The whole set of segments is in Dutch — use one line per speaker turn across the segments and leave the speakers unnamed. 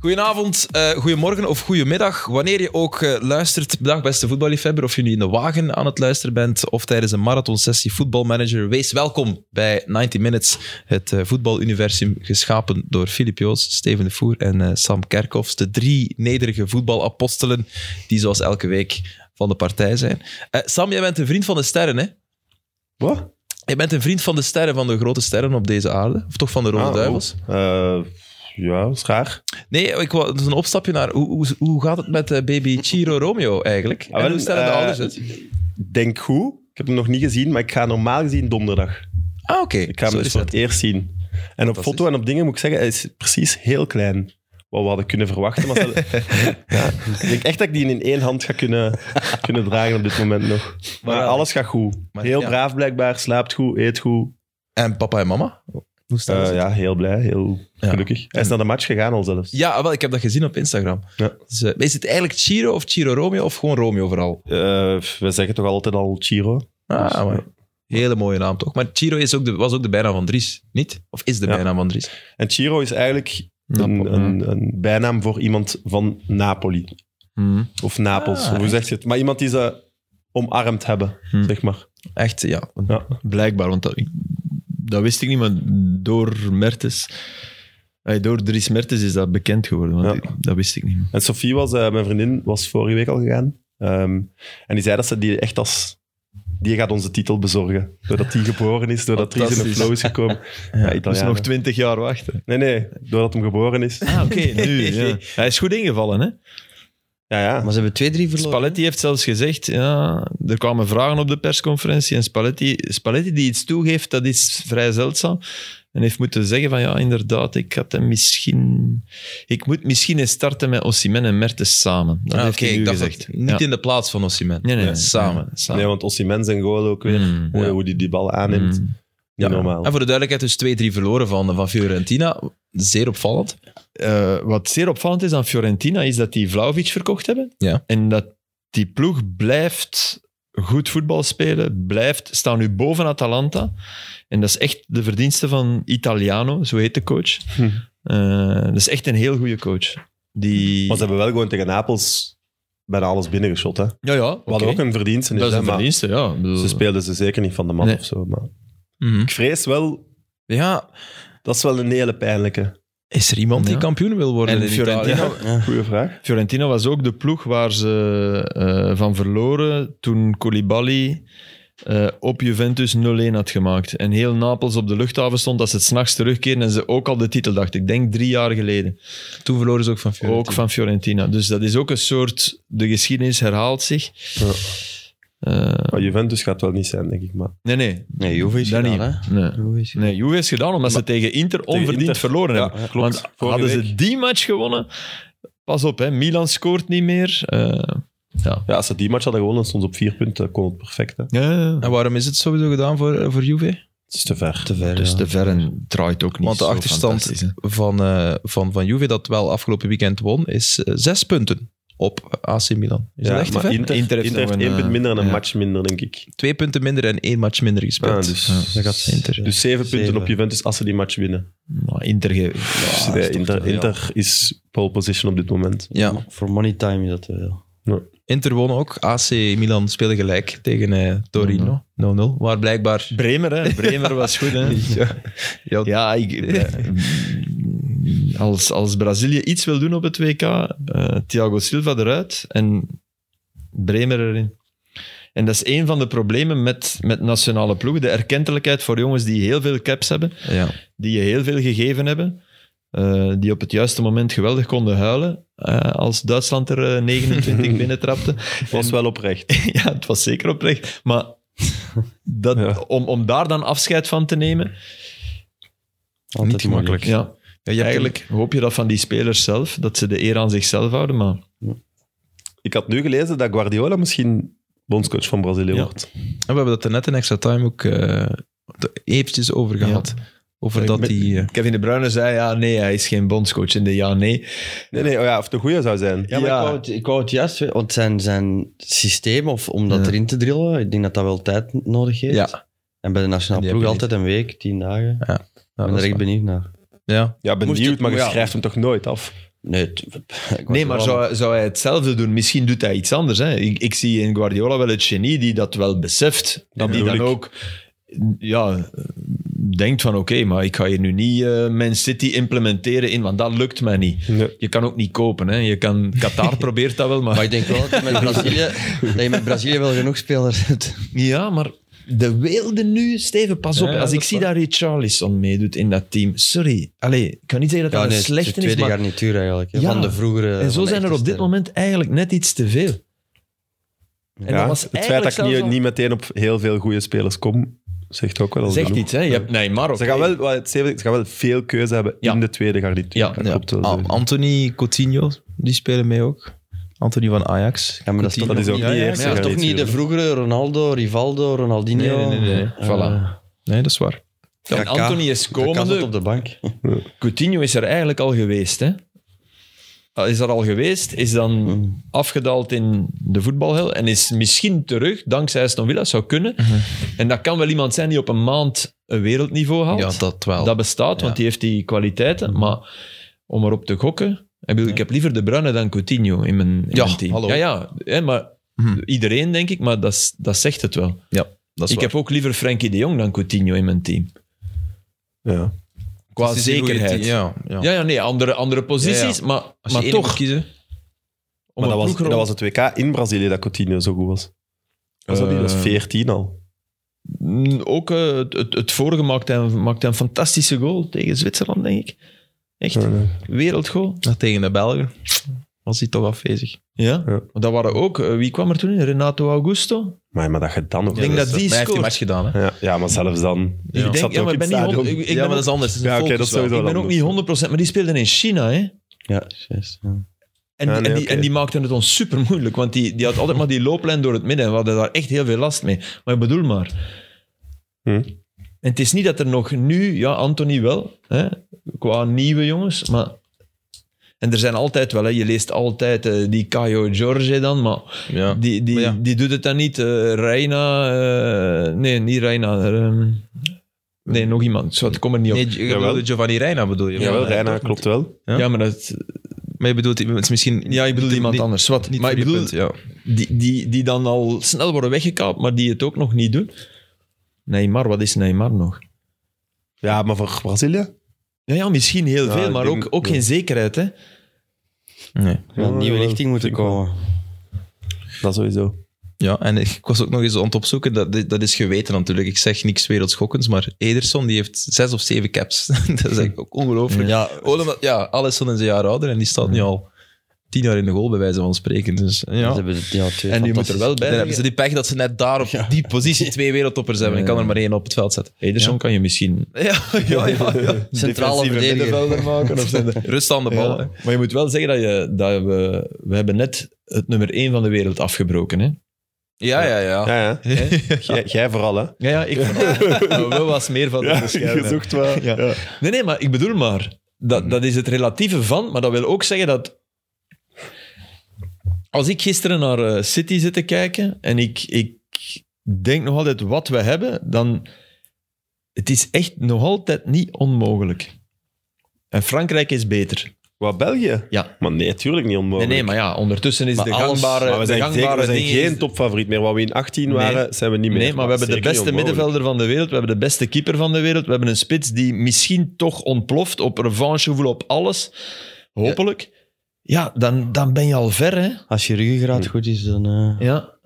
Goedenavond, eh, goedemorgen of goedemiddag. Wanneer je ook eh, luistert, dag beste voetballiefhebber, of je nu in de wagen aan het luisteren bent of tijdens een marathonsessie voetbalmanager, wees welkom bij 90 Minutes, het eh, voetbaluniversum geschapen door Filip Joos, Steven de Voer en eh, Sam Kerkhoffs, de drie nederige voetbalapostelen die zoals elke week van de partij zijn. Eh, Sam, jij bent een vriend van de sterren, hè?
Wat?
Jij bent een vriend van de sterren, van de grote sterren op deze aarde, of toch van de Rode
Ah,
Duivels?
oh. Eh, ja, schaar.
Nee, ik wou, dat is een opstapje naar hoe, hoe, hoe gaat het met eh, baby Chiro Romeo eigenlijk?
Ah, wel,
en hoe stellen de
eh,
ouders het?
Denk goed. Ik heb hem nog niet gezien, maar ik ga normaal gezien donderdag.
Ah, oké.
Ik ga
Zo
hem
is
dus voor
het.
het eerst zien. En op foto en op dingen moet ik zeggen, hij is precies heel klein. Wat we hadden kunnen verwachten. Maar ze- ja, ik denk echt dat ik die in één hand ga kunnen, kunnen dragen op dit moment nog. Maar
Maar ja,
alles gaat goed.
Maar
heel
ja.
braaf blijkbaar, slaapt goed, eet goed.
En papa en mama? Hoe
Eh,
staan ze?
ja, heel blij, heel
Ja.
gelukkig. Hij is naar de match gegaan al zelfs.
Ja, ah, wel, ik heb dat gezien op Instagram.
Ja.
Dus, eh, is het eigenlijk Chiro of Chiro Romeo of gewoon Romeo vooral?
Eh, we zeggen toch altijd al Chiro? Dus,
Ah, maar, hele mooie naam toch? Maar Chiro is ook de, was ook de bijnaam van Dries, niet? Of is de
Ja.
bijnaam van Dries?
En Chiro is eigenlijk een, een, een bijnaam voor iemand van Napoli.
Mhm.
Of Napels,
Ah,
hoe zeg je het? Maar iemand die ze omarmd hebben,
Hmm.
zeg maar.
Echt, ja.
Ja.
Blijkbaar, want dat, ik- dat wist ik niet, maar door Mertens... ay, door Dries Mertens is dat bekend geworden, want
Ja.
ik- dat wist ik niet.
En Sophie, was, eh, mijn vriendin, was vorige week al gegaan. Ehm, en die zei dat ze die echt als... Die gaat onze titel bezorgen. Doordat die geboren is, doordat Dries in de
Fantastisch.
flow is gekomen. Ja,
Dus
Italianen.
nog twintig jaar wachten.
Nee, nee, doordat hem geboren is.
Ah, oké, nu. ja. Hij is goed ingevallen, hè?
Ja, ja.
Maar ze hebben twee, drie verloren.
Spalletti heeft zelfs gezegd, eh, ja, er kwamen vragen op de persconferentie en Spalletti, Spalletti die iets toegeeft, dat is vrij zeldzaam. En heeft moeten zeggen van ja, inderdaad, ik had hem misschien... Ik moet misschien eens starten met Osimhen en Mertens samen. Dat
Ah,
heeft
oké,
hij nu
ik dacht
gezegd.
dat- niet
Ja.
in de plaats van Osimhen.
Nee, nee, nee.
Samen.
samen.
Nee, want Osimhen zijn goal ook weer.
Mm.
Hoe,
Ja.
hoe die die bal aanneemt.
Mm.
Niet normaal.
En voor de duidelijkheid, dus 2-3 verloren van, van Fiorentina. Zeer opvallend.
Eh, wat zeer opvallend is aan Fiorentina, is dat die Vlaovic verkocht hebben.
Ja.
En dat die ploeg blijft goed voetbal spelen, blijft, staan nu boven Atalanta. En dat is echt de verdienste van Italiano, zo heet de coach.
Hm.
Eh, dat is echt een heel goede coach. Die...
Maar ze hebben wel gewoon tegen Napels bijna alles binnengeschot. Hè. We
Ja, ja. oké.
hadden ook een verdienste.
Dat is een
hè, maar
verdienste, ja. Ik bedoel-
Ze speelden ze zeker niet van de man
Nee.
of zo. Maar
Mhm.
ik vrees wel,
Ja,
dat is wel een hele pijnlijke.
Is er iemand die
Ja.
kampioen wil worden
En
in
Fiorentina-
Italië?
Goeie vraag.
Fiorentina was ook de ploeg waar ze eh, van verloren toen Koulibaly eh, op Juventus 0-1 had gemaakt. En heel Napels op de luchthaven stond dat ze het s'nachts terugkeerden en ze ook al de titel dacht. Ik denk drie jaar geleden.
Toen verloren ze ook van Fiorentina.
Ook van Fiorentina. Dus dat is ook een soort... De geschiedenis herhaalt zich.
Ja.
Eh,
Maar Juventus gaat wel niet zijn, denk ik. Maar
nee, nee.
Nee, Juve is
Dat niet.
gedaan, hè.
Nee.
Juve is-
Nee, Juve is gedaan omdat ze tegen Inter onverdiend
Inter.
verloren
Ja,
hebben.
klopt.
Want
Vorige
hadden ze
week.
die match gewonnen... Pas op, hè. Milan scoort niet meer. Eh,
ja, als ze die match hadden gewonnen, stond ze op vier punten, kon het perfect. Hè.
ja, ja, ja.
En waarom is het sowieso gedaan voor, eh, voor Juve?
Het is te ver.
Te ver,
Dus
ja.
de Verren draait ook niet
Want de
zo
achterstand
fantastisch, hè.
van, eh, van, van Juve, dat wel afgelopen weekend won, is eh, zes punten op AC Milan. Is
Ja,
dat echt te
maar
ver?
Inter,
Inter
Inter
heeft
heeft,
nog een,
één punt
eh,
minder en een
ja.
match minder, denk ik.
Twee punten minder en één match minder gespeeld.
Ah, dus,
dat gaat-
Inter. Ah,
dus zeven
Zeven.
punten op Juventus als ze die match winnen.
Maar Inter ge-
Dus
Ja,
nee,
dat is toch
Inter,
te veel.
Inter is pole position op dit moment.
ja,
Voor money time is dat eh, wel.
Inter won ook. AC Milan speelde gelijk tegen eh,
Mhm.
Torino. 0-0. Waar blijkbaar...
Bremer, hè. Bremer was goed, hè.
Ja, ja,
Ja, ik, eh, als, als Brazilië iets wil doen op het WK, eh, Thiago Silva eruit en Bremer erin. En dat is een van de problemen met, met nationale ploegen. De erkentelijkheid voor jongens die heel veel caps hebben,
ja.
die je heel veel gegeven hebben, eh, die op het juiste moment geweldig konden huilen eh, als Duitsland er eh, 29 binnentrapte.
Was wel oprecht.
ja, het was zeker oprecht. Maar dat,
Ja.
om, om daar dan afscheid van te nemen,
Altijd
niet gemakkelijk.
moeilijk.
Ja. Eigenlijk hoop je dat van die spelers zelf, dat ze de eer aan zichzelf houden. Maar
Ik had nu gelezen dat Guardiola misschien bondscoach van Brazilië
Ja.
wordt.
En we hebben dat er net in extra time ook eh, eventjes over gehad. Over dat
Met-
die... eh,
Kevin De Bruyne zei, ja, nee, hij is geen bondscoach. En de ja, nee.
Nee, nee, oh ja, of de goeie zou zijn.
Ja, maar
Ja.
Ik, wou het, ik wou het juist weten, want zijn, zijn systeem, of om dat
Ja.
erin te drillen, ik denk dat dat wel tijd nodig heeft.
eh, Ja.
En bij de nationale
Die
ploeg
heb je
altijd een week, tien dagen. Ik
ja,
ben
dat
er
is
echt
waar.
benieuwd naar.
Ja.
Ja,
Moest
benieuwd,
het-
maar je
ja.
schrijft hem toch nooit af?
Nee, het- Guardiola
Nee, maar zou, zou hij hetzelfde doen? Misschien doet hij iets anders. Hè? Ik, ik zie in Guardiola wel het genie die dat wel beseft. Dat die
bedoel
dan
ik.
ook ja, denkt van oké, maar ik ga hier nu niet eh Man City implementeren in, want dat lukt mij niet.
Nee.
Je kan ook niet kopen. Hè? Je kan, Qatar probeert dat wel, maar...
Maar ik denk wel dat je met Brazilië, dat je met Brazilië wel genoeg spelers hebt.
Ja, maar de weelde nu, Steven, pas op.
Ja, ja,
Als
dat
ik
is
zie
waar.
dat Richarlison meedoet in dat team, sorry. Allee, ik kan niet zeggen dat
Ja,
dat een
nee, het is de
slechte is,
tweede
maar...
garnituur eigenlijk. hè,
Ja.
Van de vroegere.
Eh,
En
van
zo
de
zijn er
echte
op dit
sterren.
moment eigenlijk net iets te veel. En
Ja,
dat was
het feit dat ik
eigenlijk
niet,
zelfs al-
niet meteen op heel veel goede spelers kom, zegt ook wel al
Zegt
genoeg.
iets, hè? Je hebt Neymar.
Ze
oké.
gaan, wel, wat het Steven zegt, ze gaan wel veel keuze hebben
Ja.
in de tweede garnituur.
Ja,
dat
Ja.
klopt wel.
Ah, Anthony Coutinho, die spelen mee ook. Anthony van Ajax.
Ja, maar dat is toch,
dat is ook
Ja,
niet
ja,
eerst.
ja,
dat is toch niet de
dus-
vroegere Ronaldo, Rivaldo, Ronaldinho?
Nee, nee, nee, nee.
Eh,
Voilà.
Nee, dat is waar.
Dan
Kaká.
Anthony is
Kaká zat
komende.
op de bank.
Coutinho is er eigenlijk al geweest, hè? Ah, Is er al geweest, is dan
Mhm.
afgedaald in de voetbalhel en is misschien terug, dankzij Aston Villa, zou kunnen.
Mhm.
En dat kan wel iemand zijn die op een maand een wereldniveau haalt.
Ja, dat wel.
Dat bestaat, want
Oh. Ja. Mhm.
die heeft die kwaliteiten. Maar om erop te gokken... Ik, bedoel, ik heb liever De Bruyne dan Coutinho in mijn, in
Ja,
mijn team.
hallo.
Ja, ja. Hè, maar
Mhm.
iedereen, denk ik, maar dat, is- dat zegt het wel.
Dat is
Ik
waar.
heb ook liever Frenkie de Jong dan Coutinho in mijn team.
Ja.
Qua
Het is een goeie
zekerheid.
team, Ja, ja.
Ja, ja, nee, andere, andere posities,
Ja,
maar,
Als je
maar
één moet
toch.
kiezen.
om
Maar dat
een
was,
ploeg
dat
rond-
was het WK in Brazilië dat Coutinho zo goed was. Was dat niet? Dat was
Eh,
14 al.
Mm, Ook eh, het, het, het vorige maakte hij, maakte hij een fantastische goal tegen Zwitserland, denk ik. Echt,
Ja, nee.
wereldgoal.
Ja, Tegen de Belgen was hij toch afwezig.
Ja.
Ja.
Dat waren ook, eh, wie kwam er toen in? Renato Augusto?
Maar, maar dat je dan ook...
denk dat
Maar
die
hij heeft die
scoort.
match gedaan. Hè?
Ja, ja, maar zelfs dan...
Ik denk-
zat
ja, maar
ook in
ben
het
niet
stadion.
hond- ik- ik
ja,
ben
maar dat
ook-
is anders. Het is
Ja,
een
oké, dat
focus
is
wel.
sowieso
Ik ben ook
anders.
niet 100%, maar die speelden in China, hè?
Ja, juist, ja.
En,
Ja,
die-
nee,
en, die,
oké.
en die maakten het ons super moeilijk, want die, die had altijd maar die looplijn door het midden en we hadden daar echt heel veel last mee. Maar ik bedoel maar.
Hm.
En het is niet dat er nog nu, ja, Anthony wel, hè, qua nieuwe jongens, maar. En er zijn altijd wel, hè, je leest altijd eh, die Caio Jorge dan, maar
Ja.
die, die,
Maar ja.
die doet het dan niet. eh Reina, eh, nee, niet Reina. er, ehm, nee, nog iemand. Zo, het komt er niet op.
Nee, je
Jawel.
bedoelde Giovanni Reina bedoel je?
Jawel,
Ja,
Reina,
toch?
klopt wel.
ja.
ja, maar dat,
Maar je bedoelt het is misschien...
ja, ik bedoel
niet-
iemand
niet-
anders. Wat,
Niet
maar ik
voor die
bedoel,
punt, ja.
die, die, die dan al snel worden weggekaapt, maar die het ook nog niet doen. Neymar, wat is Neymar nog?
Ja, maar voor Brazilië?
Ja, ja misschien heel
Ja,
veel,
ik
maar
denk-
ook, ook
ja.
geen zekerheid. Hè?
Nee.
Ja, een nieuwe
Ja,
richting moeten
denk ik wel.
komen.
Dat sowieso.
Ja, en ik was ook nog eens aan het opzoeken. Dat, dat is geweten natuurlijk. Ik zeg niks wereldschokkends, maar Ederson die heeft zes of zeven caps. dat is eigenlijk ook ongelooflijk.
Ja,
Gewoon omdat- ja, Alisson is een jaar ouder en die staat nu al tien jaar in de goal, bij wijze van spreken. Dus,
ze
ja.
hebben het- ja, twee
En die moet er wel
Dan
bij.
hebben ze die pech dat ze net daar op die positie twee wereldtoppers hebben. Ik kan er maar één op het veld zetten.
Ederson kan je misschien...
Ja, ja, ja.
centrale verdediger.
maken of zijn
Rust aan de bal. hè.
Maar je moet wel zeggen dat, je, dat we... We hebben net het nummer één van de wereld afgebroken. Hè?
Ja, ja, ja.
Ja, ja. Jij- Jij vooral, hè?
Ja, ja, ik maar wel was meer van de
je
bescherming.
zoekt wel.
Ja.
Ja.
Nee, nee, maar ik bedoel maar.
Mhm.
Dat, dat is het relatieve van, maar dat wil ook zeggen dat... Als ik gisteren naar eh, City zit te kijken en ik, ik denk nog altijd wat we hebben, dan... Het is echt nog altijd niet onmogelijk. En Frankrijk is beter.
Wat, België?
Ja.
Maar nee, tuurlijk niet
Nee,
onmogelijk.
nee, maar ja, ondertussen is
Maar
de
alles-
gangbare...
Maar we
de
zijn,
gangbare
zeker, we zijn
dingen is-
geen topfavoriet meer. Wat we in 18 waren, zijn we niet meer.
Nee, maar we hebben de
zeker
beste
niet onmogelijk.
middenvelder van de wereld. We hebben de beste keeper van de wereld. We hebben een spits die misschien toch ontploft op revanchegevoel, op alles. Hopelijk. Ja, dan, dan ben je al ver, hè?
Als je ruggengraat goed is, dan... eh,
Ja.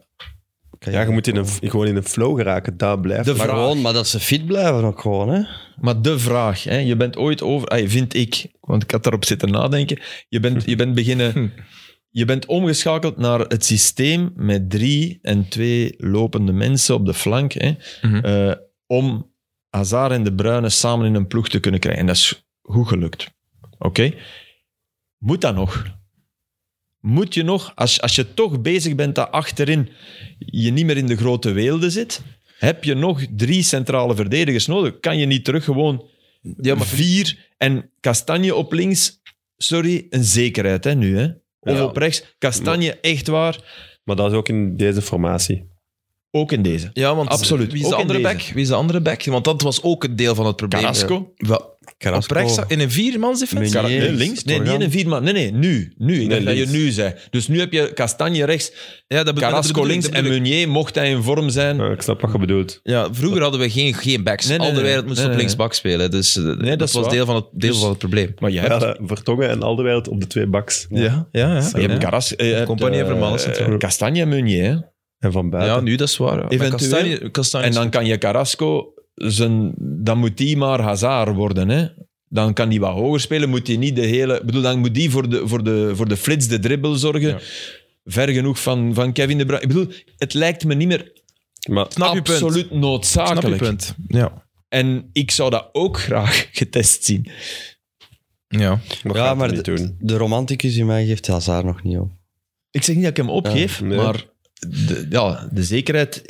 kan
Ja, je moet in een, gewoon in een flow geraken. Daar blijft
De
het.
Maar
vraag.
gewoon, maar dat ze fit blijven ook gewoon, hè.
Maar de vraag, hè? je bent ooit over... Ay, vind ik, want ik had daarop zitten nadenken. Je bent, je bent beginnen... Je bent omgeschakeld naar het systeem met drie en twee lopende mensen op de flank. Hè?
Mhm.
eh, om Hazard en De Bruyne samen in een ploeg te kunnen krijgen. En dat is goed gelukt. Oké? Moet dat nog? Moet je nog, als, als je toch bezig bent dat achterin je niet meer in de grote weelde zit, heb je nog drie centrale verdedigers nodig? Kan je niet terug gewoon
Ja, maar
vier en Castanje op links? Sorry, een zekerheid hè, nu. Hè? Of
Ja.
op rechts. Castanje, echt waar.
Maar dat is ook in deze formatie.
Ook in deze.
Ja, want
Absoluut.
wie is
Ook
de
in
andere
deze.
back? Wie is de andere back? Want dat was ook een deel van het probleem.
Carrasco.
Wel, Op rechts, in een viermansdefensie?
Meunier.
Nee,
Nee,
links? Nee, niet in een vier, maar nee, nee, nu. nu. Ik
Nee,
denk dat je
links.
nu zei. Dus nu heb je Castagne rechts,
Ja, dat bedo- dat
Carrasco
bedoel ik,
links
dat
en
bedoel ik.
Meunier, mocht hij in vorm zijn.
Ja, ik snap wat je bedoelt.
Ja, vroeger hadden we geen, geen backs.
Nee, nee,
Al de
nee.
wereld moest
Nee,
op
nee.
linksbak spelen. Dus eh, dat,
dat is
was
waar.
deel van het, deel
Dus-
van het probleem.
Maar je hebt,
Ja, Vertongen en Alderweireld op de twee baks.
Ja, ja. ja,
je hebt Carrasco, je hebt,
Compagnie
eh,
van Malen,
eh,
natuurlijk.
Castagne en Meunier. hè.
En van buiten.
Ja, nu dat is waar. ja. Maar
Eventueel.
Kastanje- Kastanje
En dan kan je Carrasco, zijn, dan moet die maar Hazard worden. Hè? Dan kan die wat hoger spelen, moet die niet de hele... Ik bedoel, dan moet die voor de, voor de, voor de flits, de dribbel zorgen.
Ja.
Ver genoeg van, van Kevin De Bruyne. Ik bedoel, het lijkt me niet meer
Maar
Snap je punt.
absoluut noodzakelijk.
Snap je punt. Ja.
En ik zou dat ook graag getest zien.
ja.
we
Ja,
gaan
maar
het niet
de,
doen.
de romanticus in mij geeft Hazard nog niet op.
Ik zeg niet dat ik hem opgeef,
Ja, Ah, nee.
maar de, ja, de zekerheid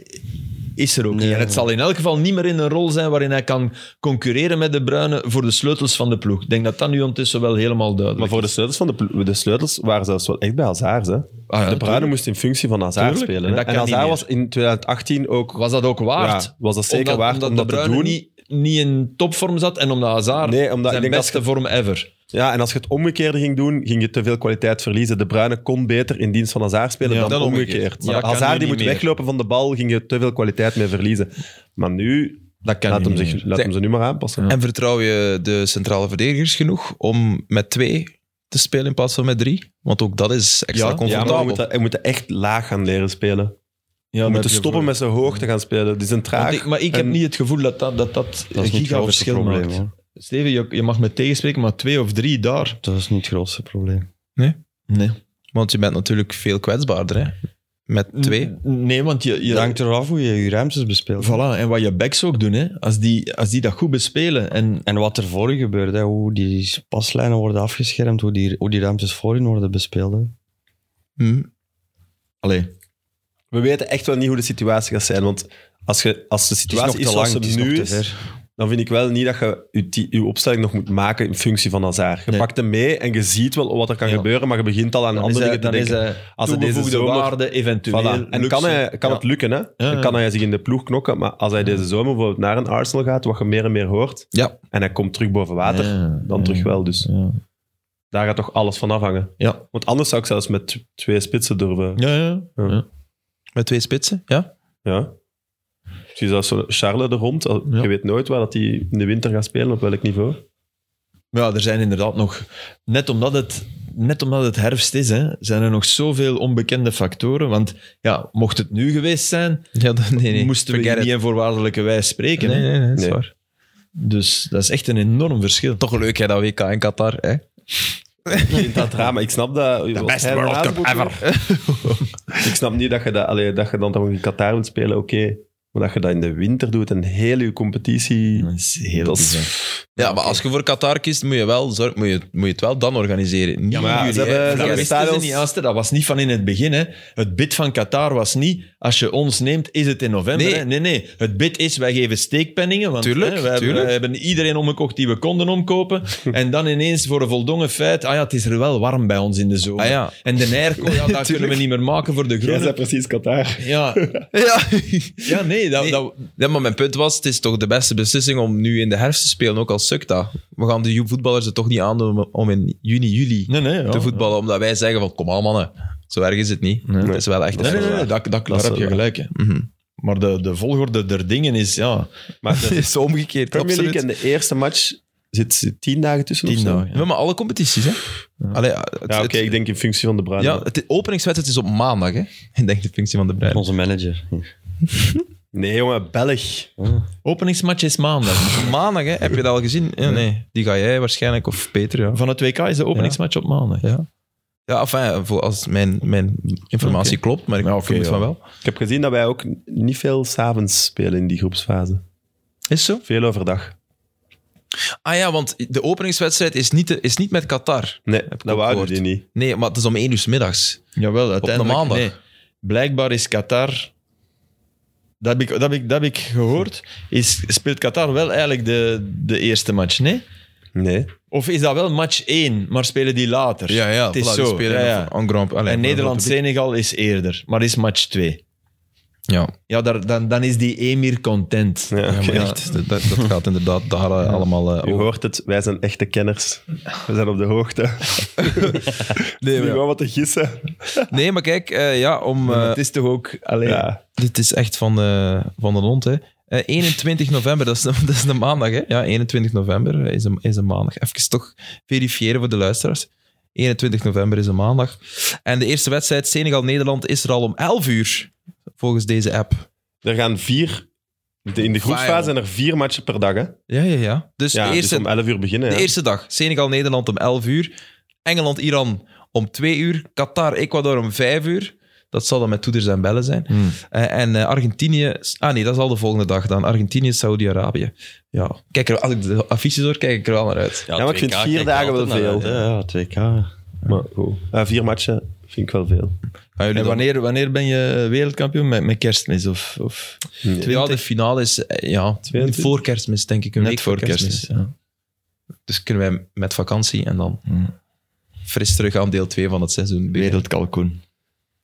is er ook
Nee.
niet. En het zal in elk geval niet meer in een rol zijn waarin hij kan concurreren met de Bruine voor de sleutels van de ploeg. Ik denk dat dat nu ondertussen wel helemaal
Maar
duidelijk
voor de sleutels, van de, plo- de sleutels waren zelfs wel echt bij Hazard. Hè?
Ah ja,
de Bruyne moest in functie van Hazard
Tuurlijk.
spelen. hè.
En dat
En,
kan niet
Hazard
meer.
was in 2018 ook...
was dat ook waard.
Ja, was dat zeker
omdat,
waard
omdat
om dat
de
te
Bruyne
doen.
niet, niet in topvorm zat en omdat Hazard
Nee, omdat ik
zijn
denk dat
beste vorm ever.
Ja, en als je het omgekeerde ging doen, ging je te veel kwaliteit verliezen. De Bruyne kon beter in dienst van Hazard spelen
Ja,
dan,
dan
omgekeerd.
omgekeerd. Ja,
Maar
kan nu
Hazard die
niet
moet
meer.
weglopen van de bal, ging je te veel kwaliteit mee verliezen. Maar nu,
Dat kan
laat,
niet
hem,
meer.
zich, laat hem ze nu maar aanpassen.
En vertrouw je de centrale verdedigers genoeg om met twee te spelen in plaats van met drie? Want ook dat is extra
Ja,
Ja,
ja,
maar we
comfortabel.
moeten, we moeten echt laag gaan leren spelen.
Ja,
we
daar
moeten
heb je
stoppen
voor.
met zo hoog te gaan spelen. Het is een traag.
Want ik- maar ik heb
en-
niet het gevoel dat dat, dat, dat,
Dat
een
is niet het
giga
grootste
verschil
probleem.
maakt.
hoor.
Steven, je, je mag me tegenspreken, maar twee of drie daar.
Dat is niet het grootste probleem.
Nee.
Want je bent natuurlijk veel kwetsbaarder, hè?
Mm.
Met twee.
N- Nee, want je... je
Het hangt eraf hoe je je ruimtes bespeelt.
Voilà, en wat je backs ook doen, hè. Als, die, als die dat goed bespelen. En
En wat er voor je gebeurt, hè, hoe die paslijnen worden afgeschermd, hoe die, hoe die ruimtes voor hun worden bespeeld. hè.
Hm.
allee,
We weten echt wel niet hoe de situatie gaat zijn. Want als, je, als de
Het is nog
situatie is,
te lang,
zoals
het
ze
is nog
nu
te
is,
ver.
dan vind ik wel niet dat je je, ti- je opstelling nog moet maken in functie van Hazard. Je
Nee.
pakt hem mee en je ziet wel wat er kan
Ja.
gebeuren, maar je begint al aan
dan is
andere
hij,
dingen te
dan is
denken.
hij
Als het deze
toegevoegde
zomer...
waarde eventueel.
Voilà. En
lukt
kan,
ze.
hij, kan
Ja.
het lukken, hè?
ja.
Dan kan hij zich in de ploeg knokken. Maar als hij deze zomer bijvoorbeeld naar een Arsenal gaat, wat je meer en meer hoort,
Ja.
en hij komt terug boven water,
Ja,
dan
ja.
terug wel. Dus
Ja.
daar gaat toch alles van afhangen.
Ja.
Want anders zou ik zelfs met t- twee spitsen durven.
Ja, ja.
Ja.
Ja.
Met twee spitsen, ja?
Ja. Misschien zelfs zo'n Charles er rond. Al-
Ja.
Je weet nooit waar dat hij in de winter gaat spelen, op welk niveau.
Ja, er zijn inderdaad nog... Net omdat het, net omdat het herfst is, hè, zijn er nog zoveel onbekende factoren. Want ja, mocht het nu geweest zijn,
Ja, dat- nee, nee.
moesten we
Forget
hier niet
it.
in voorwaardelijke wijs spreken.
Nee,
hè.
nee, nee, dat is
Nee.
waar.
Dus dat is echt een enorm verschil.
Toch leuk, hè, dat WK in Qatar, hè?
In dat drama. Ik snap dat... De
beste World Cup
ever. ik snap niet dat je, dat, allee, dat je dan toch in Qatar moet spelen, oké. Maar dat je dat in de winter doet en heel je competitie...
Dat is heel
Dat is-
bizar.
Ja, maar als je voor Qatar kiest, moet je, wel zorg, moet je, moet je het wel dan organiseren. Niet
Ja,
maar
in
ze
juli, hè. Voor
hebben-
Dat
de
hebben
rest-
wisten ze
stadions-
niet, Aster. Dat was niet van in het begin. Hè. Het bid van Qatar was niet, als je ons neemt, is het in november.
Nee.
hè. nee, nee. Het bid is, wij geven steekpenningen. Want
Tuurlijk,
hè, wij
tuurlijk.
Hebben, wij hebben iedereen omgekocht die we konden omkopen. en dan ineens voor een voldongen feit, ah ja, het is er wel warm bij ons in de zomer.
Ah ja.
En de airco, ja, dat kunnen we niet meer maken voor de
Jij
groene.
bent precies Qatar.
Ja,
Ja.
ja nee, dat,
Nee.
dat,
ja, maar mijn punt was, het is toch de beste beslissing om nu in de herfst te spelen, ook al sukt dat. We gaan de ju- voetballers het toch niet aandoen om in juni, juli
nee, nee. ja.
te voetballen, omdat wij zeggen van, kom aan mannen, zo erg is het niet.
Nee.
Het is wel echt...
Nee, nee, nee, nee, dat, dat, daar
is
heb
wel
je
waar.
gelijk. Hè.
Mhm.
Maar de, de volgorde der dingen is, ja,
Maar
Het
de
is omgekeerd,
Premier League
absoluut.
en de eerste match zit zit tien dagen tussen of
tien
zo?
dagen.
Ja, maar alle competities, hè. Allee, ja, het,
Ja, oké,
het-
ik denk in functie van de Bruin.
ja, het openingswedstrijd is op maandag, hè. Ik denk de functie van de Bruin.
Onze manager.
Nee, jongen, Belg.
Openingsmatch is maandag.
Maandag, hè. Heb je dat al gezien? Ja, nee. Die ga jij waarschijnlijk, of Peter, ja.
Van het WK is de openingsmatch op maandag.
Ja, enfin, voor als mijn, mijn informatie klopt, maar ik
Ja, oké,
vermoed
ja.
van wel.
Ik heb gezien dat wij ook niet veel s'avonds spelen in die groepsfase.
Is zo?
Veel overdag.
Ah ja, want de openingswedstrijd is niet, de- is niet met Qatar.
Nee,
ik
dat
ook
wouden
gehoord.
die niet.
Nee, maar het is om 1 uur 's middags.
Jawel, uiteindelijk.
maandag.
Nee. Blijkbaar is Qatar. Dat heb, ik, dat, heb ik, dat heb ik gehoord. Is, speelt Qatar wel eigenlijk de, de eerste match, nee?
Nee.
Of is dat wel match 1, maar spelen die later? het is zo.
Spelen
ja, ja.
en
En Nederland-Senegal is eerder, maar is match 2.
Ja,
Ja, daar, dan, dan is die Emir content.
Ja,
ja,
oké.
maar echt, dat, dat dat gaat inderdaad daar eh, allemaal eh,
U
over.
hoort het, wij zijn echte kenners. We zijn op de hoogte.
Nee,
Nu
maar,
gewoon wat te gissen.
nee, maar kijk, eh, ja, om,
Maar
eh,
het is toch ook... Allee,
Ja.
dit is echt van de, van de hond, hè. Eh, 21 november, dat is, dat is de maandag, hè. Ja, 21 november is een, is een maandag. Even toch verifiëren voor de luisteraars. 21 november is een maandag. En de eerste wedstrijd Senegal-Nederland is er al om 11 uur, volgens deze app.
Er gaan vier... de- in de groepsfase zijn er vier matchen per dag. Hè?
Ja, ja, ja. Dus
Ja,
de
dus
eerste
om 11 uur beginnen.
De
ja.
eerste dag. Senegal-Nederland om 11 uur. Engeland-Iran om 2 uur. Qatar-Ecuador om 5 uur. Dat zal dan met toeters en bellen zijn.
Hmm.
Eh, en eh, Argentinië... Ah nee, dat is al de volgende dag dan. Argentinië, Saudi-Arabië. Ja. Kijk, er- als ik de affiches hoor, kijk ik er wel naar uit.
Ja, maar ik
2K
vind vier
kijk je
dagen wel
altijd naar
veel.
uit, hè.
Ja, ja, 2K.
Maar goed. Ah, vier matchen vind ik wel veel.
Gaan jullie
En
dan-
wanneer, wanneer ben je wereldkampioen? Met, met kerstmis? Of, of...
Ja, de finale is eh, ja,
22?
voor kerstmis, denk ik. Een
Net
week voor
voor
kerstmis.
kerstmis,
ja. Dus kunnen wij met vakantie en dan
Hmm.
fris terug aan deel 2 van het seizoen.
Wereldkalkoen. Mm.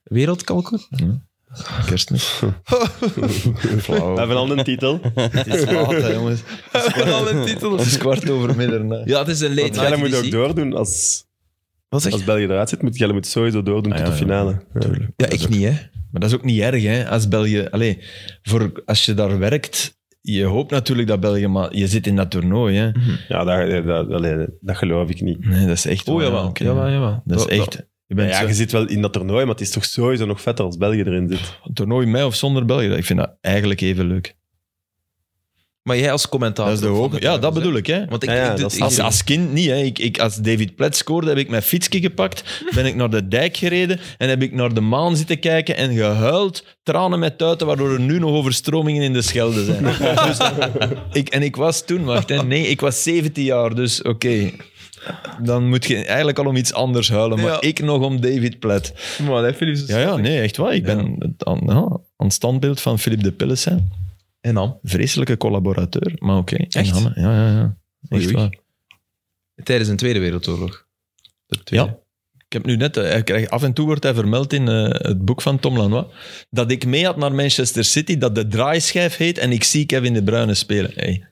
Wereldkalkoen?
Kerstmis.
We hebben al een titel.
Het is laat, hè, jongens.
Al een titel.
Het is kwart over middernacht.
Ja, het is een late
Want Jelle
night
moet ook
editie.
doordoen. Als,
Wat zeg je?
als België eruit zit, moet Jelle moet sowieso doordoen
Ah,
tot
ja,
de
ja.
finale. Ja.
Tuurlijk.
Ja, ik niet, hè.
Maar dat is ook niet erg, hè? Als België. Allee, voor, als je daar werkt, je hoopt natuurlijk dat België, maar je zit in dat toernooi, hè?
Hmm.
Ja, dat, dat, allee, dat geloof ik niet.
Nee, dat is echt.
Oh,
waar,
jawel.
oké.
jawel, jawel.
Dat is echt. Je bent
ja,
zo-
je zit wel in dat toernooi, maar het is toch sowieso nog vetter als België erin zit.
een toernooi met of zonder België. Ik vind dat eigenlijk even leuk.
Maar jij als commentaar.
dat is de hoop. Ja, dat bedoel ik, hè?
Want ik,
Ja, ja,
ik-
dat is-
ik-
Als, als kind niet. Hè. Ik, ik, als David Plet scoorde, heb ik mijn fietsje gepakt, ben ik naar de dijk gereden en heb ik naar de maan zitten kijken en gehuild, tranen met tuiten, waardoor er nu nog overstromingen in de Schelde zijn. Dus, ik, en ik was toen, wacht, hè, nee, ik was 17 jaar, dus oké. Dan moet je eigenlijk al om iets anders huilen, maar
Ja.
ik nog om David Plet.
Maar hè, Philips.
Ja, ja, nee, echt waar. Ik ben het aan, ja, aan het standbeeld van Philippe de Pillesen.
En dan?
Vreselijke collaborateur, maar oké. En
Echt?
Hanne, Ja, ja, ja.
Oei,
Echt
oei.
waar.
Tijdens een Tweede Wereldoorlog. De tweede.
Ja. Ik heb nu net, eh, hij krijgt- af en toe wordt hij vermeld in eh, het boek van Tom Lanois, dat ik mee had naar Manchester City, dat de draaischijf heet en ik zie Kevin De Bruyne spelen. Hey,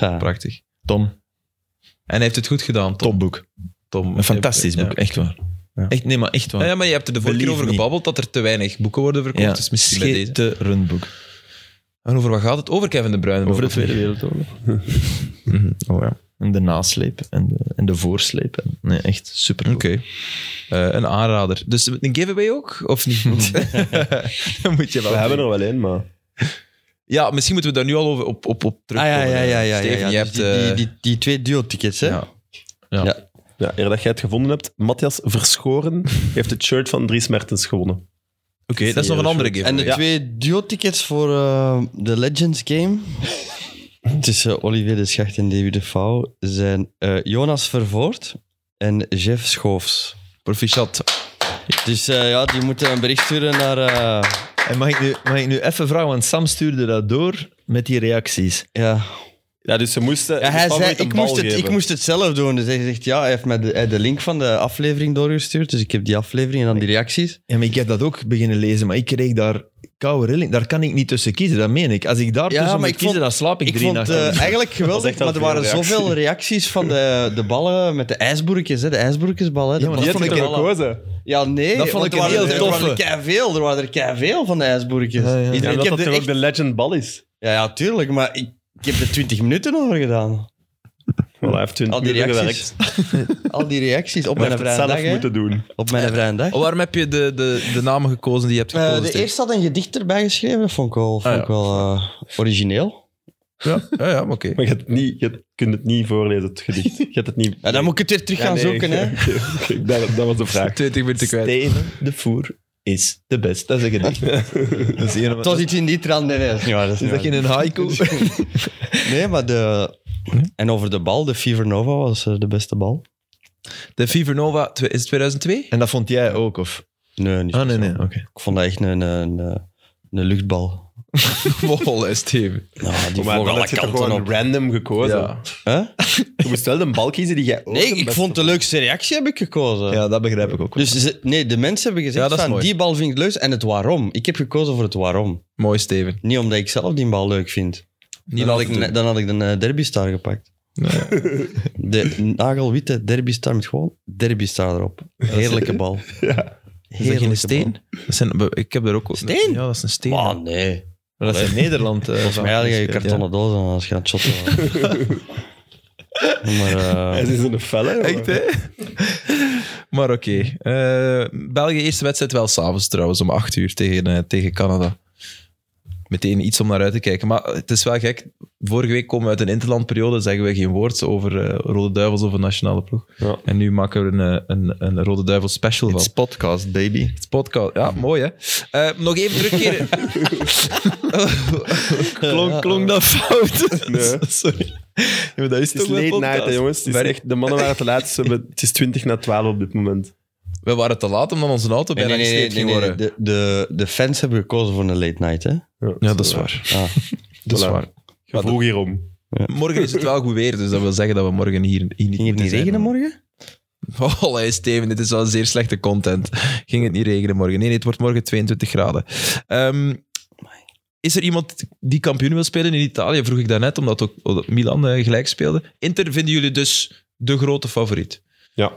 Ja.
Prachtig.
Tom,
En hij heeft het goed gedaan, Tom.
topboek.
Tom.
Een fantastisch
Ja.
boek, echt waar.
Ja.
Echt, nee, maar echt
Ja,
waar.
ja, maar je hebt er de vorige keer
Believe
over
me.
gebabbeld dat er te weinig boeken worden verkocht.
Ja,
Dus misschien bij deze.
schitterend boek.
En over wat gaat het? Over Kevin De Bruyne.
Over de
of niet?
Tweede Wereldoorlog.
Mhm. Oh ja.
En de nasleep en de, en de voorsleep. En- nee, echt super.
Oké. Eh, een aanrader. Dus een giveaway ook? Of niet? Dan moet je wel
We hebben
doen.
er wel één, maar...
Ja, misschien moeten we daar nu al over op, op, op
Ah,
terugkomen.
ja, ja, ja. ja, ja,
eh, Steven,
ja.
je
Dus
hebt...
die,
eh,
die, die, die twee duo-tickets, hè?
ja.
Ja, eer dat jij het gevonden hebt, Matthias Verschoren heeft het shirt van Dries Mertens gewonnen.
Oké, dat is nog een andere giveaway.
En de twee duo-tickets voor eh, de Legends Game tussen Olivier de Schacht en David de Vouw zijn eh, Jonas Vervoort en Jeff Schoofs.
Proficiat.
Dus eh, ja, die moeten een bericht sturen naar... eh,
En mag ik, nu, mag ik nu even vragen, want Sam stuurde dat door met die reacties.
ja.
Ja, dus ze moesten...
ja,
dus
hij
Paul
zei,
moet een
ik
bal
moest, het, ik
geven.
moest het zelf doen. Dus hij zegt, ja, hij heeft mij de, hij de link van de aflevering doorgestuurd. Dus ik heb die aflevering en dan die reacties.
Ja, maar ik heb dat ook beginnen lezen, maar ik kreeg daar koude rilling. Daar kan ik niet tussen kiezen, dat meen ik. Als ik daar
Ja,
tussen
maar
moet
ik
kiezen,
vond-
dan slaap ik,
Ik
drie
vond het
nachten.
eh,
eigenlijk
Dat
geweldig,
was echt al
maar er waren
veel reacties.
zoveel reacties van de, de ballen met de ijsboerkjes, hè, de ijsboerkjesbal. Hè, de
maar
ballen-
Die
Dat
had ik
vond ik
toch
wel-
gekozen?
Ja, nee.
Dat vond
want
ik
er
een
waren-
heel
Er waren
toffe.
er keiveel, er waren er keiveel van de ijsboerkjes.
Ja, ja. Ja,
Ja,
Iedereen-
omdat
ik heb
dat
er
toch ook
echt-
de legend bal is.
ja, ja, tuurlijk, maar ik, ik heb er 20 minuten over gedaan.
Wel, hij heeft 20
Al die
minuten
reacties.
gewerkt.
Al die reacties op
Hij
mijn
heeft het zelf
vrije dag. hè.
moeten doen.
Op mijn vrije dag.
Waarom heb je de, de, de namen gekozen die je hebt gekozen?
Eh, de
Steve?
eerste had een gedicht erbij geschreven, dat vond ik wel, vond ik wel eh, origineel.
Ja, ja, ja, maar oké.
Maar je, hebt niet, je kunt het niet voorlezen, het gedicht. Je hebt het niet...
Ja, dan moet ik het weer terug gaan zoeken. Hè.
Kijk, dat, dat was de vraag.
20 minuten kwijt.
Steven de Voer is de best. Dat is een gedicht. dat is hier
Het was iets in die trant. Nee, nee, dat is niet waar. Dat is
Is
niet
dat
waar.
geen haiku?
Nee, maar de... En over de bal, de Fever Nova was eh, de beste bal.
De Fever Nova tw- is het 2002?
En dat vond jij ook, of?
Nee, niet
Ah, nee,
speciaal.
nee, oké.
Ik vond dat echt een, een, een, een luchtbal.
Wow, Steven.
Nou, die
Maar
vlogen
dan
alle
had je toch
kanten
gewoon
op.
random gekozen.
Ja.
Hè?
Je moest wel de bal kiezen die jij ook
Nee,
het
ik
beste
vond de leukste reactie heb ik gekozen.
ja, dat begrijp ik ook.
Dus ze- nee, de mensen hebben gezegd
Ja, dat is
van,
mooi.
die bal vind ik leuk en het waarom. Ik heb gekozen voor het waarom.
Mooi, Steven.
Niet omdat ik zelf die bal leuk vind.
Niet
dan, had
laten
ik, ne-
doen.
dan had ik de eh, derbystar gepakt. De nagelwitte derbystar met gewoon derbystar erop. Heerlijke bal.
Is dat
Heerlijke
geen steen? Dat zijn, ik heb er ook...
Steen?
Ja, dat is een steen.
Bal. Ah, nee.
Maar dat is in Nederland. eh,
Volgens
vaak
mij had je je
gespeeld, ja.
kartonnen doos aan als je aan het shotten was. maar eh,
Hij is een felle.
Echt, hè? maar oké. Eh, België eerste wedstrijd wel s'avonds trouwens, om 8 uur tegen, eh, tegen Canada. Meteen iets om naar uit te kijken. Maar het is wel gek. Vorige week komen we uit een interlandperiode, zeggen we geen woord over eh, Rode Duivels of een nationale ploeg.
Ja.
En nu maken we er een, eh, een, een Rode Duivel special van.
It's podcast, baby.
Het podcast. Ja, mooi hè. Eh, nog even terugkeren.
Klonk, klonk dat fout?
Nee.
Sorry. Ja, maar dat is
Het is
toch mijn
late night,
podcast?
hè, jongens. Het is
Werk-
echt, de mannen waren te laat. Ze hebben- het is 20 na 12 op dit moment.
we waren te laat omdat onze auto
nee,
bijna
nee, nee,
gesleept
nee,
ging
nee,
worden.
De, de, de fans hebben gekozen voor een late night, hè?
Ja, dat is waar.
Ah.
Dat is
Voilà.
waar.
Je vroeg hierom.
Morgen is het wel goed weer, dus dat wil zeggen dat we morgen hier, hier niet
Ging het
moeten
niet
zijn.
regenen morgen?
Allee, Steven, dit is wel zeer slechte content. Ging het niet regenen morgen? Nee, nee, het wordt morgen 22 graden. Ehm, is er iemand die kampioen wil spelen in Italië? Vroeg ik daarnet, omdat ook omdat Milan eh, gelijk speelde. Inter vinden jullie dus de grote favoriet?
Ja.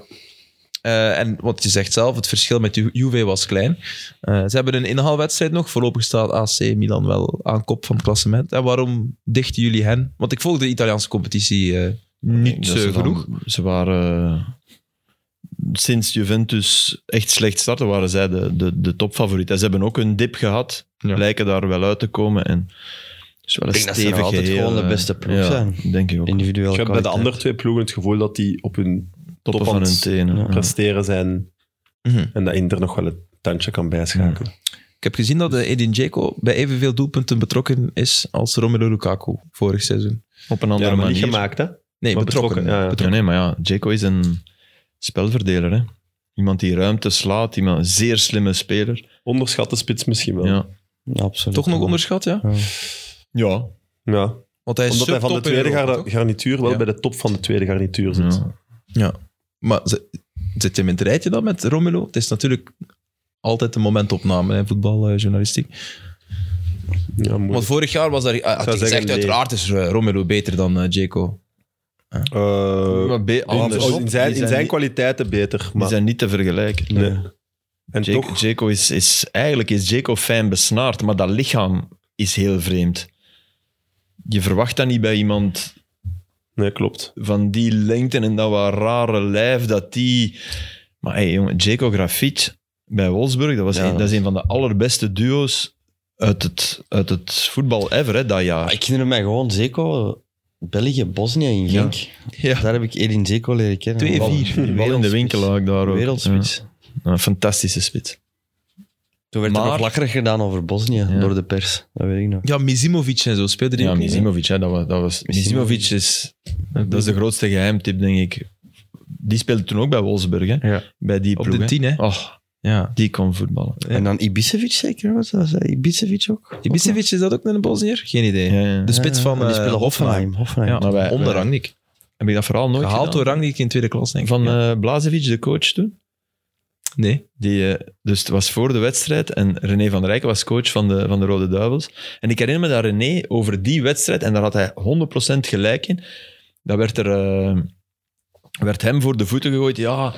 Eh, en wat je zegt zelf, het verschil met Ju- Juve was klein. Eh, ze hebben een inhaalwedstrijd nog. Voorlopig staat AC Milan wel aan kop van het klassement. En waarom dichten jullie hen? Want ik volg de Italiaanse competitie eh, niet
Dat ze
eh,
dan-
genoeg.
Ze waren eh, sinds Juventus echt slecht startte, waren zij de, de, de topfavoriet. En ze hebben ook een dip gehad,
Ja.
lijken daar wel uit te komen. En het is wel een
Ik denk dat ze
stevig
nog altijd
geheel,
gewoon de
eh,
beste ploeg
ja,
zijn.
Denk ik ook.
Individueel
Je hebt bij de
kwaliteit.
andere twee ploegen het gevoel dat die op hun
Toppen
top
van
aan
hun
het
tenen.
ja.
Ja.
presteren zijn
Mhm.
en dat Inter nog wel het tandje kan bijschakelen.
Ik heb gezien dat eh, Edin Dzeko bij evenveel doelpunten betrokken is als Romelu Lukaku vorig seizoen.
Op een andere
Ja, maar niet
manier.
gemaakt, hè?
Nee,
Maar
betrokken.
betrokken, ja, ja.
Ja, nee, maar ja, Jaco is een spelverdeler. Hè. Iemand die ruimte slaat, iemand, een zeer slimme speler.
Onderschatte spits misschien wel. Ja.
Ja.
Absoluut.
Toch nog onderschat, ja?
Ja.
Want hij is
Omdat hij van
subtop
de
in
tweede
Europa,
gar-
toch?
garnituur wel
Ja.
bij de top van de tweede garnituur zit.
ja.
Maar ze- zit je hem in het rijtje dan met Romelu? Het is natuurlijk altijd een momentopname in voetbaljournalistiek.
Ja, moeilijk.
Want vorig jaar was daar... ah, Had
zou
hij gezegd,
zeggen, nee.
uiteraard is eh, Romelu beter dan eh, Dzeko.
Eh,
Maar be-
anders.
andersom,
in zijn,
die
in zijn
zijn, niet-
kwaliteiten beter.
die
Maar,
zijn niet te vergelijken.
nee. En
Jake-
toch,
Jaco is, is eigenlijk is Jaco fijn besnaard, maar dat lichaam is heel vreemd. Je verwacht dat niet bij iemand
nee, klopt.
van die lengte en dat wat rare lijf dat die. Maar hey, jongen, Jaco Grafiet bij Wolfsburg, dat, was
Ja,
een,
dat
dat is een van de allerbeste duo's uit het, uit het voetbal ever hè, dat
Ah,
jaar.
Ik herinner mij gewoon Zeko, België, Bosnië in Genk.
Ja.
Daar heb ik Edin Zeko leren kennen.
2-4.
Wel-
Die
Die bal in de
wereldspits.
winkel ook daar ook.
Wereldspits.
Ja, Nou, een fantastische spits.
Toen werd er
Maar-
nog lakkerig gedaan over Bosnië
Ja.
door de pers. Dat weet ik nog.
Ja, Mizimovic en zo speelde die
Ja,
ook niet, hè?
Mizimovic, hè, dat was, dat was,
Misimovic.
Misimovic is, dat is de grootste geheimtip, denk ik. Die speelde toen ook bij Wolfsburg, hè?
Ja.
bij die
Op
ploeg,
de
hè.
tien, hè?
Oh,
Ja.
die kon voetballen.
Ja.
En dan Ibisevic zeker? Was dat? Was dat Ibisevic ook?
Ibisevic, is dat ook een Bosnier? Geen idee.
Ja, ja.
De spits van
En die
eh,
spelen Hoffenheim. Hoffenheim.
Ja, nou,
Maar wij-
onder
wij-
Rangnick.
Heb ik dat verhaal nooit
Gehaald door
gedaan?
Rangnick in tweede klas, denk ik.
Van
Ja.
eh Blazevic, de coach toen.
Nee.
Die, eh, dus het was voor de wedstrijd en René van der Rijken was coach van de, van de Rode Duivels. En ik herinner me dat René over die wedstrijd, en daar had hij 100% gelijk in, dat werd, er, eh, werd hem voor de voeten gegooid. Ja,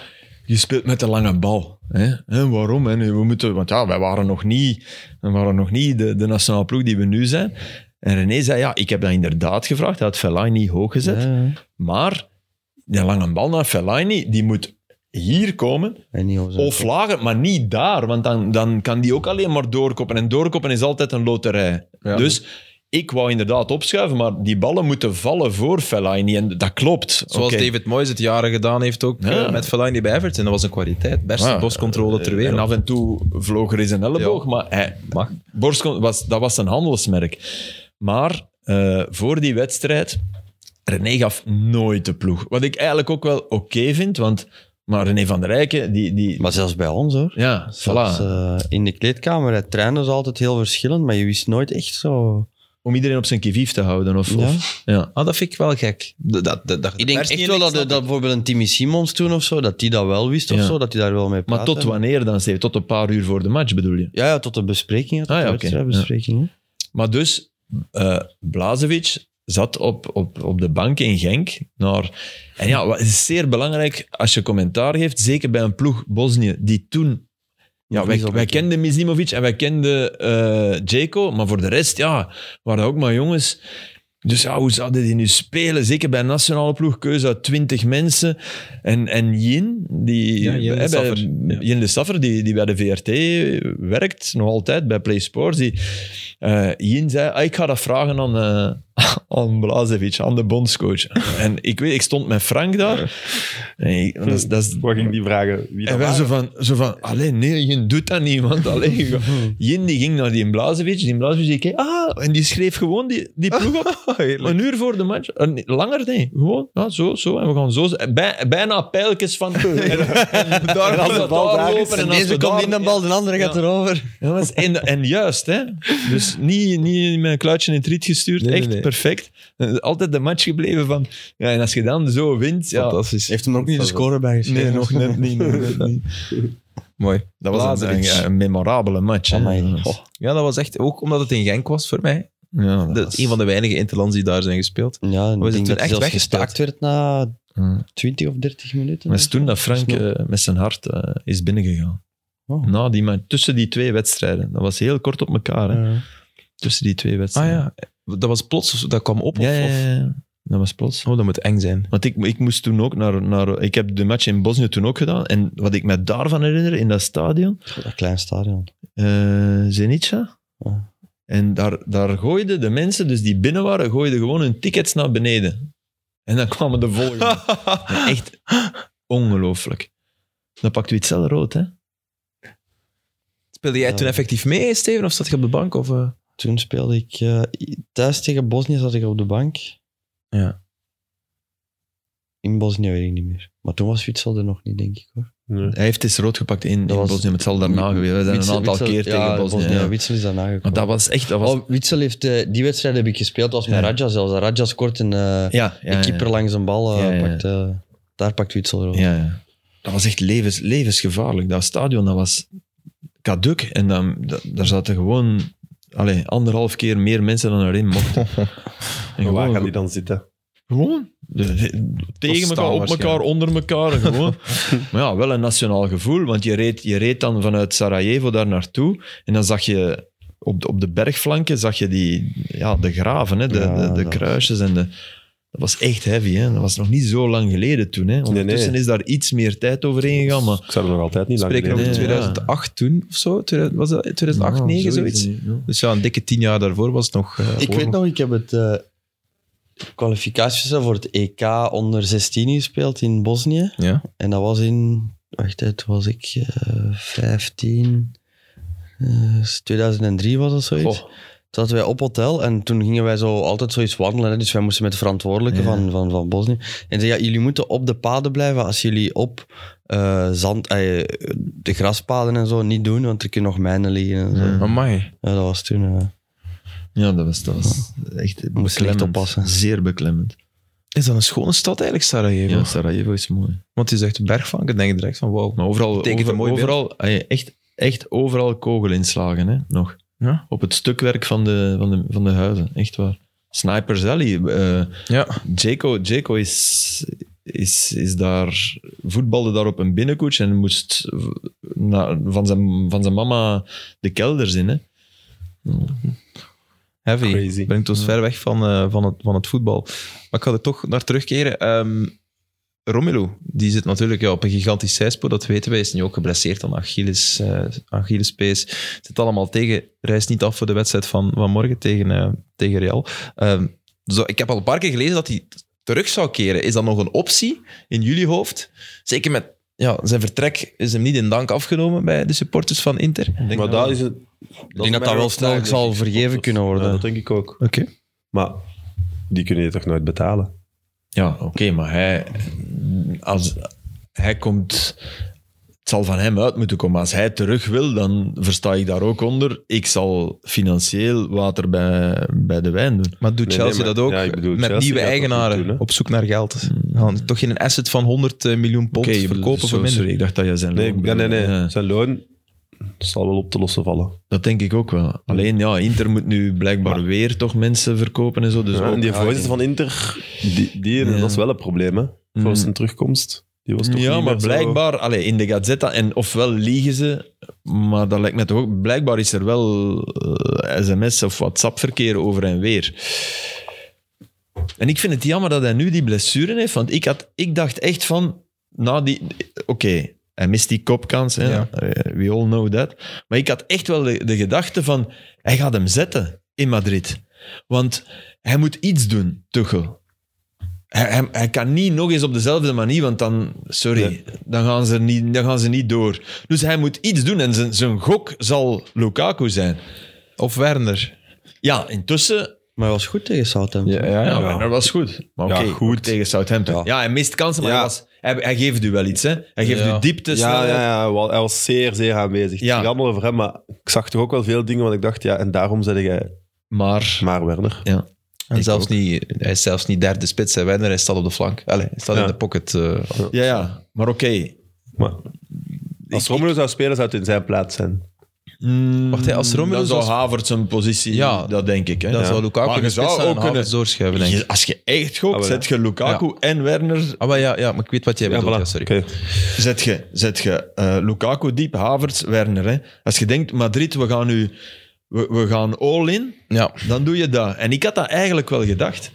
je speelt met de lange bal. Hè? En waarom? En we moeten, want ja, wij waren nog niet, we waren nog niet de, de nationale ploeg die we nu zijn. En René zei, ja, ik heb dat inderdaad gevraagd. Hij had Fellaini hoog gezet.
Ja,
Maar die lange bal naar Fellaini, die moet hier komen.
en niet op zo'n-
Of lager, maar niet daar. Want dan, dan kan die ook alleen maar doorkoppen. En doorkoppen is altijd een loterij. Dus ik wou inderdaad opschuiven, maar die ballen moeten vallen voor Fellaini. En dat klopt.
Zoals
Oké.
David Moyes het jaren gedaan heeft ook
Ja.
eh, met Fellaini bij Everton. Dat was een kwaliteit. Beste
Ja. Eh,
boscontrole ter
En
wereld.
af en toe vloog er eens een elleboog,
Ja.
maar hij,
Mag.
borstcon- was, dat was een handelsmerk. Maar eh, voor die wedstrijd, René gaf nooit de ploeg. Wat ik eigenlijk ook wel oké vind, want Maar René van der Rijken, die... die
Maar zelfs bij ons hoor.
ja, voilà.
Zelfs, eh, in de kleedkamer, het trainen is altijd heel verschillend, maar je wist nooit echt zo.
Om iedereen op zijn kivief te houden. Of,
Ja.
of, ja.
Ah, dat vind ik wel gek. Dat, dat, dat,
Ik denk echt wel dat, dat bijvoorbeeld een Timmy Simons toen of zo, dat die dat wel wist of
Ja.
zo, dat hij daar wel mee praatte.
Maar tot wanneer dan, Steven? Tot een paar uur voor de match bedoel je?
Ja, ja, tot de besprekingen, tot
Ah, ja,
de
oké.
wedstrijdbesprekingen.
Maar dus, eh Blazevic zat op, op, op de bank in Genk. Naar, en ja, wat is zeer belangrijk als je commentaar geeft, zeker bij een ploeg Bosnië, die toen... Ja, wij, wij kenden Mizimovic en wij kenden eh Djeko, maar voor de rest, ja, waren ook maar jongens. Dus ja, hoe zouden die nu spelen? Zeker bij een nationale ploeg, keuze uit twintig mensen. En, en Jin, die,
Ja, Jin de
hè, bij-
Saffer, ja.
Jin de Saffer, die, die bij de VRT werkt, nog altijd, bij Play Sports. Die, eh, Jin zei, "Ah, ik ga dat vragen aan, eh aan Blazevic, aan de bondscoach. en ik weet, ik stond met Frank daar. En ik- dat is, dat is,
Wat ging die vragen? Wie dat
en wij
waren?
zo van, zo van, allee, nee, je doet dat niet, want allee, je gaat- Jin die ging naar die Blazevic, die Blazevic die keek, ah, en die schreef gewoon die, die ploeg op. een uur voor de match, Eh, nee, langer nee, gewoon, ja, zo, zo, en we gaan zo, en bij, bijna pijltjes van, en, en daar
En als
gaat
de bal
daar
daar is,
lopen, en als we daar-
de andere
gaat
erover.
Ja, dat is- en, en juist, hè. Dus niet, niet met een kluitje in het riet gestuurd,
Nee, nee,
echt
nee.
perfect. Eh, Altijd de match gebleven van, ja, en als je dan zo wint, ja,
Fantastisch.
Heeft hem er ook niet de score bij geschreven.
nee, nog net niet, nog net niet.
Mooi.
Dat was een,
Blazevic.
een- een memorabele match. hè.
Amai.
Dat was-
Ja, dat was echt ook omdat het in Genk was voor mij.
Ja, dat
Dat
was-
is een van de weinige interlands die daar zijn gespeeld.
Ja, ik
Was het
denk
toen
dat
echt
hij zelfs
weggespeeld?
gestaakt werd na
Ja.
20 of 30 minuten.
Maar het is toen dat Frank
Snel.
eh, met zijn hart eh, is binnengegaan.
Oh.
Na die, ma- tussen die twee wedstrijden. Dat was heel kort op elkaar. Hè.
Ja.
Tussen die twee
Ah
wedstrijden.
ja, dat was plots, dat kwam op. Of,
Ja, ja, ja, ja. Dat was plots.
of- Oh, dat moet eng zijn.
Want ik, ik moest toen ook naar, naar... Ik heb de match in Bosnië toen ook gedaan. En wat ik me daarvan herinner, in dat stadion,
Dat klein stadion.
eh Zenica.
Ja.
En daar, daar gooiden de mensen, dus die binnen waren, gooiden gewoon hun tickets naar beneden. En dan kwamen de volgende. Ja, echt ongelooflijk. Dan pakt u iets zelf rood, hè?
Speelde jij
Ja.
toen effectief mee, Steven, of zat je op de bank? Of, eh?
Toen speelde ik eh, thuis tegen Bosnië, zat ik op de bank.
Ja.
In Bosnië weet ik niet meer. Maar toen was Witsel er nog niet, denk ik hoor.
Nee.
Hij heeft eens rood gepakt in, in
was-
Bosnië, maar het zal daarna geweest zijn. We zijn
Witsel-
een aantal
Witsel-
keer
ja,
tegen Bosnië. ja.
ja. Witsel is daarna gekomen.
Maar dat was echt... Dat was,
Oh, Witsel heeft, eh, die wedstrijd heb ik gespeeld, dat was met
Ja.
Radja zelfs. Dat Radja scoort een, eh
ja, ja,
een keeper langs een bal. eh,
Ja, ja.
Pakt, eh, daar pakt Witsel rood.
Ja, ja. ja. Dat was echt levens, levensgevaarlijk. Dat stadion, dat was kaduk. En dan, da- daar zaten gewoon allez, anderhalf keer meer mensen dan erin mochten. En
En waar
gewoon,
gaat die dan zitten?
Gewoon. De- de- tegen
staan
elkaar, op
waarschijnlijk.
elkaar, onder elkaar. en Gewoon. maar ja, wel een nationaal gevoel. Want je reed, je reed dan vanuit Sarajevo daar naartoe. En dan zag je op de, op de bergflanken zag je die, ja, de graven, hè, de,
Ja,
de, de
dat-
kruisjes. En de, dat was echt heavy. Hè. Dat was nog niet zo lang geleden toen. Hè. Ondertussen
nee.
is daar iets meer tijd overheen gegaan. Maar
Ik zou er nog altijd niet lang
Spreken over
nee,
geleden-
ja.
2008 toen of zo? 2000 Was dat 2008, 2009, zoiets?
Oh, ja.
Dus ja, een dikke tien jaar daarvoor was het nog... eh,
Ik weet nog, ik heb het eh kwalificatiespel voor het EK onder 16 gespeeld in Bosnië.
Ja.
En dat was in, wacht, hè, toen was ik eh, 15, eh, 2003 was dat zoiets.
Goh.
Oh,
Toen zaten wij op hotel en toen gingen wij zo altijd zoiets wandelen. Hè? Dus wij moesten met de verantwoordelijke
Ja.
van, van, van Bosnië. En zei, ja, jullie moeten op de paden blijven als jullie op eh, zand, eh, de graspaden en zo niet doen, want er kunnen nog mijnen liggen en zo.
Ja.
Amai.
Ja, dat was toen... eh,
Ja, dat was, dat was echt
Moest je echt
beklemmend.
oppassen.
Zeer beklemmend.
Is dat een schone stad eigenlijk, Sarajevo?
Ja, Sarajevo is mooi.
Want je zegt bergflank, dan denk je direct van wauw.
Maar overal,
Betekent een
over-
mooi beeld.
overal ey, echt, echt overal kogelinslagen, hè, nog.
Ja.
Op het stukwerk van de, van, de, van de huizen, echt waar. Snipers Alley, eh
Ja.
Jaco, Jaco is, is, is daar, voetbalde daar op een binnenkoets en moest v- na- van, zijn, van zijn mama de kelders in. Hè.
Heavy.
Crazy.
Brengt ons ver weg van, eh, van, het, van het voetbal. Maar ik ga er toch naar terugkeren. Ehm, Romelu, die zit natuurlijk ja, op een gigantisch zijspoor, dat weten wij. Is nu ook geblesseerd aan Achilles, eh Achillespees. Zit allemaal tegen, reist niet af voor de wedstrijd van, van morgen tegen, eh, tegen Real. Ehm, zo, ik heb al een paar keer gelezen dat hij terug zou keren. Is dat nog een optie in jullie hoofd? Zeker met ja, zijn vertrek is hem niet in dank afgenomen bij de supporters van Inter.
Maar dat is het...
Ik denk dat dat wel snel zal vergeven kunnen
Ja,
worden.
dat denk ik ook.
Oké.
Maar die kunnen je toch nooit betalen?
Ja, oké, maar hij, als, hij komt... Het zal van hem uit moeten komen. Als hij terug wil, dan versta ik daar ook onder. Ik zal financieel water bij, bij de wijn doen.
Maar doet
Nee,
Chelsea
nee, maar-
dat ook?
ja, ik bedoel,
met
Chelsea
nieuwe
gaat dat
eigenaren
ook doen, hè?
op zoek naar geld.
Hmm.
Gaan toch geen asset van 100 miljoen pond
Oké, je bedoelt-
verkopen voor
sorry,
minder.
sorry, ik dacht dat jij zijn
Nee,
loon
nee, nee. nee.
bedoelde. Ja.
Zijn loon zal wel op te lossen vallen.
Dat denk ik ook wel. Alleen ja, Inter moet nu blijkbaar weer toch mensen verkopen en zo. Dus
Ja,
ook-
en die voorzitter van Inter, die, die,
Ja.
dat is wel een probleem, hè? Voor
Mm.
zijn terugkomst. Die was toch
ja,
niet
maar
meer zo-
blijkbaar, allee, in de Gazzetta, en ofwel liegen ze, maar dat lijkt me toch ook, blijkbaar is er wel eh, sms- of WhatsApp-verkeer over en weer. En ik vind het jammer dat hij nu die blessure heeft, want ik, had, ik dacht echt van, na die, oké, hij mist die kopkans, hè,
Ja.
Eh, we all know that. Maar ik had echt wel de, de gedachte van, hij gaat hem zetten in Madrid. Want hij moet iets doen, Tuchel. Hij, hij, hij kan niet nog eens op dezelfde manier, want dan, sorry,
Nee.
dan, gaan ze er niet, dan gaan ze niet door. Dus hij moet iets doen en zijn, zijn gok zal Lukaku zijn.
Of Werner.
Ja, intussen,
Maar hij was goed tegen Southampton.
Ja, ja,
ja, Werner was goed. Maar oké,
Ja, goed.
tegen Southampton. Ja, hij mist kansen, maar
Ja.
hij, was, hij, hij geeft u wel iets. Hè? Hij geeft
Ja.
u diepte,
Ja,
snelheid.
ja, ja, wel, hij was zeer, zeer aanwezig.
Ja.
Ja. Ik allemaal over hem, maar ik zag toch ook wel veel dingen, want ik dacht, ja, en daarom zette jij
Maar
maar Werner.
En
Ik
zelfs
ook.
niet, hij is zelfs niet derde spits. Hè. Werner hij staat op de flank. Allee, hij staat
Ja.
in de pocket. eh.
Ja, ja. Maar oké.
Maar als Romelu zou spelen, zou het in zijn plaats zijn.
Mm,
Wacht, hè, als Romelu
Dan zou
zou-
Havertz zijn positie...
Ja.
dat denk ik. Hè.
dan zou
Maar
Lukaku
je
de
zou
spits zijn
ook
en Havertz
kunnen-
doorschuiven, denk ik.
Je- als je echt gokt,
Ah, wel,
zet je Lukaku en Werner...
Ah, maar ja, ja, maar ik weet wat jij bedoelt.
voilà.
ja, sorry.
Oké.
Zet je, zet je eh, Lukaku diep, Havertz, Werner. Hè. Als je denkt, Madrid, we gaan nu... We, we gaan all-in,
Ja.
dan doe je dat. En ik had dat eigenlijk wel gedacht.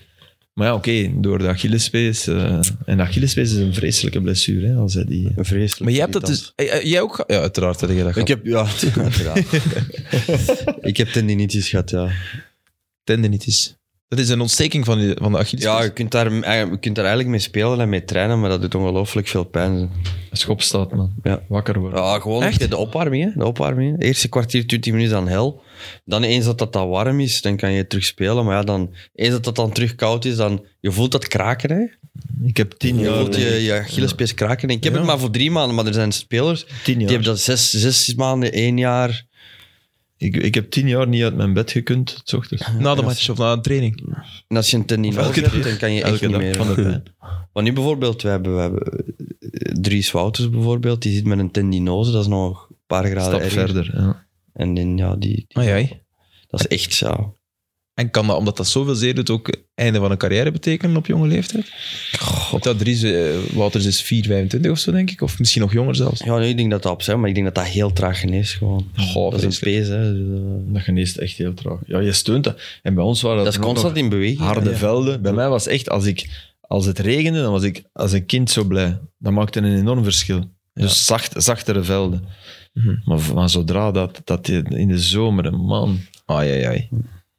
Maar ja, oké, door de Achillespees... eh, en de Achillespees is een vreselijke blessure, hè, als hij die...
Een vreselijk.
Maar jij hebt dat
irritant.
dus... eh, eh, Jij ook... ge- Ja, uiteraard heb jij dat
Ik
gehad.
heb, ja, uiteraard. ik heb tendinitis gehad, ja.
Tendinitis. Dat is een ontsteking van, die- van de Achilles.
Ja, je kunt, daar, eh, je kunt daar eigenlijk mee spelen en mee trainen, maar dat doet ongelooflijk veel pijn.
Schop staat, man.
Ja.
Wakker worden.
Ja, gewoon
Echt?
de opwarming. Hè? De opwarming. hè. Eerste kwartier, 20 minuten aan hel. Dan eens dat dat, dat warm is, dan kan je terug spelen. Maar ja, dan, eens dat dat dan terug koud is, dan, je voelt dat kraken. Hè?
Ik heb tien
Je
jaar...
voelt je, je Achillespees kraken. Ik heb het maar voor drie maanden, maar er zijn spelers
Tien
die
jaar.
hebben dat zes, zes maanden, één jaar.
Ik, ik heb tien jaar niet uit mijn bed gekund, 's ochtends.
Nou,
Na de match of na een training.
En als je een tendin
Elke
hebt,
dag.
dan kan je echt
Elke
niet
dag
meer.
van de pijn.
Want nu bijvoorbeeld, we hebben, we hebben eh, Dries Wouters bijvoorbeeld, die zit met een tendinose, dat is nog een paar graden
Stap
erger.
verder. Ja.
En in, ja, die, die-
Ah, jij.
dat is echt zo.
En kan dat, omdat dat zoveel zeer doet, ook het einde van een carrière betekenen op jonge leeftijd? God. Dat Dries eh, Wouters is 4, 25 of zo, denk ik. Of misschien nog jonger zelfs.
Ja, nee, ik denk dat dat op zijn, maar ik denk dat dat heel traag geneest gewoon.
Goh,
dat is een
vreselijk.
pees, hè. Dus, eh,
Dat geneest echt heel traag. Ja, je steunt dat. En bij ons waren dat,
Dat is
nog-
constant
nog
in beweging.
harde
Ja.
velden. Bij mij was echt, als, ik, als het regende, dan was ik als een kind zo blij. Dat maakte een enorm verschil. Dus zacht, zachtere velden.
Mhm.
Maar, maar zodra dat, dat je in de zomer, man.
Ai, ai, ai.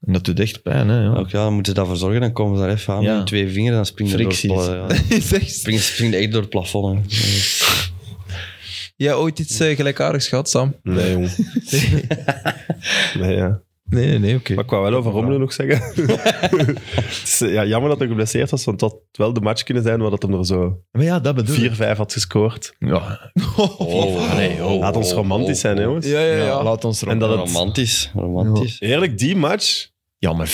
En dat doet echt pijn, hè. Ja.
Ook ja, dan moeten ze daarvoor zorgen, dan komen ze daar even aan
Ja.
met twee vingers, dan springt het door het,
Fricties.
pla- ja.
is echt...
springt, springt echt door het plafond. hè.
Jij ooit iets eh, gelijkaardigs gehad, Sam?
Nee, jong. nee, ja.
Nee, nee, nee, oké.
Maar ik wou wel over Romelu nog zeggen. Het is, eh, ja, jammer dat hij geblesseerd was, want dat had wel de match kunnen zijn waar dat hem er zo
Maar ja, dat bedoel ik.
4-5 had gescoord.
Ja. Oh,
Laat ons romantisch zijn, hè, jongens.
Ja, laat ons erop.
En dat het-
Romantisch, romantisch.
Eerlijk, die match...
Ja, maar 4-5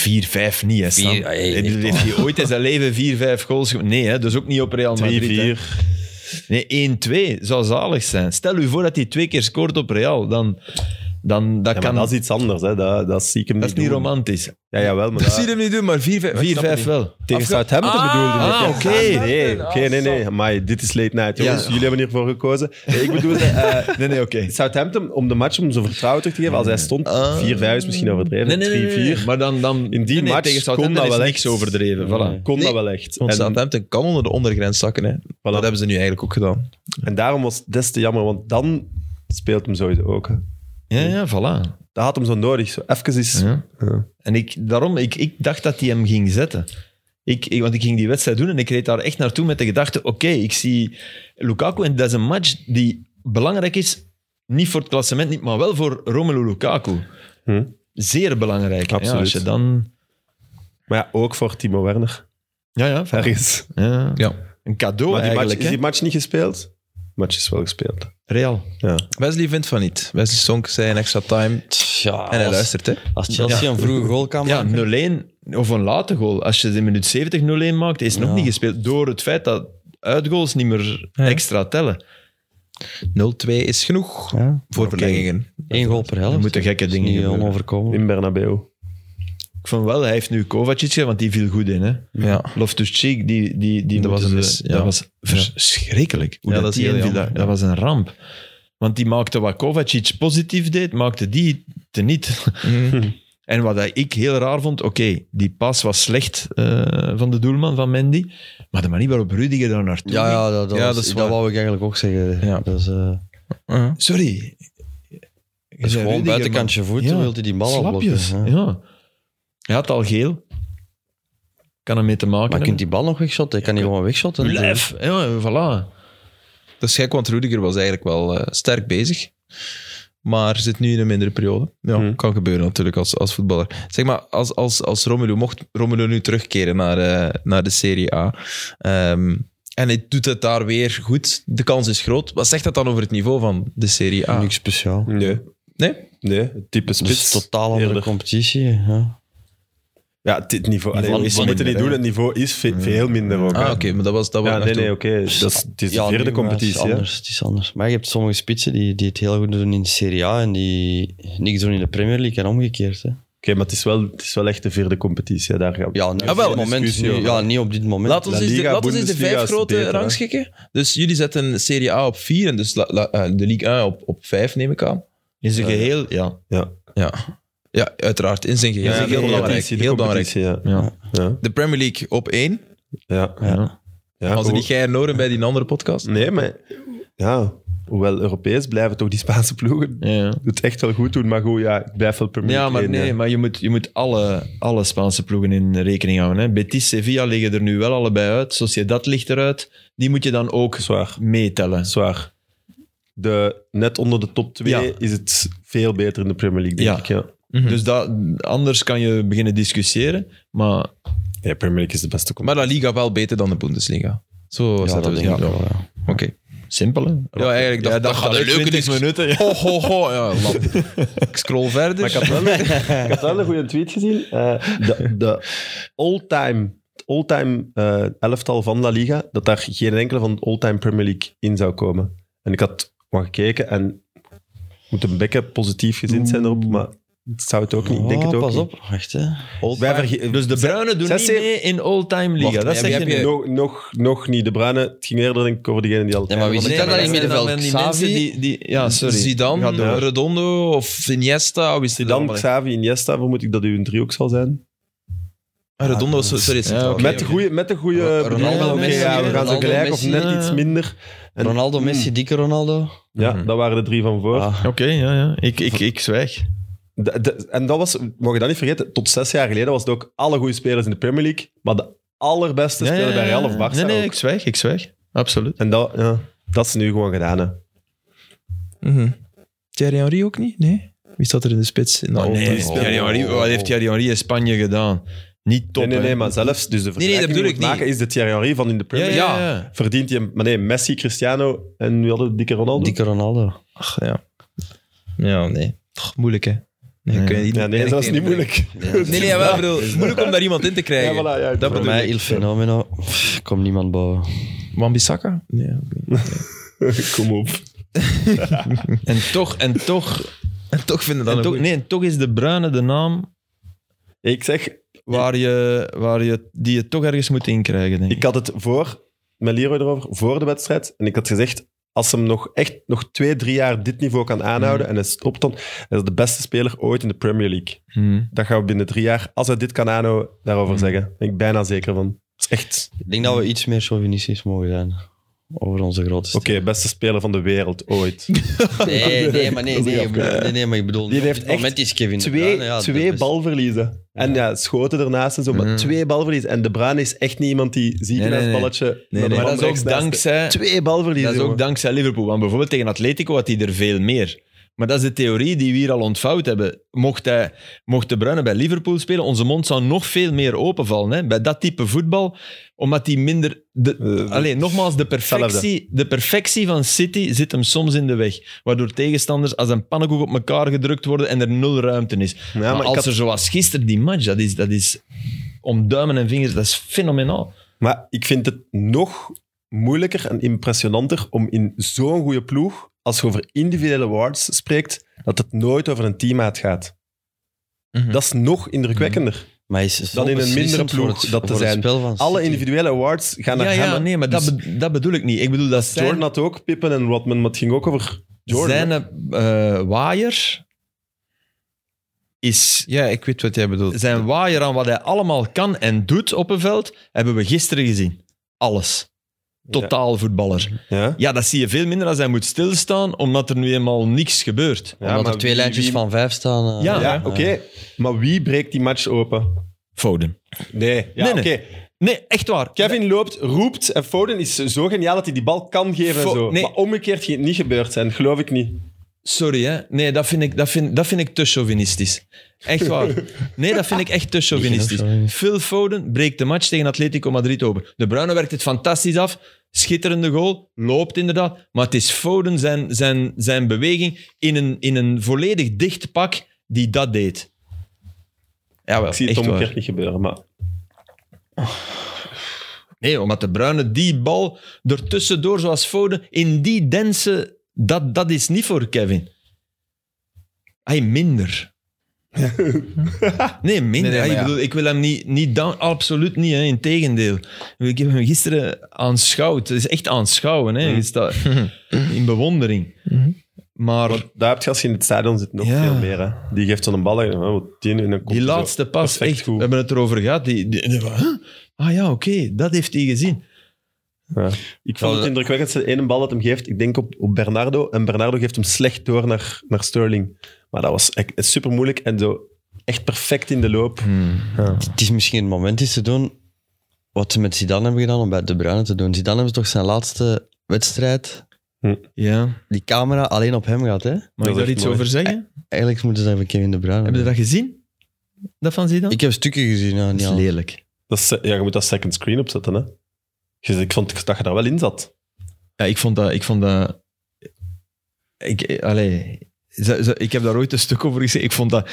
niet, hè, Sam.
Vier- hey,
Ik bedoel, heeft hij ooit in zijn leven 4-5 goals gemaakt? Nee, hè, dus ook niet op Real Madrid. hè.
3-4.
Nee, 1-2 zou zalig zijn. Stel u voor dat hij twee keer scoort op Real, dan, dan dat
Ja, maar
kan...
dat is iets anders, hè. Dat, dat zie ik hem
dat is
niet
niet
doen.
romantisch. 4-5
Ja, jawel, maar
Ik zie
dat-
hem niet doen, maar 4-5.
wel.
Tegen
Afge-
Southampton
Ah,
bedoelde ik.
ah,
ja.
oké.
nee, oké, nee, nee. Amai, dit is late night, jongens.
Ja.
Jullie hebben hiervoor gekozen. Nee, ik bedoelde eh,
Nee, nee, oké.
Southampton, om de match om zijn vertrouwen terug te geven. Als hij stond, 4-5 is misschien overdreven, 3-4.
Maar dan, dan,
In die
nee, nee,
match
tegen
kon
Southampton
dat
is
wel
niks
echt.
overdreven. Voilà.
Kon
Nee.
dat wel echt.
Want
En,
Southampton kan onder de ondergrens zakken. Hè. Dat
voilà.
hebben ze nu eigenlijk ook gedaan.
en daarom was het des te jammer, want dan speelt hem sowieso ook. Hè.
Ja, ja, voilà.
Dat had hem zo nodig. Zo even is...
Ja.
Ja.
En ik, daarom, ik, ik dacht dat hij hem ging zetten. Ik, ik- want ik ging die wedstrijd doen en ik reed daar echt naartoe met de gedachte: oké, ik zie Lukaku en dat is een match die belangrijk is. Niet voor het klassement, niet, maar wel voor Romelu Lukaku.
Hm.
Zeer belangrijk. Ja,
Absoluut.
als je dan.
Maar ja, ook voor Timo Werner.
Ja, ja,
Ergens.
ja.
Ja.
Een cadeau
Maar die match,
eigenlijk.
is
hè.
die match niet gespeeld? match is wel gespeeld.
Real.
Wesley vindt van niet. Wesley Sonk zei een extra time
Tja,
en hij
als,
luistert, hè.
als Chelsea een vroege goal kan
Ja,
maken.
0-1 of een late goal. Als je in minuut 70 0-1 maakt, is het
Ja.
nog niet gespeeld. Door het feit dat uitgoals niet meer
Ja.
extra tellen.
0-2 is genoeg
Ja.
voor
Oké.
verlengingen.
Eén goal per helft.
Er moeten gekke
Dat is
dingen
niet
gebeuren.
onoverkomen.
In Bernabeu.
Ik vond wel, hij heeft nu Kovacic, hè, want die viel goed in. Hè.
Ja.
Loftus-Cheek, die, die, die
Dat
moeten
was een
ze-
mis, ja.
Dat was verschrikkelijk. Hoe
Ja,
dat,
dat is
die
heel
inviel,
jammer,
dat,
ja.
dat was een ramp. Want die maakte wat Kovacic positief deed, maakte die teniet.
Mhm.
En wat ik heel raar vond, oké, die pas was slecht eh, van de doelman, van Mendy. Maar de manier waarop Rudiger daar naartoe
Ja,
ging-
ja, dat, dat,
Ja,
was-
dat is
dat
waar.
wou ik eigenlijk ook zeggen.
Ja.
Dat is, eh, dat
Ja.
Sorry. Je zei
is gewoon
Rudiger,
buitenkantje voet,
Ja.
dan wil hij die
maar
bal afblokken.
Slapjes,
ja.
ja. Hij had al geel. Kan er mee te maken
Maar je kunt
hebben.
die bal nog wegshotten? Hij kan die gewoon wegshotten.
Blijf. Ja, voilà.
Dat is gek, want Rudiger was eigenlijk wel eh, sterk bezig. Maar zit nu in een mindere periode. Ja,
Hmm.
kan gebeuren natuurlijk als, als voetballer. Zeg maar, als, als, als Romelu, mocht Romelu nu terugkeren naar, eh, naar de Serie A. ehm, en hij doet het daar weer goed. De kans is groot. Wat zegt dat dan over het niveau van de Serie A?
Niks speciaal.
Nee.
Nee?
Nee, het type
Dus
spits.
totaal andere
Eerder.
competitie. Ja.
Ja, dit niveau. Allee,
Niveau
we
is
moeten
minder,
niet
hè.
doen, het niveau is ve- veel minder ook. hè.
Ah, oké, maar dat was... Dat
Ja,
was
nee, nee, oké. dus Dat is, het is
Ja,
de vierde
nu, maar Het
competitie.
is,
hè.
anders, het is anders. Maar je hebt sommige spitsen die, die het heel goed doen in de Serie A en die niks doen in de Premier League en omgekeerd. Hè.
Oké, maar het is, wel, het is wel echt de vierde competitie. hè. Daar gaan we.
Ja, nu,
Ah,
op
wel,
dit moment,
discussie
nu,
over.
ja, niet op dit moment.
Laat ons,
La
eens de,
Liga,
laat ons eens de
Bundesliga
vijf
is
grote
beter, hè?
rangschikken. Dus jullie zetten Serie A op vier en dus la- la- eh, de Ligue 1 op, op vijf, neem ik aan.
In zijn geheel, ja.
Ja, ja uiteraard. In zijn geheel.
Ja,
heel
de
belangrijk.
competitie, de
Heel belangrijk.
competitie,
Ja.
Ja.
De Premier League op één.
Ja. Ja.
ja.
Ja.
Als er
Hoe-
niet jij en Noren bij die andere podcast.
Nee, maar ja, hoewel Europees blijven toch die Spaanse ploegen
ja.
het echt wel goed doen. Maar goed, ja, ik blijf wel Premier
Ja,
League
maar
één,
nee,
hè.
maar je moet, je moet alle, alle Spaanse ploegen in rekening houden. Hè. Betis, Sevilla liggen er nu wel allebei uit. Sociedad ligt eruit. Die moet je dan ook
Zwaar,
meetellen.
zwaar. De, net onder de top 2
Ja.
is het veel beter in de Premier League, denk
Ja.
ik. Ja.
Mhm.
Dus dat, anders kan je beginnen discussiëren. Maar
ja, Premier League is de beste
Maar La Liga wel beter dan de Bundesliga. Zo
ja,
staat
dat
het.
denk ik
Ja.
wel. ja.
Oké.
simpel, hè?
Ja, eigenlijk. Dat,
Ja,
dat gaat een leuke
20
discussie.
minuten. ja.
Ho, ho, ho. Ja, lam. ik scroll verder.
Maar ik had wel, ik had wel een goede tweet gezien. Eh, de de all-time all-time eh, elftal van La Liga, dat daar geen enkele van de all-time Premier League in zou komen. En ik had wat gekeken en ik moet een bekken positief gezind zijn erop, maar het zou het ook niet. Ik denk het
Oh,
ook
pas
niet.
op, wacht hè.
Wij verge-
Dus de Bruinen doen
zes-
niet
zeven-
mee in all-time
Wacht,
liga. Dat
ja,
zeg
wie
je
heb je-
nu.
Nog, nog, nog niet. De Bruine, het ging eerder denk ik over diegene die al...
Ja, maar wie
maar
zit
nee,
daar dan
maar
in
dat
dan
middenveld?
die mensen
Xavi?
die, die... Ja, sorry. Ga door.
Zidane, eh, Redondo of Iniesta. Wie is er
Dan
allemaal in?
Xavi, Iniesta, vermoed ik dat u een driehoek zal zijn.
Ah, Redondo was... Sorry, is
Ja,
centraal.
oké.
met, de goeie, met de goede
Ronaldo,
bedoelingen, oké,
Messi,
ja, we gaan ze
Ronaldo,
gelijk of
Messi,
net
ja,
iets
ja.
minder. En-
Ronaldo, Messi, dikke Ronaldo.
Ja,
Mhm.
dat waren de drie van voor.
Ah,
Oké, ja, ja. Ik, ik, ik zwijg.
De- de- en dat was, mag je dat niet vergeten, tot zes jaar geleden was het ook alle goede spelers in de Premier League, maar de allerbeste
Ja, ja,
spelen bij
ja,
Real of
ja.
Barca
Nee, nee,
ook.
ik zwijg. Ik zwijg. Absoluut.
En dat, ja, dat is nu gewoon gedaan. Hè.
Mhm. Thierry Henry ook niet? Nee? Wie staat er in de spits? In de
Oh,
all-time?
nee, Thierry Henry, wat heeft Thierry Henry in Spanje gedaan? Niet top,
nee, nee,
hè?
nee, maar zelfs, dus de
nee, dat
vergelijking
bedoel
die
ik
we maken
niet.
is de Thierry Henry van in de
Ja,
Premier
ja,
League.
ja.
Verdient hij hem, maar nee, Messi, Cristiano en nu hadden we dikke Ronaldo.
dikke Ronaldo.
Ach, ja. Ja, nee. Toch, moeilijk, hè? Nee,
Ja.
kun je niet-
ja, nee, dat is niet moeilijk.
Nee, nee, wel, ik bedoel, het is moeilijk om daar iemand in te
Ja,
krijgen.
voilà, ja, ik
Dat
bedoel
Voor mij,
ik.
Il Fenomeno, Pff, komt niemand boven.
Wan-Bissaka? Nee, ook niet.
Kom op.
En toch, en toch,
En toch vinden we
en
dat
toch,
een
nee, en toch is de Bruine de naam
Ik zeg,
waar je, waar je, die je toch ergens moet inkrijgen, denk ik.
Ik had het voor, met Leroy erover, voor de wedstrijd. En ik had gezegd, als ze hem nog echt nog twee, drie jaar dit niveau kan aanhouden en hij stopt dan, hij is de beste speler ooit in de Premier League.
Hmm.
Dat gaan we binnen drie jaar, als hij dit kan aanhouden, daarover zeggen. Daar ben ik bijna zeker van. Dat Mm. is echt,
Ik denk dat we iets meer chauvinistisch mogen zijn over onze grote
oké, beste speler van de wereld ooit.
Nee, nee, maar nee,
Dat is
nee,
niet
nee, nee, nee, maar ik bedoel,
Die
op
heeft
dit moment
echt
is Kevin De
Twee,
Bruyne, ja, dus- de
twee
dus-
beste.
balverliezen. En ja, schoten ernaast en zo, maar
Mm.
twee balverliezen. En De Bruyne is echt niet iemand die ziek
Nee,
in
nee,
het
nee.
balletje...
nee,
naar de
maar
Maar
man
dat is ook
rechts naast-
dankzij,
Twee balverliezen,
dat is ook
jongen.
dankzij Liverpool. Want bijvoorbeeld tegen Atletico had hij er veel meer. Maar dat is de theorie die we hier al ontvouwd hebben. Mocht, hij, mocht De Bruyne bij Liverpool spelen, onze mond zou nog veel meer openvallen. Hè? Bij dat type voetbal, omdat die minder... De,
Eh,
alleen, nogmaals, de perfectie,
hetzelfde.
de perfectie van City zit hem soms in de weg. Waardoor tegenstanders als een pannenkoek op elkaar gedrukt worden en er nul ruimte is.
Ja,
maar
maar, ik
als
had-
er zoals gisteren die match, dat is, dat is om duimen en vingers, dat is fenomenaal.
maar ik vind het nog moeilijker en impressionanter om in zo'n goede ploeg, als je over individuele awards spreekt, dat het nooit over een teammaat gaat.
Mhm.
Dat is nog indrukwekkender.
Mhm.
Maar hij is zo
Dan in een
beslissend
mindere
voor
ploeg
het-
dat te
voor het
zijn.
spel van
Alle
City.
individuele awards gaan naar
ja, ja,
hem.
nee, maar dat, be- dat bedoel ik niet. Ik bedoel, dat zijn,
Dus- Jordan had ook Pippen en Rodman, maar het ging ook over Jordan.
zijn eh, waaier is...
Ja, ik weet wat jij bedoelt.
Zijn waaier aan wat hij allemaal kan en doet op een veld, hebben we gisteren gezien. Alles. Totaal voetballer.
Ja.
Ja, dat zie je veel minder als hij moet stilstaan, omdat er nu eenmaal niks gebeurt.
Ja,
Omdat
maar
er twee
wie-
lijntjes
wie-
van vijf staan. eh,
Ja.
Ja,
eh,
oké. Maar wie breekt die match open?
Foden.
Nee. Ja,
Nee, nee.
oké.
Nee, echt waar.
Kevin loopt, roept en Foden is zo geniaal dat hij die bal kan geven en
Fo-
zo.
nee.
Maar omgekeerd ging het niet gebeurd zijn, geloof ik niet.
Sorry, hè. Nee, dat vind, ik, dat, vind, dat vind ik te chauvinistisch. Echt waar. Nee, dat vind ik echt te chauvinistisch. Phil Foden breekt de match tegen Atletico Madrid open. De Bruyne werkt het fantastisch af. Schitterende goal. Loopt inderdaad. Maar het is Foden zijn, zijn, zijn beweging in een, in een volledig dicht pak die dat deed. Jawel,
Ik zie het
echt
omgekeerd
waar.
niet gebeuren, maar...
Nee, omdat de Bruyne die bal ertussendoor, zoals Foden, in die dense... Dat, dat is niet voor Kevin. Hij minder. nee, minder.
Nee, nee,
Hij,
maar
ik,
ja.
bedoel, ik wil hem niet, niet down... Absoluut niet, hè. Integendeel. Ik heb hem gisteren aanschouwd. Het is echt aanschouwen, hè. Je staat in bewondering. Maar
Daar heb je als je in het stadion zit nog
Ja.
veel meer. Hè. Die geeft zo'n bal en oh, wat tien en dan komt
die
hij zo
laatste pas,
perfect
echt, we hebben het erover gehad. Die, die- die- huh? Ah ja, oké, dat heeft hij gezien.
Ja. Ik vond het indrukwekkend, de ene bal dat hem geeft, ik denk op, op Bernardo. En Bernardo geeft hem slecht door naar, naar Sterling. Maar dat was echt super moeilijk en zo echt perfect in de loop.
Het is misschien het moment is te doen wat ze met Zidane hebben gedaan om bij De Bruyne te doen. Zidane hebben ze toch zijn laatste wedstrijd.
Ja,
Die camera alleen op hem gaat, hè?
mag
is
ik daar
echt
iets
mooi.
over zeggen?
Eigenlijk moeten ze dat van Kevin De Bruyne
Heb je dat gezien? Dat van Zidane?
Ik heb stukken gezien, ja,
dat
niet
is
al.
lelijk.
Dat is, ja, je moet dat second screen opzetten. Hè? Je- Ik vond dat je daar wel in zat.
Ja, ik vond dat... Ik, vond dat, ik, eh, allee, ze- ze- ik heb daar ooit een stuk over geschreven. Ik vond dat...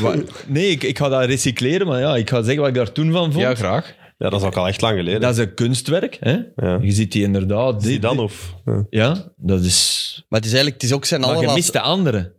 Wa- nee, ik, ik ga dat recycleren, maar ja, ik ga zeggen wat ik daar toen van vond.
Ja, graag.
Ja, dat is ook al echt lang geleden.
dat is een kunstwerk, hè?
ja.
Je ziet die inderdaad... dit-
dan of? Ja.
dit- Ja, dat is...
Maar het is eigenlijk het is ook zijn
Maar je
allerlaatste...
mist de andere.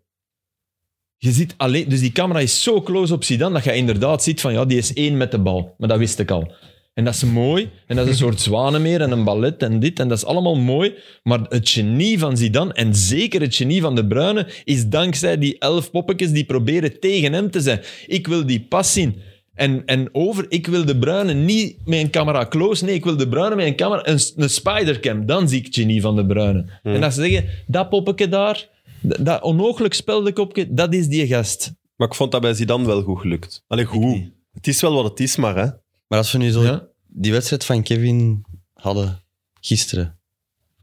Je ziet alleen, dus die camera is zo close op Zidane dat je inderdaad ziet van ja, die is één met de bal. Maar dat wist ik al. En dat is mooi. En dat is een soort zwanenmeer en een ballet en dit. En dat is allemaal mooi. Maar het genie van Zidane, en zeker het genie van De Bruyne, is dankzij die elf poppetjes die proberen tegen hem te zijn. Ik wil die pas zien. En, en over, ik wil De Bruyne niet met een camera close. Nee, ik wil De Bruyne met een camera, een, een spidercam. Dan zie ik het genie van De Bruyne. En dat ze zeggen, dat poppetje daar, d- dat onogelijk speldekopje, dat is die gast.
Maar ik vond dat bij Zidane wel goed gelukt. Allee, goed. Het is wel wat het is, maar hè.
Maar als we nu zo
Ja.
die wedstrijd van Kevin hadden gisteren.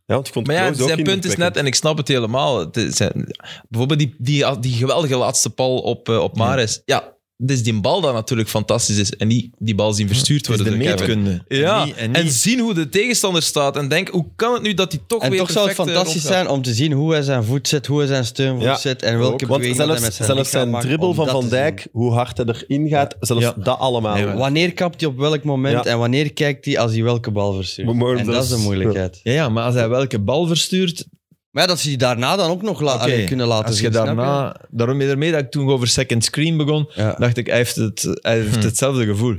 Ja, want ik vond
Maar ja,
Kroos ook
zijn punt is net,
indrukwekkend.
en ik snap het helemaal. Het is- zijn- bijvoorbeeld die, die, die geweldige laatste pal op, eh, op Mares. Ja, het is die bal dat natuurlijk fantastisch is. En die, die bal zien verstuurd
Het is
worden
de
door Kevin.
meetkunde.
Ja,
En
en,
niet- en niet-
zien hoe de tegenstander staat. En denk, hoe kan het nu dat hij toch
En
weer
toch zou het
perfect, eh,
fantastisch
rondgaat?
zijn om te zien hoe hij zijn voet zet, hoe hij zijn steunvoet
Ja,
zet en welke
Ook, Want
beweging dat hij
zelfs
met zijn
zelfs
lichaam
zijn
maakt
dribbel
om
van
dat
Van
te zien.
Dijk, hoe hard hij erin gaat, zelfs
Ja.
dat allemaal.
Nee, maar-
Wanneer kapt hij op welk moment
Ja.
en wanneer kijkt hij als hij welke bal verstuurt?
Maar- maar
en dat
dat
is de
is-
moeilijkheid.
Ja, ja, maar als hij welke bal verstuurt,
Maar ja, dat ze die daarna dan ook nog la-
Oké,
allee, Ah, kunnen laten
als je
zien. snap
daarna... Daarom ermee dat ik toen over second screen begon,
Ja.
dacht ik, hij heeft, het, hij heeft
Hm.
hetzelfde gevoel.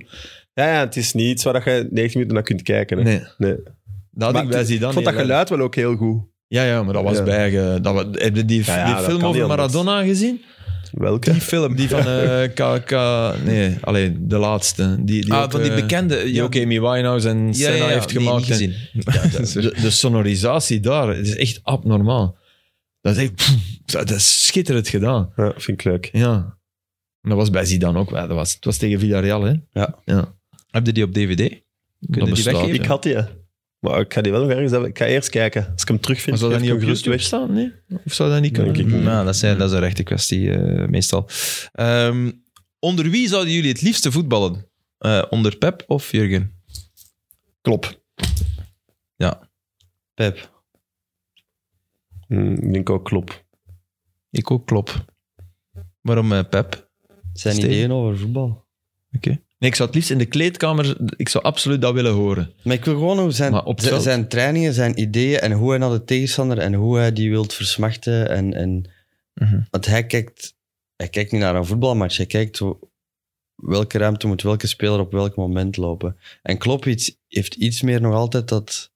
Ja, ja, het is niet iets waar je 90 minuten naar kunt kijken. Hè.
Nee,
Nee.
dat had
Maar
ik bij
het-
Zidane
ik vond dat
heel erg.
geluid wel ook heel goed.
Ja, ja, maar dat was
Ja.
bij... ge- Dat, wa- heb je die,
Ja, ja,
die
dat
film
kan niet
over
anders.
Maradona gezien?
Welke?
Die film, die van eh, KK... nee, alleen de laatste. Die, die
Ah,
ook,
van die
eh,
bekende...
Die
ja,
ook Amy Winehouse en
ja,
Senna
ja, ja,
heeft
die
gemaakt.
niet
en-
gezien.
de, de sonorisatie daar, het is echt abnormaal. Dat is echt... dat is schitterend gedaan.
Ja, vind ik leuk.
Ja. En dat was bij Zidane ook. wel. Dat was, het was tegen Villarreal, hè.
Ja.
Heb je die op DVD? Kunnen die
bestaat.
weggeven?
Ik had die. hè. Maar ik ga die wel nog ergens hebben. Ik ga eerst kijken. Als ik hem terugvind,
Maar zou dat
geef
niet
ik
op
hem gerust
YouTube
weg.
staan? Nee? Of zou dat niet
Denk
kunnen?
ik niet.
Nou, dat, zijn, dat is een rechte kwestie eh, meestal. Ehm, onder wie zouden jullie het liefste voetballen? Eh, onder Pep of Jurgen?
Klop.
Pep.
Mm, ik denk ook klop.
Ik ook klop. Waarom eh, Pep?
Zijn
Steven?
ideeën over voetbal.
Nee, ik zou het liefst in de kleedkamer... Ik zou absoluut dat willen horen.
Maar ik wil gewoon hoe zijn,
Maar op het
zijn-
veld.
zijn trainingen, zijn ideeën en hoe hij naar de tegenstander en hoe hij die wilt versmachten. En, en,
Mhm.
Want hij kijkt, hij kijkt niet naar een voetbalmatch. Hij kijkt hoe- welke ruimte moet welke speler op welk moment lopen. En Klopp iets, heeft iets meer nog altijd dat...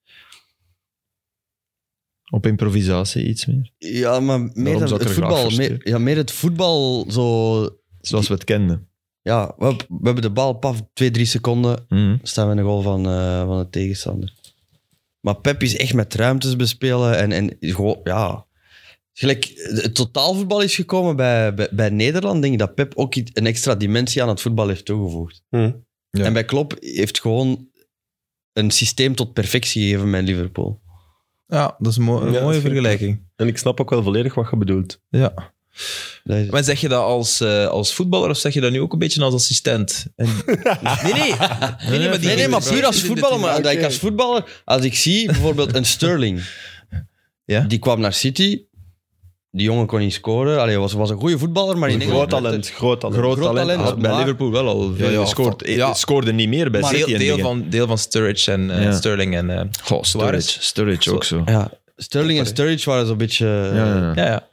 Op improvisatie iets meer.
Ja, maar meer
Daarom
dan
zou ik
het
er graag
voetbal.
versteren.
Meer, ja, meer het voetbal zo...
Zoals we het kenden.
Ja, we, we hebben de bal, paf, twee, drie seconden,
Mhm.
staan we in de goal van, eh, van de tegenstander. Maar Pep is echt met ruimtes bespelen en, en is gewoon, ja... Gelijk, het totaalvoetbal is gekomen bij, bij, bij Nederland, denk ik dat Pep ook iets- een extra dimensie aan het voetbal heeft toegevoegd.
Mm.
Ja.
En bij Klopp heeft gewoon een systeem tot perfectie gegeven met Liverpool.
Ja, dat is een, mo- een
Ja, dat
mooie
vind ik
vergelijking.
En ik snap ook wel volledig wat je bedoelt.
Ja.
Dat is-
Maar zeg je dat als, eh, als voetballer of zeg je dat nu ook een beetje als assistent? En... Nee, nee. Nee, nee, maar, die-
Nee, nee, maar
die-
puur als
die-
voetballer. Maar dat ik
Oké.
als voetballer, als ik zie bijvoorbeeld een Sterling,
Ja?
die kwam naar City, die jongen kon niet scoren, Allee, was, was een goede voetballer, maar in
Groot
Engeland-
talent. Groot talent.
Groot,
Groot
talent.
talent,
Had bij
maar-
Liverpool wel al veel
Ja, ja,
gescoord.
fuck, ja.
Het Scoorde niet meer bij
Maar
City
deel,
en
deel,
dingen.
van, deel van Sturridge en eh,
Ja.
Sterling en eh
Goh, Sturridge. Sturridge ook zo.
Ja, Sterling en Sturridge waren zo'n beetje... eh,
Ja, ja, ja.
ja,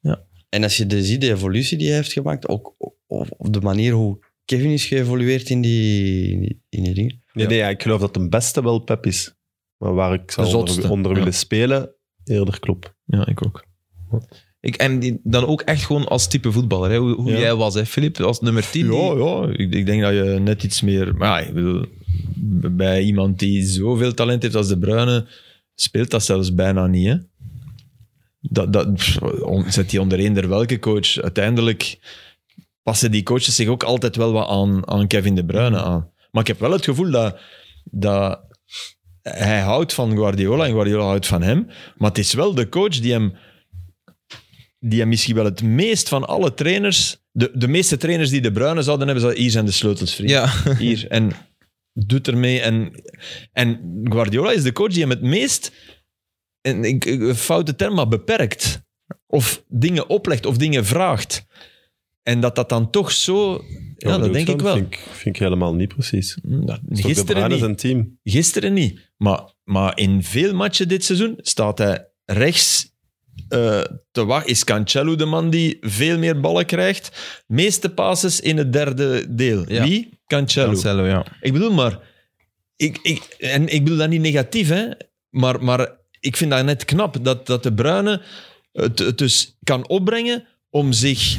ja.
En als je dus ziet de evolutie die hij heeft gemaakt, ook of, of de manier hoe Kevin is geëvolueerd in die, in die, in die dingen.
Nee, nee, ja, ik geloof dat de beste wel Pep is. Maar waar ik
De
zou onder,
zotste,
onder
ja.
willen spelen, eerder klop.
Ja, ik ook.
Ik, en die, dan ook echt gewoon als type voetballer. Hè? Hoe, hoe
Ja.
jij was, hè, Filip, als nummer 10. die-
Ja, ja. Ik, ik denk dat je net iets meer... Maar ja, ik bedoel, b- bij iemand die zoveel talent heeft als De Bruyne, speelt dat zelfs bijna niet, hè? Dat, dat, pff, on- zet die onder eender welke coach. Uiteindelijk passen die coaches zich ook altijd wel wat aan, aan Kevin De Bruyne aan. Maar ik heb wel het gevoel dat, dat hij houdt van Guardiola en Guardiola houdt van hem. Maar het is wel de coach die hem die hem misschien wel het meest van alle trainers, de, de meeste trainers die de Bruinen zouden hebben, zouden hier zijn de sleutels, vriend.
ja.
Hier. En doet ermee. En, en Guardiola is de coach die hem het meest, en ik, ik- een foute term, maar beperkt. Of dingen oplegt of dingen vraagt. En dat dat dan toch zo... Ja, dat
bedoel
denk
zo,
ik wel.
Vind ik, vind ik helemaal niet precies.
Hm, dat-
Is toch de
Gisteren
Bruyne
niet.
zijn team.
Gisteren niet. Maar, maar in veel matchen dit seizoen staat hij rechts eh, te wachten. Is Cancelo de man die veel meer ballen krijgt? Meeste passes in het derde deel.
Ja.
Wie? Cancelo.
Cancelo, ja.
Ik bedoel maar... Ik, ik, en ik bedoel dat niet negatief, hè. Maar, maar ik vind dat net knap dat, dat de Bruyne het, het dus kan opbrengen om zich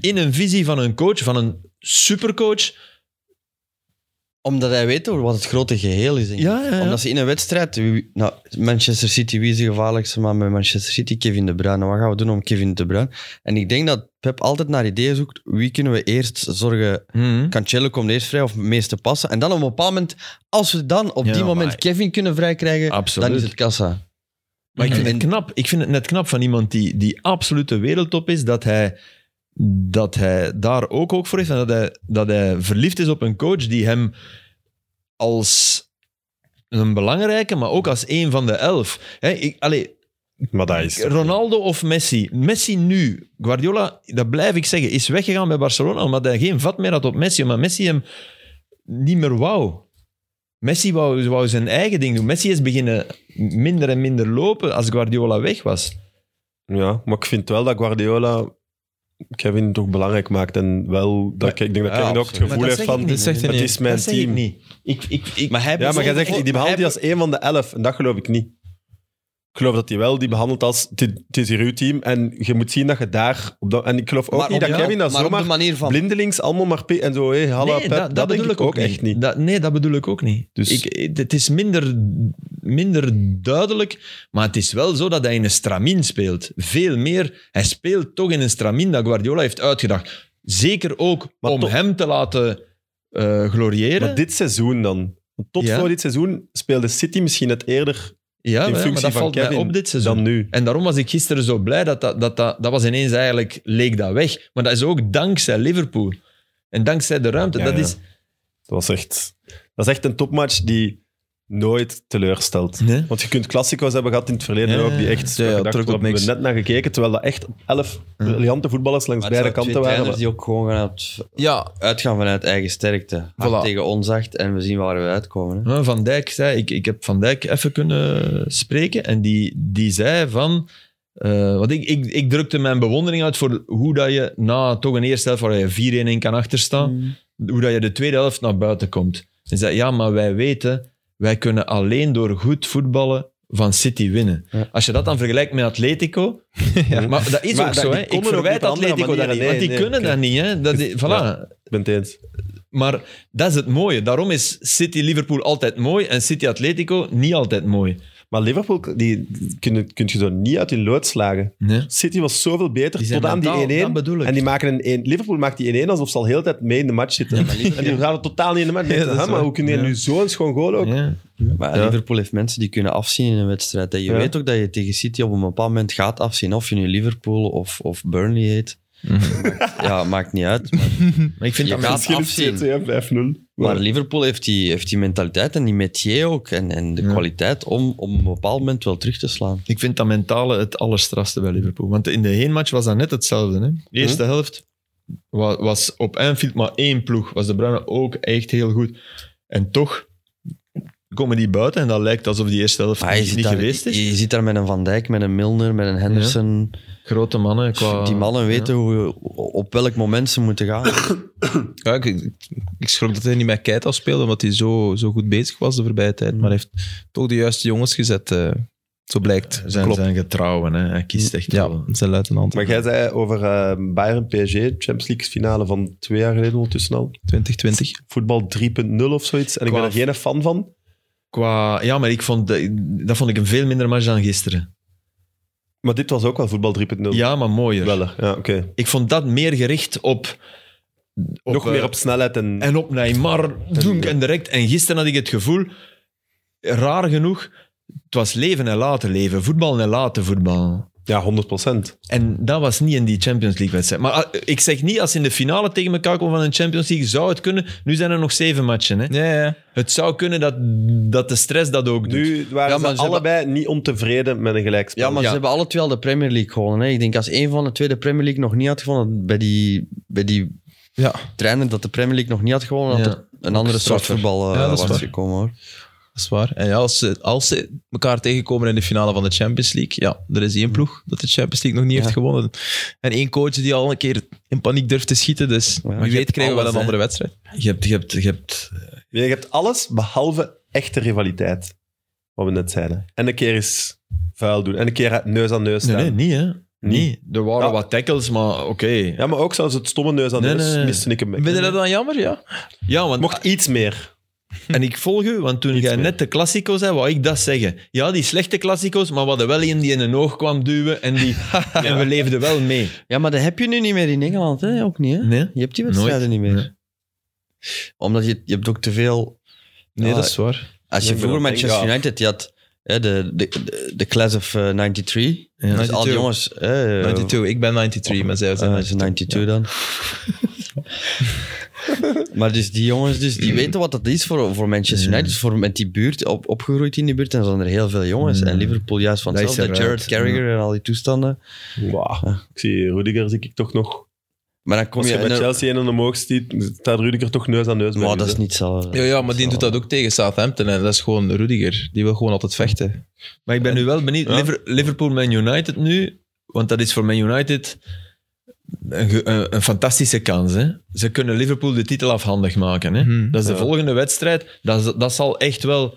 in een visie van een coach, van een supercoach...
Omdat hij weet over wat het grote geheel is. denk ik.
Ja, ja, ja.
Omdat ze in een wedstrijd... wie- Nou, Manchester City, wie is de gevaarlijkste man bij Manchester City? Kevin De Bruyne. Wat gaan we doen om Kevin De Bruyne? En ik denk dat Pep altijd naar ideeën zoekt. Wie kunnen we eerst zorgen...
Mhm.
Cancelo komt eerst vrij of meeste passen. En dan op een bepaald moment, als we dan op
Ja,
die moment
maar-
Kevin kunnen vrijkrijgen,
Absoluut.
dan is het kassa.
Maar ik vind,
En-
het knap. ik vind het Mhm. net knap van iemand die, die absoluut de wereldtop is, dat hij, dat hij daar ook, ook voor heeft. En dat hij, dat hij verliefd is op een coach die hem als een belangrijke, maar ook als een van de elf. Hè, ik, allee,
Maar dat is...
Ronaldo of Messi? Messi nu. Guardiola, dat blijf ik zeggen, is weggegaan bij Barcelona omdat hij geen vat meer had op Messi. Maar Messi hem niet meer wou. Messi wou, wou zijn eigen ding doen. Messi is beginnen minder en minder lopen als Guardiola weg was.
Ja, maar ik vind wel dat Guardiola Kevin toch belangrijk maakt. En wel, dat, ik denk dat
ja,
Kevin ook het
absoluut.
gevoel
Maar dat
heeft
zeg
van,
ik niet.
Dat zegt hij
het
niet.
is mijn
dat zeg ik
team.
niet. Ik, ik, ik, maar hij
Ja, maar jij zegt, die behandelt hij
hij
als één van de elf. En dat geloof ik niet. Ik geloof dat hij wel die behandelt als, dit- het is hier uw team. En je moet zien dat je daar... Op dat, en ik geloof ook
Maar
niet
op-
dat
ja,
Kevin dat
maar op de
zomaar
manier van...
blindelings allemaal maar... pe- En zo, hé, hey, hallo,
Nee,
pep,
dat,
dat,
dat
denk
bedoel
ik ook echt niet.
Dat, nee, dat bedoel ik ook niet.
Dus-
Ik, het is minder, minder duidelijk, maar het is wel zo dat hij in een stramien speelt. Veel meer. Hij speelt toch in een stramien dat Guardiola heeft uitgedacht. Zeker ook
Maar
om
toch-
hem te laten eh, gloriëren.
Maar dit seizoen dan? Tot
Ja.
voor dit seizoen speelde City misschien het eerder
Ja,
in
maar, ja, maar
functie
dat
van
valt mij
Kevin
op dit seizoen.
dan nu.
En daarom was ik gisteren zo blij dat dat, dat, dat, dat was ineens eigenlijk, leek dat weg. Maar dat is ook dankzij Liverpool. En dankzij de ruimte.
Ja,
dat
ja.
is...
Dat, was echt, dat is echt een topmatch die nooit teleurstelt.
Nee.
Want je kunt klassico's hebben gehad in het verleden
Ja,
ook, die
ja,
echt...
ja, ja,
we dachten,
druk op
we hebben
niks.
er net naar gekeken, terwijl dat echt elf briljante voetballers langs
Maar het
beide kanten
zijn twee
waren.
trainers die ook gewoon gaan uit-
Ja,
uitgaan vanuit eigen sterkte. Hard
Voilà.
tegen onzacht en we zien waar we uitkomen. Hè.
Ja, Van Dijk zei, ik, ik heb Van Dijk even kunnen spreken en die, die zei van, eh, want ik, ik, ik drukte mijn bewondering uit voor hoe dat je na toch een eerste helft waar je 4-1 in kan achterstaan, hoe dat je de tweede helft naar buiten komt. Hij zei, ja, maar wij weten, wij kunnen alleen door goed voetballen van City winnen.
Ja.
Als je dat dan vergelijkt met Atletico, maar dat is
Maar
ook
dat-
zo,
die
hè. ik
konden ook
verwijt
niet op andere
Atletico dat
manieren.
niet, want
Nee,
die
nee,
kunnen
oké.
dat niet. Hè. Dat, is- voilà.
Ja. Ik ben het eens.
Maar dat is het mooie. Daarom is City-Liverpool altijd mooi en City-Atletico niet altijd mooi.
Maar Liverpool, die kun, kun je zo niet uit hun lood slagen.
Nee.
City was zoveel beter
Die zijn
tot aan
mentaal,
die 1-1.
dat bedoel ik.
En die maken een 1 Liverpool maakt die 1-1 alsof ze al heel de tijd mee in de match zitten. en die gaan totaal niet in de match.
dat is
Hè, maar
waar.
hoe kun je
Ja.
nu zo'n schoon goal ook?
Ja.
Maar
Ja.
Liverpool heeft mensen die kunnen afzien in een wedstrijd. hè. Je
Ja.
weet ook dat je tegen City op een bepaald moment gaat afzien. Of je nu Liverpool of, of Burnley heet.
Mhm.
ja, maakt niet uit. Maar,
Maar ik vind
Je
dat
gaat
mensen-
Misschien is
afzien.
het 2 5-0.
maar
Maar
Liverpool heeft die, heeft die mentaliteit en die métier ook. En, en de
Ja.
kwaliteit om op een bepaald moment wel terug te slaan.
ik vind dat mentale het allerstrafste bij Liverpool. Want in de heenmatch was dat net hetzelfde. Hè? De eerste helft was, was op Anfield maar één ploeg. Was de Bruyne ook echt heel goed. En toch komen die buiten en dat lijkt alsof die eerste helft
Maar je,
niet,
ziet
niet
daar,
geweest is.
je, je ziet daar met een Van Dijk, met een Milner, met een Henderson.
Grote mannen qua...
die mannen weten
Ja.
hoe, op welk moment ze moeten gaan.
ja ik, ik schrok dat hij niet met Keita speelde, omdat hij zo, zo goed bezig was de voorbije tijd.
Mm.
Maar hij heeft toch de juiste jongens gezet, eh, zo blijkt.
Zijn,
Klopt.
zijn getrouwen, hè. hij kiest echt
ja,
wel.
zijn luitenant.
maar jij zei over eh, Bayern PSG, Champions League finale van twee jaar geleden ondertussen al.
2020.
Voetbal 3.0 of zoiets. En ik ben
Qua-
er geen fan van.
Qua, ja, maar ik vond, de- dat vond ik een veel minder match dan gisteren.
Maar dit was ook wel voetbal 3.0.
Ja, maar mooier.
Wel, hè. ja, oké.
Ik vond dat meer gericht op... op,
Nog
eh,
meer op snelheid en...
En op Neymar, doenk en direct. En gisteren had ik het gevoel, raar genoeg, het was leven en laten leven. Voetbal en laten voetbal.
Ja, 100%.
En dat was niet in die Champions League-wedstrijd. Maar ah, ik zeg niet, als ze in de finale tegen elkaar komen van een Champions League, zou het kunnen. Nu zijn er nog zeven matchen. Hè?
Ja, ja.
Het zou kunnen dat, dat de stress dat ook doet.
Nu waren
Ja,
ze,
maar ze
allebei niet ontevreden met een gelijkspel.
Ja, maar
Ja.
ze hebben alle twee al de Premier League gewonnen. Hè. Ik denk als één van de twee de Premier League nog niet had gewonnen, bij die, bij die
Ja.
trainer dat de Premier League nog niet had gewonnen,
Ja.
had er een andere soort
straffer.
voetbal eh,
Ja, dat is
was
waar.
gekomen. Hoor.
Dat is waar. En ja, als ze, als ze elkaar tegenkomen in de finale van de Champions League, ja, er is
Mm.
één ploeg dat de Champions League nog niet heeft gewonnen. En één coach die al een keer in paniek durft te schieten, dus
maar
wie
je
weet
hebt
krijgen we wel
alles,
een
hè.
andere wedstrijd.
Je hebt, je hebt, je hebt
Je hebt alles behalve echte rivaliteit. Wat we net zeiden. En een keer is vuil doen. En een keer neus aan neus
Nee,
staan.
nee, niet hè. Niet. Er waren
Ja.
wat tackles, maar oké. Ja.
Ja, maar ook zelfs het stomme neus aan
Nee,
neus
nee, nee.
miste ik hem
Vind je dat
weg.
dan jammer? Ja.
want,
Mocht iets meer.
en ik volg u, want toen jij
Hm. meer.
net de Classico zei, wou ik dat zeggen. Ja, die slechte Classico's, maar we hadden wel één die in een oog kwam duwen en, die, en we leefden wel mee.
Ja, maar dat heb je nu niet meer in Engeland, hè? ook niet. Hè?
Nee?
Je hebt die wedstrijden
Nooit.
niet meer.
Nee.
Omdat je, je hebt ook te veel...
Nee,
Ja,
dat is waar.
Als je
Ik ben
vroeger
aan het
Manchester
denken,
United, die had hè, de, de, de, de class of eh, 93. dus al die
92.
jongens... eh,
92, ik ben 93, maar zij
eh,
zijn 92.
ze 92 dan. maar dus die jongens, dus die weten wat dat is voor, voor Manchester United. Dus voor met die buurt, op, opgegroeid in die buurt, en er zijn er heel veel jongens.
Mm.
En Liverpool juist van
Dat is
hetzelfde.
eruit,
Jared Carragher en al die toestanden.
Ah.
Wauw. Ik zie Rudiger zie ik toch nog.
Maar dan kom
Als
je...
je
en
bij
dan-
Chelsea een en omhoog stiet, staat Rudiger toch neus aan neus. bij
Maar
jullie,
dat is
hè?
niet zo.
Ja, ja, maar die doet dat ook tegen Southampton. En dat is gewoon Rudiger. Die wil gewoon altijd vechten.
Maar ik ben nu wel benieuwd.
Ja.
Liver- Liverpool Man United nu, want dat is voor Man United een, ge- een- een fantastische kans. Hè? Ze kunnen Liverpool de titel afhandig maken. Hè?
Mhm.
Hm. Dat is de
Hm. Ja.
volgende wedstrijd. Dat, is- dat zal echt wel.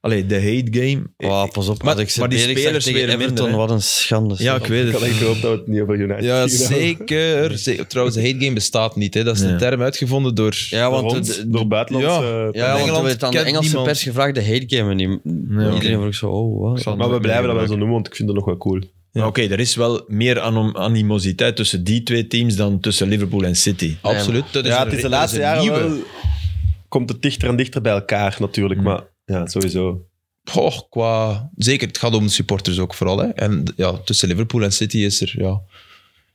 Allee, de hate game.
Ah,
Oh, pas op,
Maar-
als ik ze
maar die
Berik zag
spelers
tegen
weer
Everton,
minder, hè.
wat een schande.
Ja, ik weet
Ik
het.
had echt gehoopt dat we het niet over United
Ja,
gingen hebben.
zeker. zeker. Trouwens, de hate game bestaat niet. Hè. Dat is
Nee.
een term uitgevonden door...
Ja, want
Rond,
de- de-
door buitenlandse...
Ja, want
Engeland
Engeland werd aan de
kent
Engelse
niemand.
pers gevraagd de hate game. En die, iedereen
oké.
vroeg zo, oh, wat?
Maar we blijven dat wel zo noemen, want ik vind het nog wel cool.
Maar Oké, er is wel meer anom- animositeit tussen die twee teams dan tussen Liverpool en City.
Absoluut. Dat is
ja,
een-
het is de
dat
laatste
een
jaren
nieuwe.
wel... komt het dichter en dichter bij elkaar natuurlijk.
Hmm.
Maar ja, sowieso.
Goh, qua... Zeker, het gaat om de supporters ook vooral. Hè. En ja, tussen Liverpool en City is er ja,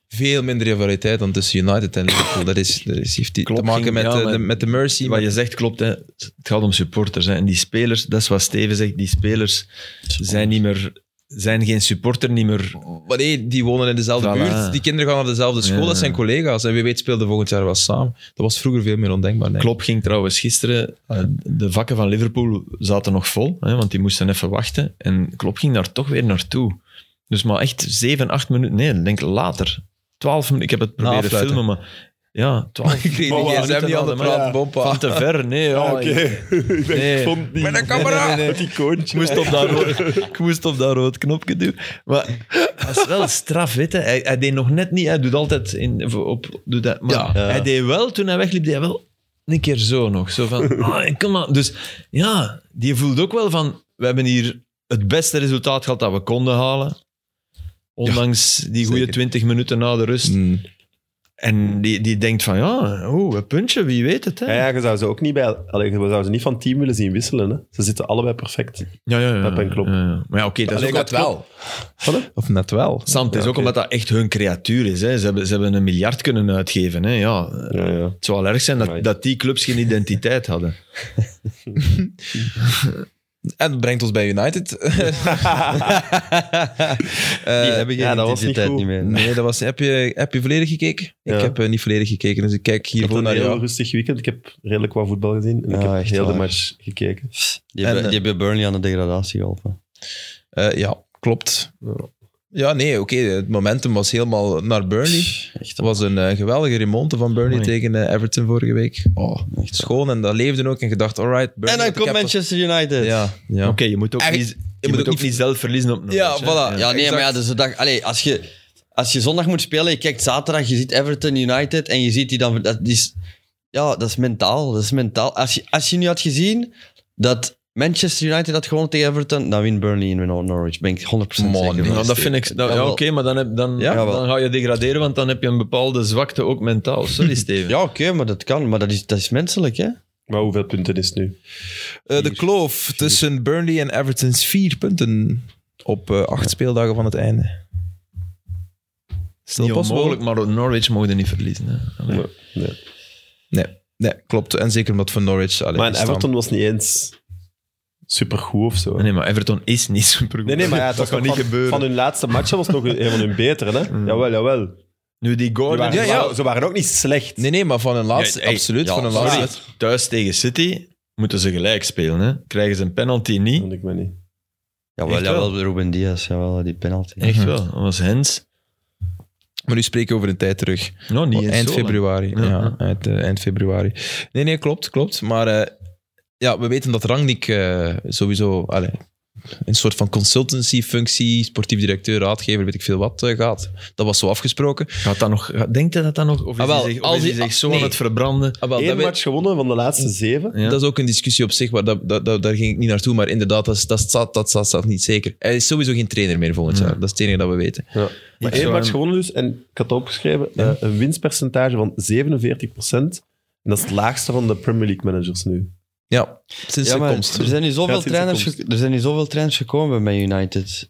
veel minder rivaliteit dan tussen United en Liverpool. Dat, is, dat is, heeft die-
Klopt,
te maken
ging-
met,
ja,
de,
maar-
de- met de mercy.
Wat
met-
je zegt klopt, hè. het gaat om supporters. Hè. En die spelers, dat is wat Steven zegt, die spelers zijn, niet meer, zijn geen supporter, niet meer...
Maar nee, die wonen in dezelfde
Voilà.
buurt. Die kinderen gaan naar dezelfde school.
Ja.
Dat zijn collega's. En wie weet speelden volgend jaar wel samen. Dat was vroeger veel meer ondenkbaar. denk ik.
Klopp ging trouwens gisteren, eh, de vakken van Liverpool zaten nog vol, hè, want die moesten even wachten. En Klopp ging daar toch weer naartoe. Dus maar echt 7, 8 minuten, nee, ik denk later. 12 minuten, ik heb het proberen
afluiten.
filmen, maar ja, 12
Ik kreeg
Maar
die
waar?
gsm niet aan de praat,
Ja.
bompa.
Van te ver, nee. Ja,
Ah,
ik-
ik ben-
Nee.
ik vond die,
Met een camera!
Met die
Ik
koontje.
moest, op dat rood, ik moest op dat rood knopje duwen. Maar dat is wel straf, weet je. Hij, hij deed nog net niet. Hij doet altijd in, op... Doet dat, maar
Ja.
hij deed wel, toen hij wegliep, deed hij wel een keer zo nog. Zo van, ah, kom maar. Dus ja, die voelt ook wel van... We hebben hier het beste resultaat gehad dat we konden halen. Ondanks die goede
zeker.
20 minuten na de rust.
Mm.
En die, die denkt van, ja, oeh, een puntje, wie weet het. Hè?
Ja, ja, je zou ze ook niet bij... Allee, we zouden ze niet van team willen zien wisselen. Hè. Ze zitten allebei perfect.
ja, ja, ja,
Pep en Klopp.
ja, ja. Maar ja, oké, dat is ook
Alleen
wat
net wel.
Voilà.
Of net wel.
Sam, het is
Ja,
ook
oké.
omdat dat echt hun creatuur is. Hè. Ze, hebben, ze hebben een miljard kunnen uitgeven. Hè. Ja, het
Ja, ja.
zou wel erg zijn dat,
Amai.
dat die clubs geen identiteit hadden.
En dat brengt ons bij United. Eh,
die hebben geen
ja, dat was niet
identiteit
goed.
niet, meer.
nee, dat was, heb, je, heb je volledig gekeken?
Ja.
Ik heb eh, niet volledig gekeken, dus ik kijk
Ik had
hiervoor
een
naar
heel
jou.
rustig weekend. Ik heb redelijk wat voetbal gezien. En ik
Ja,
heb
echt
heel de
waar.
match gekeken.
Die, hebben,
En, eh,
die hebben Burnley aan de degradatie geholpen.
Eh, ja, klopt. Ja, nee, oké. het momentum was helemaal naar Burnley.
Echt,
Het was een eh, geweldige remonte van Burnley
Mooi.
tegen eh, Everton vorige week. Oh,
echt zo.
schoon. En dat leefde ook. En gedacht, alright, Burnley.
En dan
ik
komt
heb het-
Manchester United.
Ja, ja.
Oké, je moet ook, niet,
Eigenlijk-
je moet ook niet zelf verliezen op een
Ja,
match, hè.
voilà.
Ja, nee,
exact.
maar ja, dus de dag, allee, als, je, als je zondag moet spelen, je kijkt zaterdag, je ziet Everton United en je ziet die dan. Dat is, ja, dat is mentaal. Dat is mentaal. Als, je, als je nu had gezien dat Manchester United had gewonnen tegen Everton, dan wint Burnley in Nor- Norwich. Ben ik 100%
Man,
zeker.
nee.
van.
Nou, dat vind ik... dat- ja,
Jawel.
oké, maar dan, heb, dan,
Ja,
jawel.
dan ga je degraderen, want dan heb je een bepaalde zwakte ook mentaal. Sorry, Steven.
Ja, oké, maar dat kan. Maar dat is, dat is menselijk, hè?
Maar hoeveel punten is het nu?
Eh, de kloof tussen Burnley en Everton is vier punten op eh, acht speeldagen van het einde. Stil
Niet onmogelijk, maar Norwich mogen niet verliezen. Hè. Allee.
Nee. Nee.
Nee, klopt. En zeker omdat voor Norwich... Allee,
Maar en
die staan-
Everton was niet eens supergoed of zo.
Nee, maar Everton is niet supergoed.
Nee, nee, maar ja, het
dat
was nog
kan niet
van,
gebeuren.
Van hun laatste matchen was nog een van hun betere. Hè? Jawel, jawel. Die
Nu die Gordon...
waren-
Ja, ja.
Ze, waren, ze waren ook niet slecht.
Nee, nee, maar van een laatste...
Ja, hey,
absoluut,
ja,
van een
sorry.
laatste...
Thuis tegen City moeten ze gelijk spelen. Hè? Krijgen ze een penalty niet.
Vond ik me niet.
Jawel,
Echt wel?
jawel Ruben Diaz, jawel, die penalty.
Echt wel. Dat was Hens.
Maar nu spreken we over een tijd terug.
Nou, niet eens
Oh, eind
zo lang.
februari. Ja,
Ja, ja.
Eind, eh, eind februari. Nee, nee, klopt, klopt. Maar eh, ja, we weten dat Rangnick eh, sowieso allee, een soort van consultancy-functie, sportief directeur, raadgever, weet ik veel wat, eh, gaat. Dat was zo afgesproken.
Gaat dat nog, gaat- denkt hij dat dan nog? Of is
Ah, wel,
hij zich, of
als
is hij
hij-
zich zo
nee.
aan het verbranden?
Ah, wel,
Eén
dat, we-
match gewonnen van de laatste zeven.
Ja.
dat is ook een discussie op zich, maar dat, dat, dat- daar ging ik niet naartoe. Maar inderdaad, dat, is- dat, staat, dat staat staat niet zeker. Hij is sowieso geen trainer meer volgend
Ja.
jaar. Dat is het enige dat we weten.
Maar
Ik
één
zou
match
hem-
gewonnen dus. En ik had opgeschreven eh, een winstpercentage van 47 En dat is het laagste van de Premier League managers nu.
Ja, sinds
Ja,
de
maar dus-
komst.
er zijn, nu
Ja,
zoveel
sinds de
trainers,
komst.
ge- er zijn nu zoveel trainers gekomen bij United.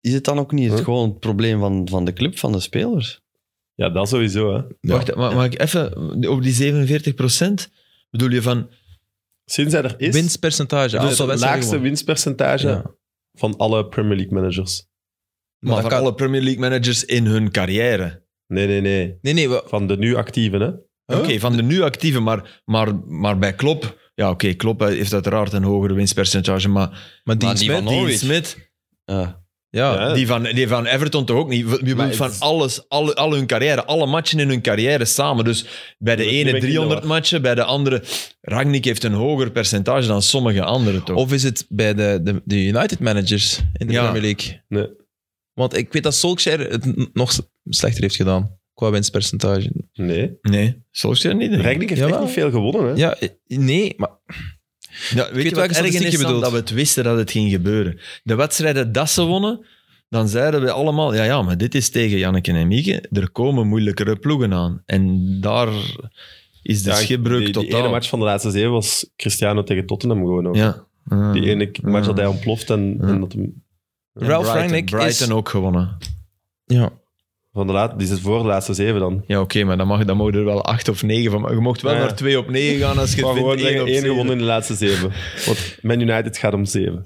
Is het dan ook niet het,
Huh?
gewoon het probleem van, van de club, van de spelers?
Ja, dat sowieso. Hè.
Ja.
Wacht, ma- mag ik even over die 47 Bedoel je van...
Sinds hij er is,
Winstpercentage.
dat
aantal
is Dus het
wedstrijden
laagste winstpercentage
gewonnen. Ja.
van alle Premier League managers.
Maar
Maar
dat
van
kan-
alle Premier League managers in hun carrière.
Nee, nee, nee.
Nee, nee, we,
Van de nu actieven, hè?
Huh?
Oké, van de nu actieve, maar, maar, maar bij Klopp... Ja, oké, Klopp heeft uiteraard een hogere winstpercentage, maar
maar Dean
Maar die
Smith,
van
die-
Norwich.
Smit,
Ja.
Ja,
Ja.
die van, die van Everton toch ook niet? Je bedoelt
het-
van alles, al, al hun carrière, alle matchen in hun carrière samen. Dus bij de
Nu ben
ene
ik in de
300
war.
matchen, bij de andere... Rangnick heeft een hoger percentage dan sommige anderen toch?
Of is het bij de, de, de United managers in de
Ja.
Premier League?
Nee.
Want ik weet dat Solskjaer het n- nog s- slechter heeft gedaan qua winstpercentage.
Nee.
Nee, Solskjaer niet. denk ik.
Rangnick heeft echt
Jawel.
niet veel gewonnen, hè?
Ja, eh, nee, maar
Ja, weet
weet
je wat
welke
erg
statistiek
is,
je
Sam?
bedoelt.
Dat we het wisten dat het ging gebeuren. De wedstrijden dat ze wonnen, dan zeiden we allemaal, ja, ja, maar dit is tegen Janneke en Mieke, er komen moeilijkere ploegen aan. En daar is de
Ja,
dus schipbreuk
die,
totaal.
Die ene match van de laatste zeven was Cristiano tegen Tottenham gewoon ook.
ja. Ah.
Die ene match dat hij ontploft en, en dat hem
En
Ralph
Brighton.
Rangnick is-
Brighton ook gewonnen.
Ja.
van de laatste, die is voor de laatste zeven dan.
Ja, oké, maar dan mag, dan mogen er wel acht of negen van. Je mocht wel
Ja.
naar twee op negen gaan als je
Maar
het
gewoon
vindt. één
zeggen,
op
één
zeven.
gewonnen in de laatste zeven. Want Man United gaat om zeven.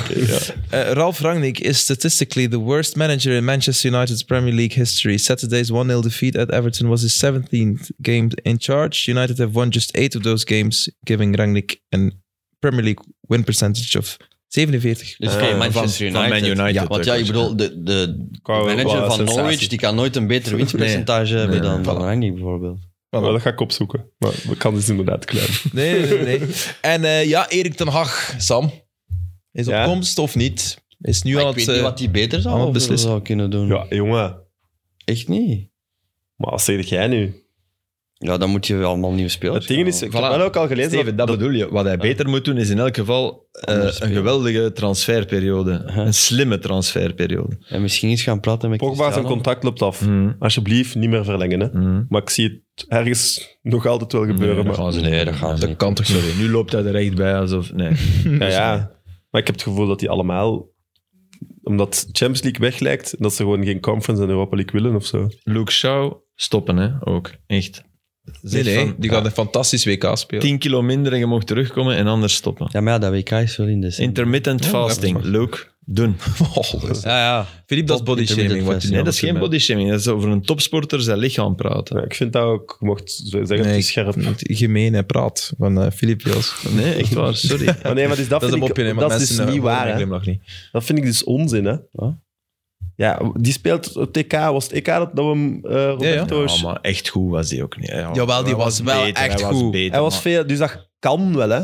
Uh, Ralf Rangnick is statistically the worst manager in Manchester United's Premier League history. Saturday's 1 0 defeat at Everton was his 17th game in charge. United have won just eight of those games, giving Rangnick a Premier League win percentage of 47.
Dus
Eh,
van
van-
Manchester
van Man
United.
United
Ja, want ja,
ook,
ik bedoel, de, de
Qua- qua
manager van
sensatie.
Norwich die kan nooit een beter winstpercentage hebben dan Van Rangnick bijvoorbeeld.
Wel, dat ga ik opzoeken. Maar de kans is inderdaad klein.
Nee, nee, nee. nee. en eh, ja, Erik ten Hag, Sam, is op
Ja?
komst of niet? Is nu
Maar
al
ik
het...
weet niet
eh,
wat hij beter
aan
zou,
het
of
beslissen.
zou kunnen doen.
Ja, jongen.
Echt niet.
Maar wat zeg jij nu?
Ja, dan moet je allemaal nieuwe spelers
Het ding is,
halen.
ik heb wel ook al gelezen
Steven, dat,
dat,
bedoel je. Wat hij beter moet doen, is in elk geval eh,
Anders
een
spelen.
geweldige transferperiode.
Huh?
Een slimme transferperiode.
En misschien eens gaan praten met
Pogba zijn
Cristiano.
contract loopt af.
Mm.
Alsjeblieft, niet meer verlengen. Hè.
Mm.
Maar ik zie het ergens nog altijd wel gebeuren.
dat
maar,
gaan ze niet doen.
Nee, dat
Ah,
gaan ze
Dat
niet
kan toch zo weer. Nu loopt hij er echt bij alsof... Nee.
Nou ja, ja. maar ik heb het gevoel dat die allemaal omdat Champions League weg lijkt, dat ze gewoon geen Conference en Europa League willen of zo.
Luke Shaw, stoppen hè, ook. Echt.
Nee,
Zeg
nee,
van,
die gaat een fantastisch WK spelen.
10 kilo minder en je mocht terugkomen en anders stoppen.
Ja, maar ja, dat WK is wel in de
Intermittent
Ja,
fasting.
dat is
Luke, doen.
Oh, dat is-
Ja, ja.
Philippe, dat is
Top
body shaming. wat
intermittent
je
fasting.
Nee,
nu
dat is
aan
geen
het doen
body shaming. Dat is over een topsporter zijn lichaam praten.
Ja, ik vind dat ook, je mocht zo zeggen,
Nee,
het
ik-
is scherp.
bent. Gemeen en praat van eh Philippe Jels.
Nee, echt waar. Sorry.
Maar nee, wat is dat?
Dat is een
vind
mopje,
ik-
hè, maar
dat is
mensen
dus niet
horen
waar.
mijn
hè.
glimlach niet.
Dat vind ik dus onzin, hè?
Wat?
Ja, die speelt op TK, was het EK dat dat we hem eh Roberto.
Ja, Oh, maar echt goed was die ook niet. Ja,
Jawel, die
hij
was wel
beter,
echt
hij
goed.
Was beter,
Hij was
maar- Mm,
veel, dus dat kan wel, hè?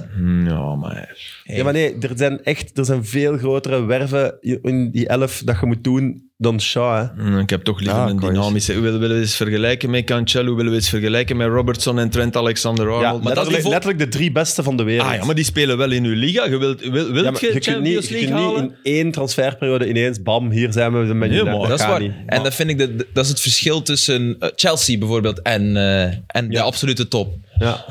Ja, maar...
Ja, maar nee, er zijn echt er zijn veel grotere werven in die elf dat je moet doen dan Shaw, hè?
Mm, Ik heb toch liever
Ja,
een
kan je
dynamische... Willen we eens vergelijken met Cancelo? Willen we eens vergelijken met Robertson en Trent Alexander-Arnold?
Ja,
Maar
letterlijk,
dat is niveau-
letterlijk de drie beste van de wereld.
Ah ja, maar die spelen wel in uw liga. Je wilt, wil, wilt
Ja, maar
je,
je kunt
Champions
niet, je
League
kunt niet
halen?
in één transferperiode ineens, bam, hier zijn we. Met
Nee,
je
maar
dat, is
gaat
waar.
niet.
En dat vind ik dat, dat is het verschil tussen eh, Chelsea bijvoorbeeld en, eh, en de absolute top.
Ja.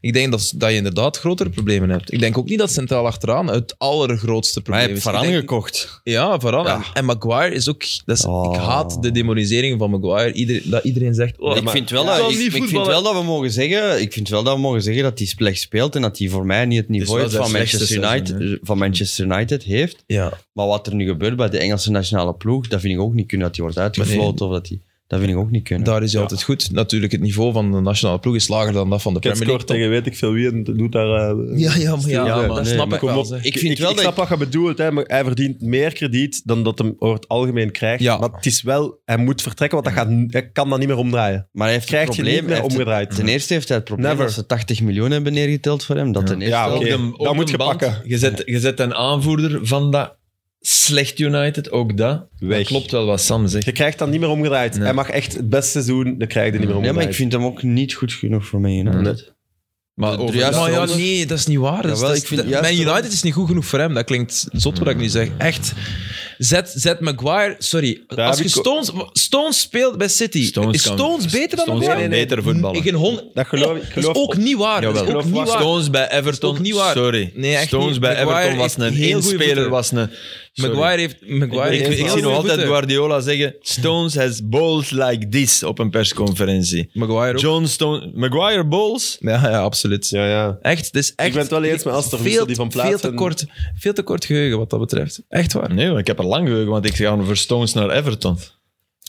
Ik denk dat, dat je inderdaad grotere problemen hebt. Ik denk ook niet dat centraal achteraan het allergrootste
Maar
probleem
je hebt
is.
Varane
Ik denk-
gekocht.
Ja, Varane. En, en Maguire is ook... Dat is, Ik
Oh.
haat de demonisering van Maguire. Ieder, dat iedereen zegt... Oh,
ik, vind wel, dat-
kan
ik,
niet
ik vind
voetballen.
wel dat we mogen zeggen, ik vind wel dat we mogen zeggen dat hij slecht speelt en dat hij voor mij niet het niveau
wel
heeft van
zijn
Manchester,
slechtste
United,
seizoen,
van Manchester United heeft.
ja.
Maar wat er nu gebeurt bij de Engelse nationale ploeg, dat vind ik ook niet kunnen. Dat hij wordt uitgefloten of dat hij... Dat vind ik ook niet kunnen.
Daar is hij altijd goed. Natuurlijk, het niveau van de nationale ploeg is lager dan dat van de
Ik heb
Premier
scoort
League.
tegen weet ik veel wie en doet daar... eh,
Ja, ja, maar, ja,
Ja, maar
dat
nee,
snap
maar
ik
kom
wel.
op.
zeg.
Ik vind
ik,
wel
ik
dat
snap
ik-
wat je bedoelt, hè, maar hij verdient meer krediet dan dat hem over het algemeen krijgt.
Ja.
Maar het is wel, hij moet vertrekken, want dat gaat, hij kan dat niet meer omdraaien.
Maar hij heeft
Krijgt
het
je
probleem...
niet meer
hij heeft het-
omgedraaid.
ten eerste heeft hij het probleem
Never.
dat ze 80 miljoen hebben neergeteld voor hem. Dat ten eerste
Ja,
al.
oké.
Ook de-
dat
ook
moet
de
je
band.
pakken.
Je zet, je zet een aanvoerder van dat slecht United, ook dat.
Weg.
Dat klopt wel wat Sam zegt.
Je krijgt dat niet meer omgedraaid.
Nee.
Hij mag echt het beste seizoen, dan krijg je niet meer
Ja,
omgedraaid.
maar ik vind hem ook niet goed genoeg voor Man United.
Maar over
juiste
Maar
dat-
ja,
Zonder-
nee, dat is niet waar. Dat is-
Jawel,
dat is-
ik vind
dat-
juist
Man
wel-
United is niet goed genoeg voor hem. Dat klinkt zot wat ik nu zeg. Echt. Zet, zet Maguire... Sorry.
Daar
als
heb
je
ik
Stones, Stones speelt bij City,
Stones
is
kan-
Stones beter dan
Stones
Maguire?
kan beter voetballen.
Ik in hond...
Dat geloof ik-
Dat is
geloof-
ook niet waar. Dat is
Jawel.
ook niet waar.
Stones bij Everton,
ook niet waar.
sorry.
Nee, echt
Stones
niet.
bij
Maguire
Everton was
heeft
een
heel goede
één-speler,
voeten.
was een... sorry.
Maguire heeft... Maguire
Ik,
heeft
ik
heel
zie nog
veel
altijd
voeten.
Guardiola zeggen, Stones has balls like this op een persconferentie.
Maguire ook.
John Stone, Maguire balls?
Ja, ja, absoluut.
Ja, ja.
Echt, het is echt...
ben het wel eens met Aster Wissel,
veel-
die van plaats
Veel te,
en-
kort, veel te kort geheugen wat dat betreft. Echt waar.
Nee, maar ik heb er lang geheugen, want ik ga voor Stones naar Everton.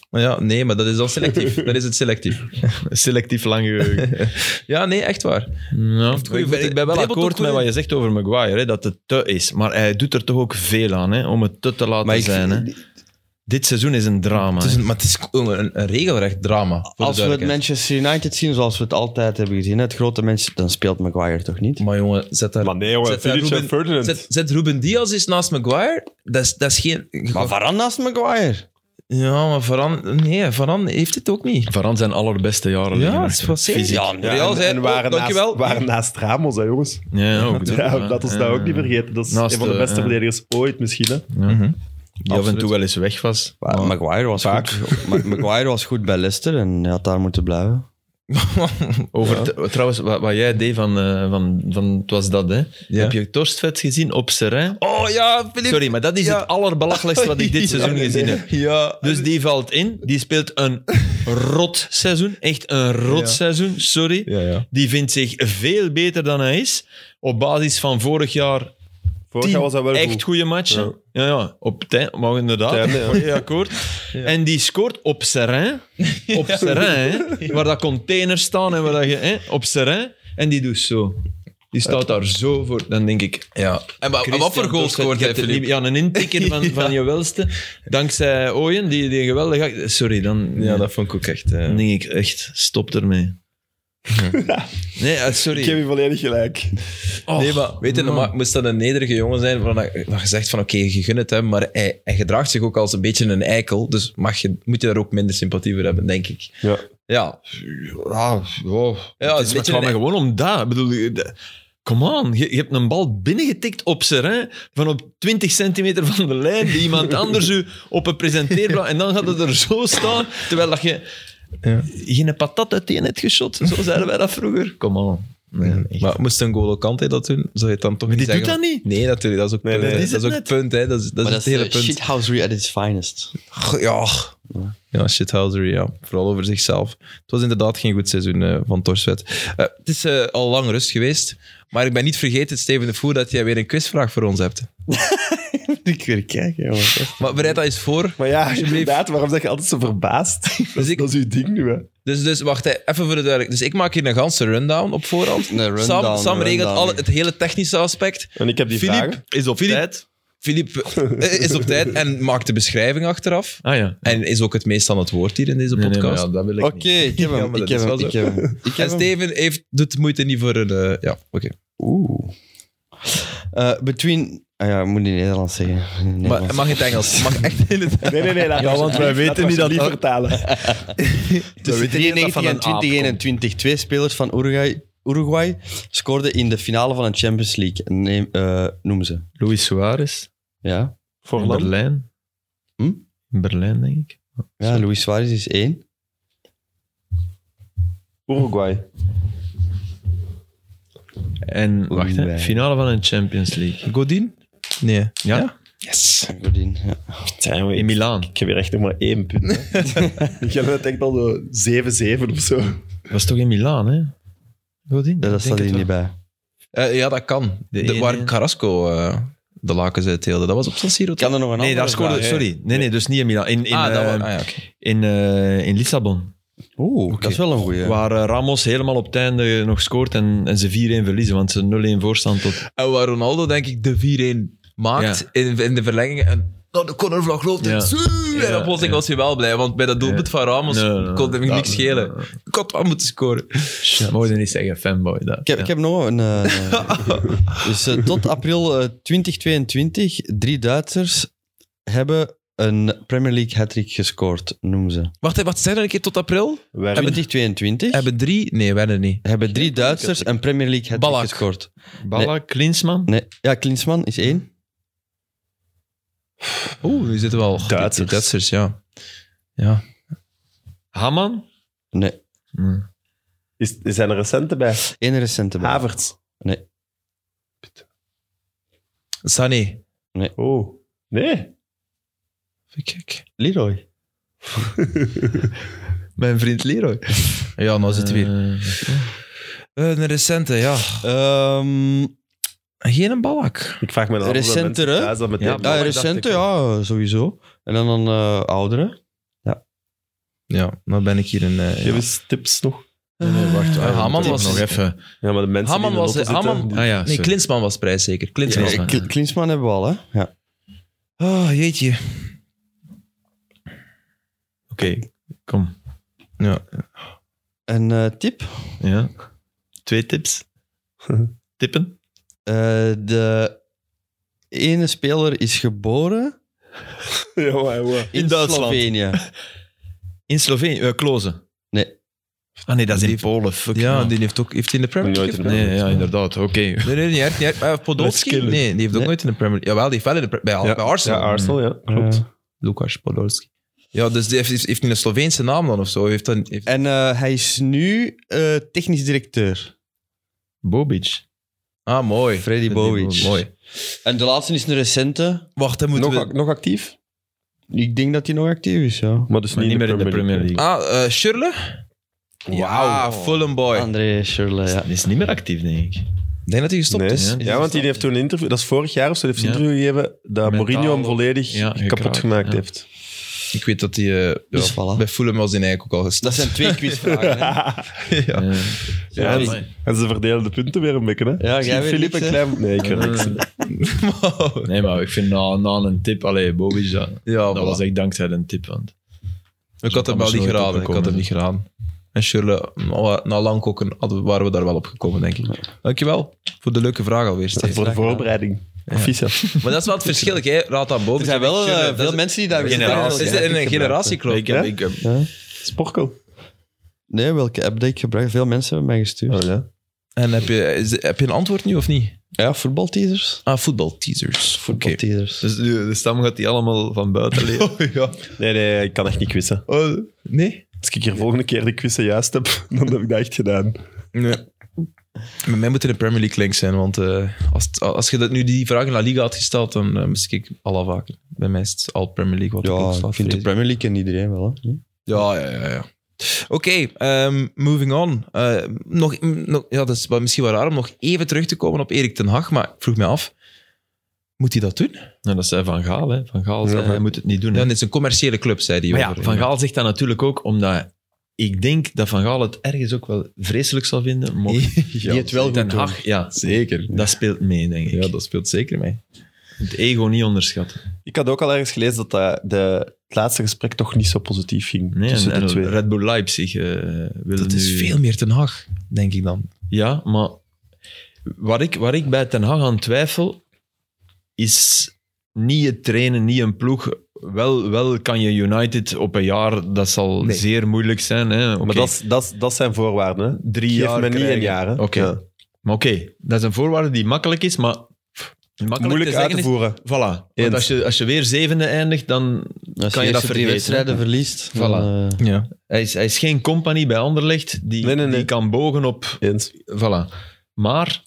Maar ja, nee, maar dat is dan selectief. dat is het selectief.
Selectief lang geheugen.
Ja, nee, echt waar.
Ja,
goede
ik, ben,
voeten.
ik ben wel
Dribbelt ook
akkoord
goed
met
in.
wat je zegt over Maguire, hè, dat het te is. Maar hij doet er toch ook veel aan hè, om het te te laten
ik
zijn. Hè. Dit seizoen is een drama.
Het is
hè.
een, maar het is een, een, een regelrecht drama. Voor
Als
de
we het
duidelijkheid.
Manchester United zien zoals we het altijd hebben gezien, het grote mensen, dan speelt Maguire toch niet?
Maar jongen, zet daar...
Maar nee, jongen,
zet, daar
Philippe
Ruben,
Ferdinand.
zet, zet Ruben Diaz eens naast Maguire. Dat is, dat is geen...
Maar Varane naast Maguire.
Ja, maar Varane... Nee, Varane heeft het ook niet.
Varane zijn allerbeste jaren. liggen
Ja,
nog.
het is wel zeker.
Ja,
Ja,
Real
en,
zei,
en waren,
oh, dankjewel.
naast, waren naast Ramos, hè, jongens.
Ja, ook. dat,
Ja,
hè.
dat ons dat ook niet eh, vergeten. Dat is
Naast
een van de
de-
beste
ja.
verdedigers ooit misschien. Hè.
Ja. Die af en
Absoluut.
toe wel eens weg was.
Maar Maguire was, goed, Ma- Maguire was goed bij Leicester en hij had daar moeten blijven.
Over t- Trouwens, wat, wat jij deed van, eh, van, van het was dat, hè?
Ja.
Heb je Torstvet gezien op Serrain?
Oh ja, Filip.
Sorry, maar dat is
Ja.
het allerbelachelijkste wat ik dit seizoen gezien heb.
Ja.
Dus die valt in, die speelt een rot seizoen, echt een rot
Ja.
seizoen, sorry.
Ja, ja.
Die vindt zich veel beter dan hij is. Op basis van vorig jaar
Vorig
tien
jaar was dat wel
echt
goed.
goede matchen. Ja, ja, op tijd, maar inderdaad.
Op het einde, ja.
Volledig akkoord. En die scoort op Serrain. Op Serrain, hè, waar dat containers staan en waar dat je... Hè, op Serrain. En die doet zo. Die staat daar zo voor. Dan denk ik...
ja. En, wa- en Ah, wat voor
Christian
goal
Torstelt,
scoort
je
hij,
hebt het
Filip?
niet- Ja, een intikker van, van je welste. Dankzij Ooyen, die, die geweldig... act- Sorry, dan...
Ja, dat vond ik ook echt... eh,
Dan denk ik echt, stop ermee. Nee, eh, sorry.
Ik heb je volledig gelijk.
Och,
nee, maar Oh. weet je,
man.
normaal moest dat een nederige jongen zijn waarvan je- dat je zegt van oké, je gunt het hem, maar hij, hij gedraagt zich ook als een beetje een eikel, dus mag je, moet je daar ook minder sympathie voor hebben, denk ik.
Ja.
Ja.
Ja, wow.
Ja,
het
een beetje
is maar het gaat
een-
me gewoon om dat. Ik bedoel, eh, de- come on. Je, je hebt een bal binnengetikt op Serrain van op 20 centimeter van de lijn die iemand anders u op een presenteerblad en dan gaat het er zo staan, terwijl dat je geen patat uiteen hebt geschot. Zo zeiden wij dat vroeger. Come on. Nee, echt.
Maar moest een Golo Kante dat doen, zou je het dan toch niet
die doet
zeggen?
dat niet.
van- Nee, natuurlijk, dat is ook
Nee,
punt,
nee,
hè.
dat is
dat is
het
ook het punt, hè. Dat is, dat is
Maar
het hele
de
punt.
shithousery at its finest.
Goh, Ja. Ja, shithousery, ja. Vooral over zichzelf. Het was inderdaad geen goed seizoen eh, van Torsvet. Eh, het is eh, al lang rust geweest, maar ik ben niet vergeten, Steven de Voer, dat jij weer een quizvraag voor ons hebt.
Ik weer kijken, jongen.
Maar bereid dat eens voor.
Maar ja,
Alsjeblieft.
inderdaad, waarom ben je altijd zo verbaasd?
Dus ik,
Dat is uw ding nu, hè.
Dus, dus wacht, hè, even voor de duidelijkheid. Dus ik maak hier een ganse rundown op voorhand.
Een rundown,
Sam, Sam
een
regelt
rundown.
alle, het hele technische aspect.
En ik heb die
Philippe,
vragen.
is op
Filip-
tijd.
Filip eh, is op tijd en maakt de beschrijving achteraf.
Ah ja.
En is ook het meest aan het woord hier in deze
Nee, nee,
podcast.
maar ja, dat wil ik
Oké,
niet.
ik heb
Ja,
hem.
maar
Ik
dat
heb
is
hem.
wel
Ik heb hem. Ik
en
heb hem.
Steven heeft, doet de moeite niet voor een... eh, ja, oké.
Oeh. Eh, between... Ah ja, ik moet in Nederlands zeggen. In
Maar
Nederlands.
mag in het Engels? Mag echt in het
Nee, nee, nee. Ja, want wij weten niet dat... Niet vertalen.
Tussen
weten niet dat dat
93
van
en
een aap
2021. Twee spelers van Uruguay, Uruguay scoorden in de finale van de Champions League. Neem, eh, noem ze.
Luis Suarez.
Ja.
In
Voorland.
Berlijn.
Hm?
In Berlijn, denk ik.
ja, Luis Suarez is één.
Uruguay.
En, wacht, hè,
Oei.
finale van een Champions League.
Godin? Nee.
Ja?
Yes.
Godin, ja.
Zijn
In Milaan.
Ik heb weer echt nog maar één punt. hè. ik heb net echt al zo 7-7 of zo.
Dat was toch in Milaan, hè? Godin?
Ja, dat staat hier niet bij.
Eh, ja, dat kan.
De
De, waar
ene-
Carrasco eh, de lakens uitdeelde. Dat was op San Siro.
Kan er nog een
Nee,
andere
daar scoorde...
vraag, hè?
Sorry. Nee, nee, dus niet in Milaan. In, in,
ah, dat
eh,
was, ah, ja, oké.
in, eh, in Lissabon.
Oeh, dat is wel een goeie.
Waar eh, Ramos helemaal op het einde nog scoort en, en ze 4-1 verliezen, want ze 0-1 voorstand tot...
En waar Ronaldo, denk ik, de 4-1 maakt
Ja.
in, in de verlenging. En oh, de corner vlag loopt.
Ja.
En, zo, en
Ja,
oplossing
ja.
was hij wel blij, want bij dat doelpunt
Ja.
van Ramos
Nee, nee, nee.
kon hem
Ja,
niks
nee,
schelen.
nee, nee.
Ik had wel moeten scoren.
Dat moet je niet zeggen, fanboy. Dat.
Ik heb,
Ja.
ik heb nog een. eh, eh, dus eh, tot april eh, 2022, drie Duitsers hebben een Premier League hat-trick gescoord, noemen ze.
Wacht, hè, wat zijn er een keer tot april?
Werner.
2022 hebben,
Hebben drie? Nee, werden niet.
drie Duitsers een Premier League hat-trick
Ballack.
gescoord.
Balla, Klinsman.
Nee, ja, Klinsman is één.
Oeh, nu zitten we al.
Duitsers.
Die Duitsers, ja. Ja.
Haman.
Nee,
Hm.
Is, zijn er recente bij?
één recente. bij.
Havertz.
Sané.
Oh. Nee.
Even kijken.
Leroy.
Mijn vriend Leroy.
Ja, nou zitten we weer.
Eh,
Eh, een recente, ja.
Ehm,
Geen een balak.
Ik vraag me dan af of dat
Recentere?
mensen thuis dat meteen-
Ja,
ja,
dacht
recente,
ik
ja, sowieso. En dan een eh, oudere.
Ja, nou ben ik hier een... eh,
Geef eens tips nog.
nee, nee, wacht.
Eh,
wacht,
Haman
wacht,
was-
Nog even.
Ja, maar de mensen
Haman
die in de
was-
auto zitten,
Haman-
die-
Ah ja,
nee,
sorry.
Klinsman was prijszeker. Klinsman.
Ja,
Eh, Kl- Klinsman hebben we al, hè? Ja.
Oh, jeetje.
Oké, kom.
Een eh, tip?
Ja. Twee tips. Tippen.
Eh, de ene speler is geboren
Ja, maar, jongen.
in,
In Duitsland.
Slovenië.
In Slovenië, eh, Klozen.
Nee.
Ah nee, dat is in
Die-
Polen. Fuck
Ja,
man.
die heeft ook heeft hij in de Premier League
Nooit in
gespeeld?
de-
Nee, ja, inderdaad. Oké.
Nee, nee, niet echt. Niet echt. Maar Podolski?
Let's kill it.
Nee, die heeft ook
Nee.
nooit in de Premier League... Jawel, die heeft wel in de, pre- bij,
Ja,
bij Arsenal.
Ja, Arsenal, ja. Klopt.
Lucas Podolski. Ja, dus die heeft, heeft heeft hij een Sloveense naam dan of zo? Heeft dan, heeft...
En eh, hij is nu eh, technisch directeur.
Bobic.
Ah, mooi.
Freddy Bobic.
Mooi.
En de laatste is een recente.
Wacht, dan moeten
Nog,
we...
ac- nog actief?
Ik denk dat hij nog actief is, ja.
Maar dus
Maar
niet, meer in de Premier League.
Ah, eh Shirley? Ja, Fulham boy.
André Schurle, ja.
Ah, Die is niet meer actief, denk ik.
Ik denk dat hij gestopt
Nee.
is.
Ja.
Ja, want die heeft toen een interview, dat is vorig jaar of zo, die heeft een
Ja.
interview gegeven dat
Mentaal
Mourinho hem
ook.
volledig
Ja,
kapot
gekraakt,
gemaakt
ja.
heeft.
Ik weet dat hij... eh, ja,
Dus voilà.
Bij Fulham was hij eigenlijk ook al
Dat
gestopt.
zijn twee quizvragen. hè.
Ah. Ja.
Ja, dat is- En ze verdelen de punten weer een beetje, hè?
jij
Misschien
weet
Philippe
niks,
een
hè?
klein... Nee, ik weet niks.
Nee, maar ik vind na, na een tip, allee, Bobic, dat,
ja,
dat
voilà.
was echt dankzij een tip. Want
Ik had hem wel
anders
niet
nooit
geraden. Ik
opgekomen.
had hem niet geraden. En Shirley, na- na lang koken hadden we- waren we daar wel op gekomen, denk ik. Dankjewel voor de leuke vraag alweer, Steven.
Voor de voorbereiding. Proficiat.
Maar dat is wel het verschil. Jij raadt aan boven.
Er zijn wel
Shirley,
eh,
dat is-
veel mensen die daar weer
Generatie. Is
zitten.
er een generatiekloof?
ik heb,
Ja?
ik heb,
Sporkel.
Nee, welke app dat ik gebruik? Veel mensen hebben mij gestuurd.
Oh, ja.
En heb je, is- heb je een antwoord nu of niet?
Ja, voetbalteasers.
Ah, voetbalteasers. Oké.
Voetbalteasers.
dus de, de stam gaat die allemaal van buiten leren.
Nee, nee, ik kan echt niet quizzen.
Oh, nee?
Als ik hier volgende keer de quizzen juist heb, dan heb ik dat echt gedaan.
Nee. Met mij moet er een Premier League link zijn, want eh, als, het- als je dat nu die vraag in La Liga had gesteld, dan eh, moest ik al vaker. Bij mij is het al Premier League wat ik
Ja,
opstaat,
ik vind de
vrees ik.
Premier League en iedereen wel. Hè?
Ja, ja, ja. ja. Oké, ehm, moving on. Eh, nog, m- nog, ja, dat is wel- misschien wel raar om nog even terug te komen op Erik ten Hag, maar ik vroeg mij af, moet hij dat doen?
Nou, dat zei Van Gaal. Hè. Van Gaal zei,
Ja.
hij moet het niet doen. hè.
Dan is een commerciële club, zei hij.
Maar ja,
over- eh,
Van Gaal zegt dat natuurlijk ook omdat ik denk dat Van Gaal het ergens ook wel vreselijk zal vinden. Maar
ja,
Die het wel goed
Ten
doen.
Hag, ja,
Zeker.
dat speelt mee, denk ik.
Ja, dat speelt zeker mee.
Het ego niet onderschatten.
Ik had ook al ergens gelezen dat dat de, het laatste gesprek toch niet zo positief ging
Nee,
tussen
en-
de
en
twee.
Red Bull Leipzig eh wil
Dat is
nu-
veel meer ten Hag, denk ik dan.
Ja, maar wat ik, wat ik bij Ten Hag aan twijfel, is niet het trainen, niet een ploeg. Wel, wel kan je United op een jaar, dat zal
Nee.
zeer moeilijk zijn. Hè? Oké.
Maar dat, is- dat, is- dat zijn voorwaarden. Hè?
drie
Geef
jaar
me niet
krijgen.
een jaar. hè.
Oké.
Ja.
Maar oké, dat is een voorwaarde die makkelijk is, maar pff, makkelijk
Moeilijk
te
uit
zeggen
te
is-
voeren.
Voilà. Want
Eens.
als je, als je weer zevende eindigt, dan...
Als
Kan je
je
dat
dat drie
vergeten,
wedstrijden
hè?
verliest,
Voilà.
dan, eh,
Ja.
Hij is, hij is geen compagnie bij Anderlecht die,
Nee, nee, nee.
die kan bogen op...
Eens.
Voilà. Maar,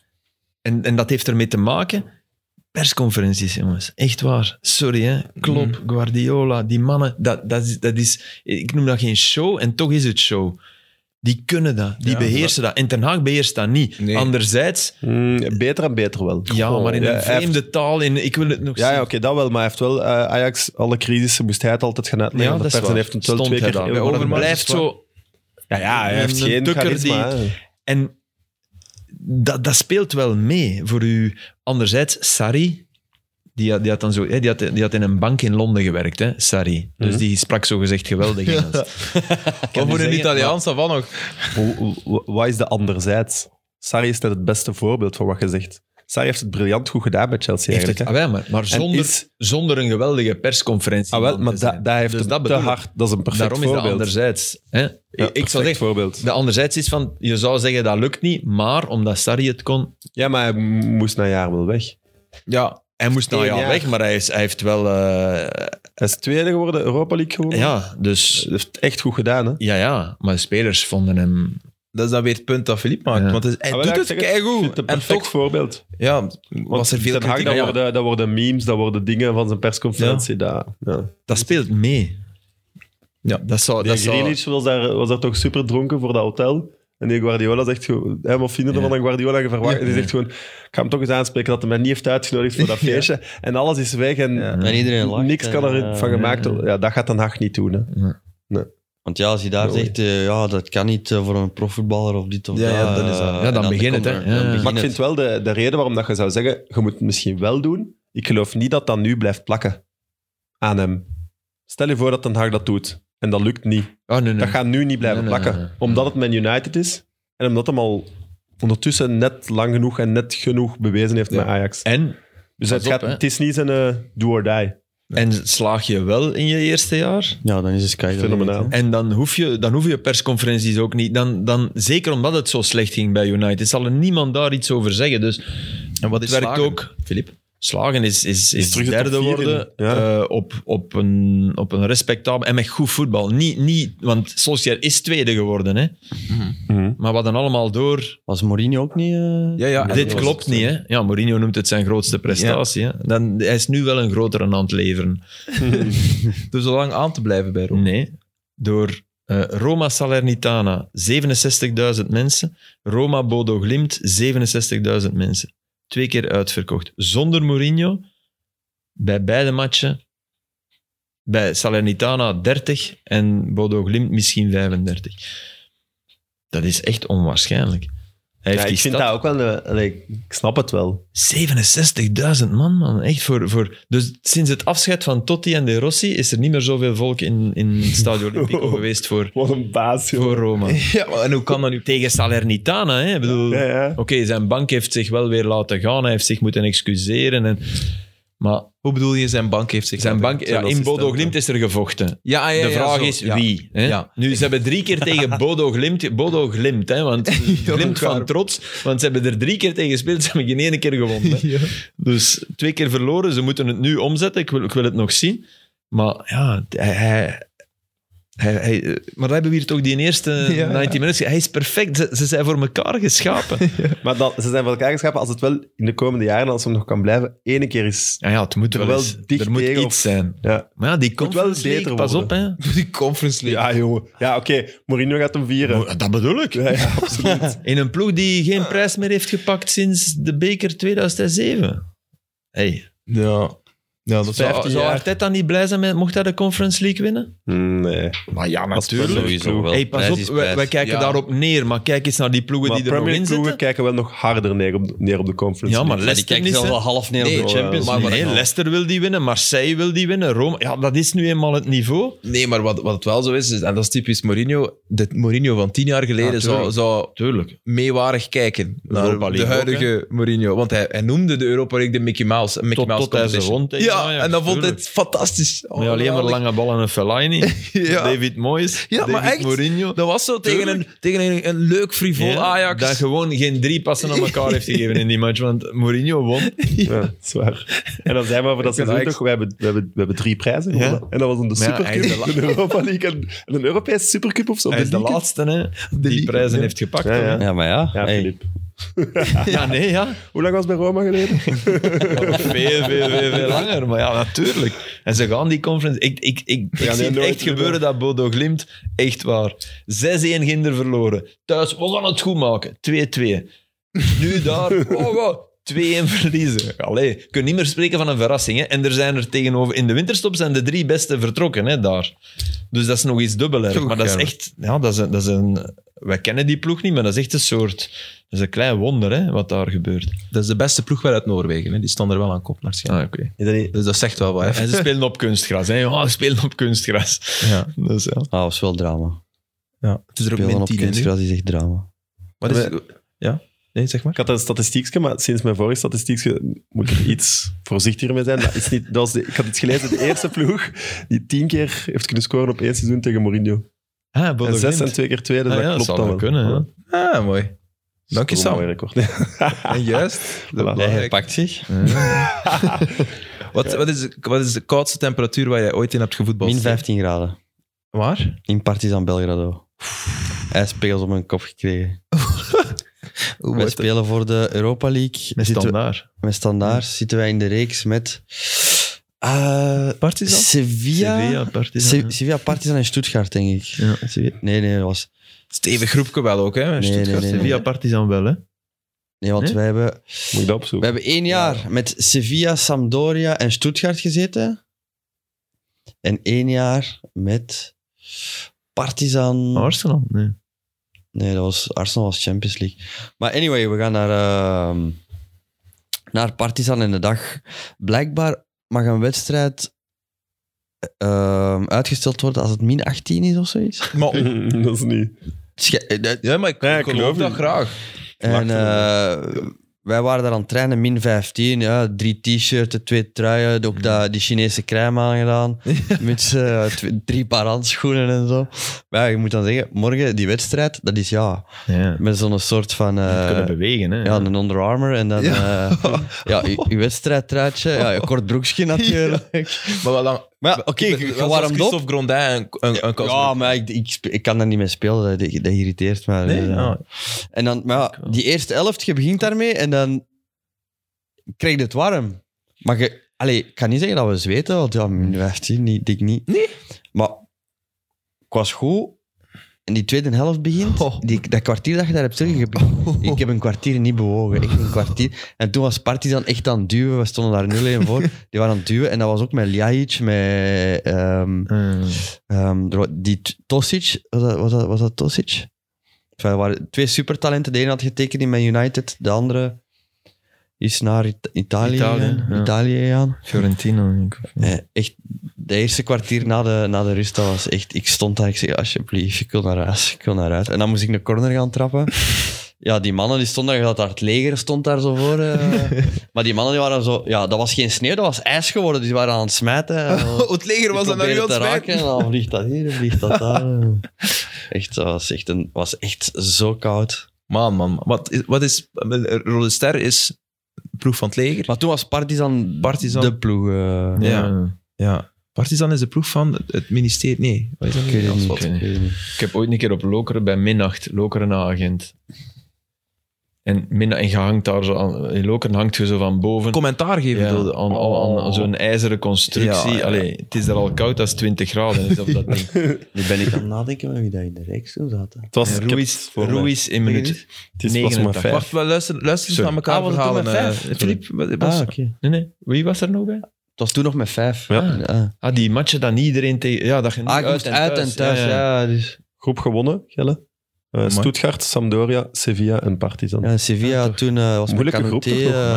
en, en dat heeft ermee te maken, persconferenties, jongens. Echt waar. Sorry, hè. Klopp,
Mm.
Guardiola, die mannen, dat, dat, is, dat is... Ik noem dat geen show, en toch is het show. Die kunnen dat, die
Ja,
beheersen dat. En Ten Haag beheerst dat niet.
Nee.
Anderzijds,
Mm, beter en beter wel.
ja,
Goh,
maar in
ja,
een
hij heeft-
vreemde taal, in, ik wil het nog
Ja, ja
zien.
oké, dat wel. Maar hij heeft wel eh, Ajax, alle crisissen moest hij het altijd gaan uitleggen.
Ja,
aan de
dat is
pers en
waar.
heeft hem wel
Stond
twee
hij
keer...
daar.
heel
Maar
goed
het
Overmars
gemaakt.
is waar.
blijft zo...
Ja, ja, hij heeft
een
geen
tukker
charisma.
die-
hè.
En dat, dat speelt wel mee voor u. Anderzijds, Sarri, die, had- die, had dan zo, hè, die, had, die had in een bank in Londen gewerkt, hè, Sarri. Dus
Mhm.
die sprak zogezegd geweldig Engels.
Of voor een Italiaans, dat van nog.
Hoe- hoe- hoe- Wat is de anderzijds? Sarri is net het beste voorbeeld van wat je zegt. Sarri heeft het briljant goed gedaan bij Chelsea
Heeft
eigenlijk.
het,
hè.
ah, wel, maar, maar
En
zonder,
is-
zonder een geweldige persconferentie.
Ah, wel,
man
maar
te
da,
zijn.
daar heeft
Dus
hem
dat
te
bedoel ik.
hard. Dat is een perfect
Daarom is dat
voorbeeld.
anderzijds. Hè?
Ja,
ik
perfect
zou zeggen,
voorbeeld.
de anderzijds is van, je zou zeggen dat lukt niet, maar omdat Sarri het kon,
Ja, maar hij moest na een jaar wel weg.
Ja.
hij moest nou
Eén
ja
jaar.
weg, maar hij, is, hij heeft wel... eh,
Hij is tweede geworden, Europa League geworden.
ja, dus...
Hij heeft het echt goed gedaan, hè?
Ja, ja, maar de spelers vonden hem
Dat is dan weer het punt dat Philippe maakt.
Ja.
Want het- hij
Ah,
doet
wel, ja,
het
ik zeg het, Ik vind
keigoed.
het een
En
perfect
toch
voorbeeld.
ja, was er veel
Ten Hag,
kritiek.
dat,
Ja.
worden, dat worden memes, dat worden dingen van zijn persconferentie. daar. ja.
Dat speelt mee. Ja, dat zou...
Die
Dat zou
Grealish was daar, was daar toch super dronken voor dat hotel. En die Guardiola zegt gewoon... Hè, wat vinden we
Ja.
van een Guardiola? Je verwacht,
Ja.
en die zegt gewoon... Ik ga hem toch eens aanspreken dat hij mij niet heeft uitgenodigd voor dat feestje. En alles is weg en
En iedereen lacht.
niks kan er
eh,
van gemaakt
ja.
worden. Ja, dat gaat Den Haag niet doen. Hè.
Want ja, als je daar
Mooi.
zegt, eh, ja, dat kan niet eh, voor een profvoetballer of dit of
Ja,
dat.
ja, dan
eh,
is dat- ja,
en
dan begint het, hè.
komt er- dan
Ja.
begint
Maar ik
het.
vind wel de, de reden waarom dat je zou zeggen... Je moet het misschien wel doen. Ik geloof niet dat dat nu blijft plakken aan hem. Stel je voor dat Den Haag dat doet. En dat lukt niet.
oh, nee, nee.
Dat gaat nu niet blijven
Nee, nee,
plakken.
nee, nee.
Omdat het Man United is. En omdat hem al ondertussen net lang genoeg en net genoeg bewezen heeft
Ja.
met Ajax.
En,
Dus het,
pas op,
gaat,
hè.
het is niet zijn eh, do or die.
en slaag je wel in je eerste jaar?
Ja, dan is het Sky.
Fenomenaal.
En dan hoef je, dan hoef je persconferenties ook niet. Dan, dan, zeker omdat het zo slecht ging bij United, zal er niemand daar iets over zeggen. Dus
En wat
het
is
werkt
slagen?
ook... Filip? slagen is, is, is,
Is terug de top
derde
vier in.
worden
Ja.
eh, op, op, een, op een respectabel en met goed voetbal. Niet, niet, want Solskjaer is tweede geworden, hè?
Mhm.
Mhm.
maar we hadden allemaal door
Was Mourinho ook niet... eh,
Ja, ja, en Ah,
dit
dat was
klopt
het,
niet, hè? Ja, Mourinho noemt het zijn grootste prestatie. Hè? Dan, hij is nu wel een grotere aan het leveren.
Dus zo lang aan te blijven bij Rome.
Nee. Door eh, Roma Salernitana 67.000 mensen. Roma Bodo Glimt 67.000 mensen. Twee keer uitverkocht. Zonder Mourinho bij beide matchen. Bij Salernitana 30 en Bodo Glimt misschien 35. Dat is echt onwaarschijnlijk. Hij heeft
Ja,
die
ik vind
stad-
dat ook wel... een- allee, ik snap het wel.
67.000 man, man. Echt voor, voor... Dus sinds het afscheid van Totti en De Rossi is er niet meer zoveel volk in, in het Stadio Olimpico geweest voor,
Wat een baas,
voor Roma.
Ja, maar en hoe kan dat nu?
Tegen Salernitana, hè. Ik bedoel,
Ja, ja.
Oké, zijn bank heeft zich wel weer laten gaan. Hij heeft zich moeten excuseren. En, maar
Hoe bedoel je, zijn bank heeft zich...
zijn
laten-
bank... Ja, in Bodo Glimt is er gevochten.
Ja, ja, ja,
De vraag
zo,
is
ja.
wie. Hè?
Ja.
Nu, ze hebben drie keer tegen Bodo Glimt... Bodo Glimt, hè. Want Glimt van
waar.
trots. Want ze hebben er drie keer tegen gespeeld. Ze hebben geen ene keer gewonnen. hè. Dus twee keer verloren. Ze moeten het nu omzetten. Ik wil, ik wil het nog zien. Maar ja, hij... hij hij, hij- eh, maar we hebben we hier toch die eerste
ja.
19 minuten. Hij is perfect. Ze, ze zijn voor elkaar geschapen.
Maar dan, ze zijn voor elkaar geschapen als het wel in de komende jaren, als het nog kan blijven, ene keer is...
Ja, ja het moet
Er
wel,
wel
eens-
dicht
Er moet
tegen
iets
of-
zijn.
Ja,
Maar ja, die komt wel
wel beter
beter Pas op, hè.
Die conference league.
ja jongen. Ja, oké. Mourinho gaat hem vieren.
Dat bedoel ik.
Ja, ja, absoluut.
In een ploeg die geen prijs meer heeft gepakt sinds de beker 2007. Hey,
Ja. Ja, dat
zou,
15
zou
jaar.
Arteta niet blij zijn met, mocht hij de Conference League winnen?
Nee.
Maar ja,
Sowieso wel.
Hey, pas
Prijs
op,
is
wij,
prijs.
wij kijken
Ja.
daarop neer, maar kijk eens naar die ploegen
Maar
die er nog
Premier
in
League ploegen
zitten.
kijken wel nog harder neer op, neer op de conference.
Ja, maar
League.
Ja,
Leicester
die kijkt
niet,
zelf
hè?
wel half eh, neer op
Nee,
de
Champions
Maar,
League.
maar-
Nee, Leicester wil die winnen, Marseille wil die winnen, Rome. Ja, dat is nu eenmaal het niveau.
Nee, maar wat, wat het wel zo is, is- en dat is typisch Mourinho, de Mourinho van tien jaar geleden
Ja, tuurlijk.
zou, zou
Tuurlijk.
meewarig kijken naar
Europa
de
League
huidige Mourinho. Want hij, hij noemde de Europa League de Mickey Mouse. Mickey
Tot,
Mouse
tot hij ze
competition.
won tegen
Ja,
Ajax,
en dan vond hij
tuurlijk.
het fantastisch.
Met alleen maar lange ballen en Fellaini.
Ja.
David Moyes,
Ja,
David
maar echt.
Mourinho.
Dat was zo tegen een,
Tuurlijk.
tegen een, een leuk frivol
Ja,
Ajax.
Dat gewoon geen drie passen aan elkaar heeft gegeven in die match. Want Mourinho won.
Ja, dat is waar. En dan zijn we voor dat
Ik
seizoen
vind
toch... We hebben, we, hebben, we hebben drie prijzen
Ja.
gewonnen. En dat was dan de
Maar ja,
Supercup,
hij is
de Europa League en, en een Europese Supercup of zo.
Hij
de
is de
League.
laatste hè, die
Ligue,
prijzen
ja.
heeft gepakt.
Ja, ja.
hè.
ja, maar ja.
Ja,
hey.
Filip.
Ja, nee, ja.
Hoe lang was het bij Roma geleden?
Veel, veel, veel, veel langer. Maar ja, natuurlijk. En ze gaan die conference... Ik, ik, ik, ik
gaan
zie
die
het
nooit
echt
winnen.
gebeuren dat Bodo Glimt. Echt waar. 6-1 ginder verloren. Thuis, we gaan het goed maken. 2-2. Nu daar, oh, wow. 2-1 verliezen. Allee, je kunt niet meer spreken van een verrassing. Hè? En er zijn er tegenover... In de winterstop zijn de drie beste vertrokken hè, daar. Dus dat is nog iets dubbel erg.
Toch,
Maar dat is
ja.
echt... Ja, dat is een, dat is een, wij kennen die ploeg niet, maar dat is echt een soort... Dat is een klein wonder hè, wat daar gebeurt.
Dat is de beste ploeg wel uit Noorwegen. Hè. Die staan er wel aan kop naar schijn.
Ah, oké.
Is dat niet...
Dus dat zegt wel wat. hè.
En ze spelen op kunstgras. Hè? Ja, ze spelen op kunstgras.
Ja.
Dus, ja.
Ah, dat is wel drama.
Ja. Het is er ook
Spelen
min
op
10 in nu.
kunstgras is echt drama.
Wat is... Ja? Nee, zeg maar.
Ik had een statistiekje, maar sinds mijn vorige statistiekje moet ik er iets voorzichtiger mee zijn. Dat is niet, dat was de, ik had iets gelezen, de eerste ploeg die tien keer heeft kunnen scoren op één seizoen tegen Mourinho.
Ah, Bodo
en zes
Glimt.
en twee keer twee, dus
Ah
dat
ja,
klopt
zou
dan
wel kunnen, ja.
Ah, mooi. Dank je,
Dat is toch een
Sam.
mooi record.
En juist. dat
Voilà.
belangrijk.
pakt zich.
Wat, wat, is, wat is de koudste temperatuur waar jij ooit in hebt gevoetbald?
Min 15 graden.
Waar?
In Partizan Belgrado. IJspegels op mijn kop gekregen. Wij spelen voor de Europa League.
Met
Zitten we-
standaard.
met standaard zitten wij in de reeks met eh, Sevilla.
Sevilla, Partizan.
Se- Sevilla, Partizan en Stuttgart, denk ik.
Ja.
Sevilla- Nee, nee, dat was
Stevig groepje wel ook, hè?
nee,
Stuttgart.
nee, nee.
Sevilla, Partizan wel, hè?
Nee, want
Nee?
wij hebben,
Moet ik dat
we
opzoeken?
hebben één jaar met Sevilla, Sampdoria en Stuttgart gezeten. En één jaar met Partizan.
Arsenal, nee.
Nee, dat was, Arsenal was Champions League. Maar anyway, we gaan naar, ehm, naar Partizan in de dag. Blijkbaar mag een wedstrijd ehm, uitgesteld worden als het min 18 is of zoiets.
Maar,
dat is niet...
Sche- eh, dat-
ja, maar ik,
Ja, ik
geloof
geloof
dat
u.
graag.
En
Wacht,
eh, wij waren daar aan het trainen, min 15. Ja, drie t-shirts, twee truien, ook dat, die Chinese crème aangedaan. Met eh, tw- drie paar handschoenen en zo. Maar ja, je moet dan zeggen, morgen die wedstrijd, dat is ja,
Ja.
met zo'n soort van... eh,
kunnen bewegen, hè.
ja, een Under Armour en dan ja. ja, je, je wedstrijdtruitje. Ja, je kort broekje natuurlijk.
Maar wel lang.
Maar ja, oké, je
Wel zoals
warmt op.
Christophe Grondin een, een, een kans-
Ja, maar ik, ik, spe- ik kan daar niet mee spelen. Dat, dat irriteert me. Dus,
Nee?
Ja.
Ah.
En dan, maar ja,
oh.
die eerste elft, je begint daarmee en dan krijg je het warm. Maar je, allee, ik kan niet zeggen dat we zweten, want ja, min 15, niet, dik niet.
Hmm. Nee.
Maar ik was goed. En die tweede helft begint,
Oh.
die, dat kwartier dat je daar hebt zitten, je begint- ik heb een kwartier niet bewogen. Echt een kwartier. En toen was Partizan echt aan het duwen. We stonden daar 0-1 voor. Die waren aan het duwen. En dat was ook met Ljajic, met... ehm,
Eh.
Ehm, er wa- die T- Tosic, was dat, was dat, was dat Tosic? Enfin, er waren twee supertalenten. De ene had getekend in Man United, de andere is naar It- Italië,
Italië,
Italië,
ja.
aan.
Fiorentino, denk ik.
Eh, echt, de eerste kwartier na de, na de rust, dat was echt... Ik stond daar, ik zei, alsjeblieft, ik wil naar huis, ik wil naar huis. En dan moest ik een corner gaan trappen. Ja, die mannen die stonden daar, je had daar het leger stond daar zo voor. eh. maar die mannen die waren zo... Ja, dat was geen sneeuw, dat was ijs geworden. Dus die waren aan het smijten. Eh, En-
Oh, het leger was
je
dan naar u aan
probeert
het
te
smijten.
raken en dan vliegt dat hier, vliegt dat daar. Echt, dat was echt, een, was echt zo koud.
Man, man. Wat is, wat is eh, Rode Ster is ploeg van het leger.
Maar toen was Partizan,
Partizan.
de ploeg. eh,
Ja. Ja. Partizan is de ploeg van het ministerie. Nee, wat is dat
Ik weet het
nu?
niet.
Wat-
ik weet het niet.
Ik heb ooit een keer op Lokeren bij Minnacht, Lokeren na agent. En, minna, en je hangt daar zo aan, in Lokeren hangt je zo van boven.
Commentaar geven.
Ja,
bedoelde.
aan, aan, aan
Oh.
zo'n ijzeren constructie.
Ja, ja.
Allee, het is daar al koud, dat is 20 graden. Is op dat ding.
Nu ben ik aan het nadenken met wie dat in de reeks toen zat. hè.
Het was ik heb
Ruiz,
het voor mij.
Ruiz in minuut
Het is pas maar
89.
vijf.
Wacht, wel, luister, luister eens
Sorry.
naar elkaar
Ah, was het toen
verhalen.
met
eh, Ah,
vijf? Sorry.
Filip, wat- Bas,
Ah,
Nee, nee. Wie was er nog bij?
Het was toen nog met vijf.
Ja.
Ja.
Ah, die matchen dan iedereen tegen... Ja, dat je niet
Ah, ik moest uit en thuis. Ja, dus.
Groep gewonnen, Gelle. Eh Stuttgart, Sampdoria, Sevilla en Partizan.
ja Sevilla toen eh, was met
Moeilijke groep
Canoté.
toch nog,
eh,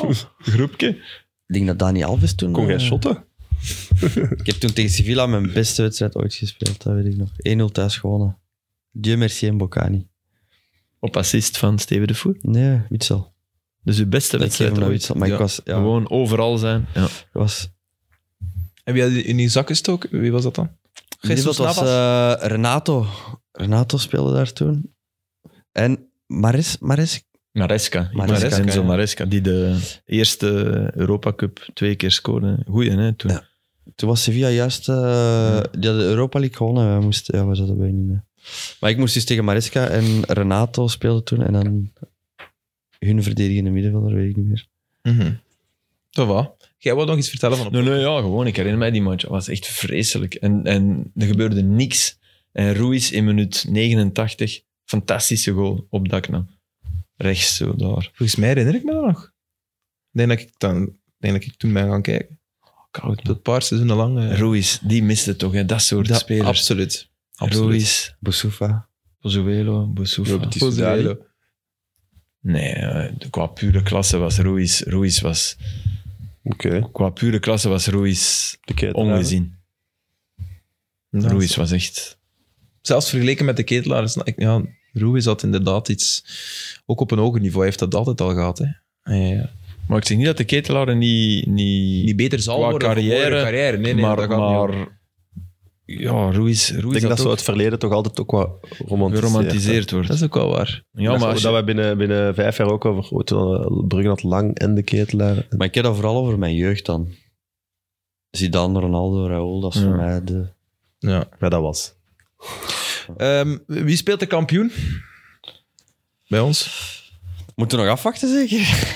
maar-
ja.
Groepje.
ik denk dat Dani Alves toen...
Kon jij
eh,
shotten?
Ik heb toen tegen Sevilla mijn beste wedstrijd ooit gespeeld, dat weet ik nog. 1-0 thuis gewonnen. Dieu merci en Bocani.
Op assist van Steven de Voer.
Nee, Witzel.
Dus uw beste
Ik geef
wedstrijd
hem nou
ooit.
Witzel, maar
Ja.
ik was... Ja,
Gewoon overal zijn. Ja.
ik was
En wie had die in die zak gestoken? Wie was dat dan?
Dit
Jesus
was
Navas?
eh, Renato. Renato speelde daar toen. En Maris, Maris
Maresca.
Maresca,
Maresca. Enzo
ja.
Maresca, die de eerste Europa Cup twee keer scoorde. Goeie, hè, toen.
Ja. toen was Sevilla juist... eh, die hadden Europa League gewonnen. We moesten, ja, we zaten bij niet meer. Maar ik moest dus tegen Mariska en Renato speelden toen. En dan hun verdedigende middenvelder, weet ik niet meer.
Mhm. Toch wel. Jij wou nog iets vertellen van op
Nee, nee, ja, gewoon. Ik herinner mij die match. Het was echt vreselijk. En, en er gebeurde niks. En Ruiz in minuut 89, fantastische goal op Dakna. Rechts zo daar.
Volgens mij herinner ik me dat nog. Ik denk dat ik, dan, ik denk dat ik toen ben gaan kijken.
Koud. man.
Tot een paar seizoenen lang. eh,
Ruiz, die miste toch, hè? dat soort
dat-
spelers.
Absoluut. Absoluut.
Ruiz,
Boussoufa.
Pozuelo, Boussoufa.
Robert
Pozuelo.
Nee, eh, qua pure klasse was Ruiz, Ruiz was,
Oké,
qua pure klasse was Ruiz
de ketelaar.
ongezien.
Ja.
Ruiz was echt...
Zelfs vergeleken met de ketelaars. nou, ik- Ja, Ruiz had inderdaad iets... Ook op een hoger niveau heeft dat altijd al gehad. Hè. Ja, ja, ja.
Maar ik zeg niet dat de ketelaar niet... niet,
Die beter zal
Qua
worden voor
carrière,
vorige carrière. Nee, nee,
maar,
dat gaat niet om.
maar ja, Ruiz,
Ik
Ruiz
denk dat,
had
zo
ook
het verleden toch altijd ook wat romantiseert.
geromantiseerd wordt.
Dat is ook wel waar.
ja, maar als
dat
je-
we binnen, binnen vijf jaar ook over oh, toen, eh, Brugge had lang en de ketelaar.
Maar ik heb dat vooral over mijn jeugd dan. Zidane, Ronaldo, Raúl, dat is
Ja.
voor mij de...
Ja.
Ja, dat was.
Ehm, wie speelt de kampioen? Bij ons?
Moeten we nog afwachten, zeker?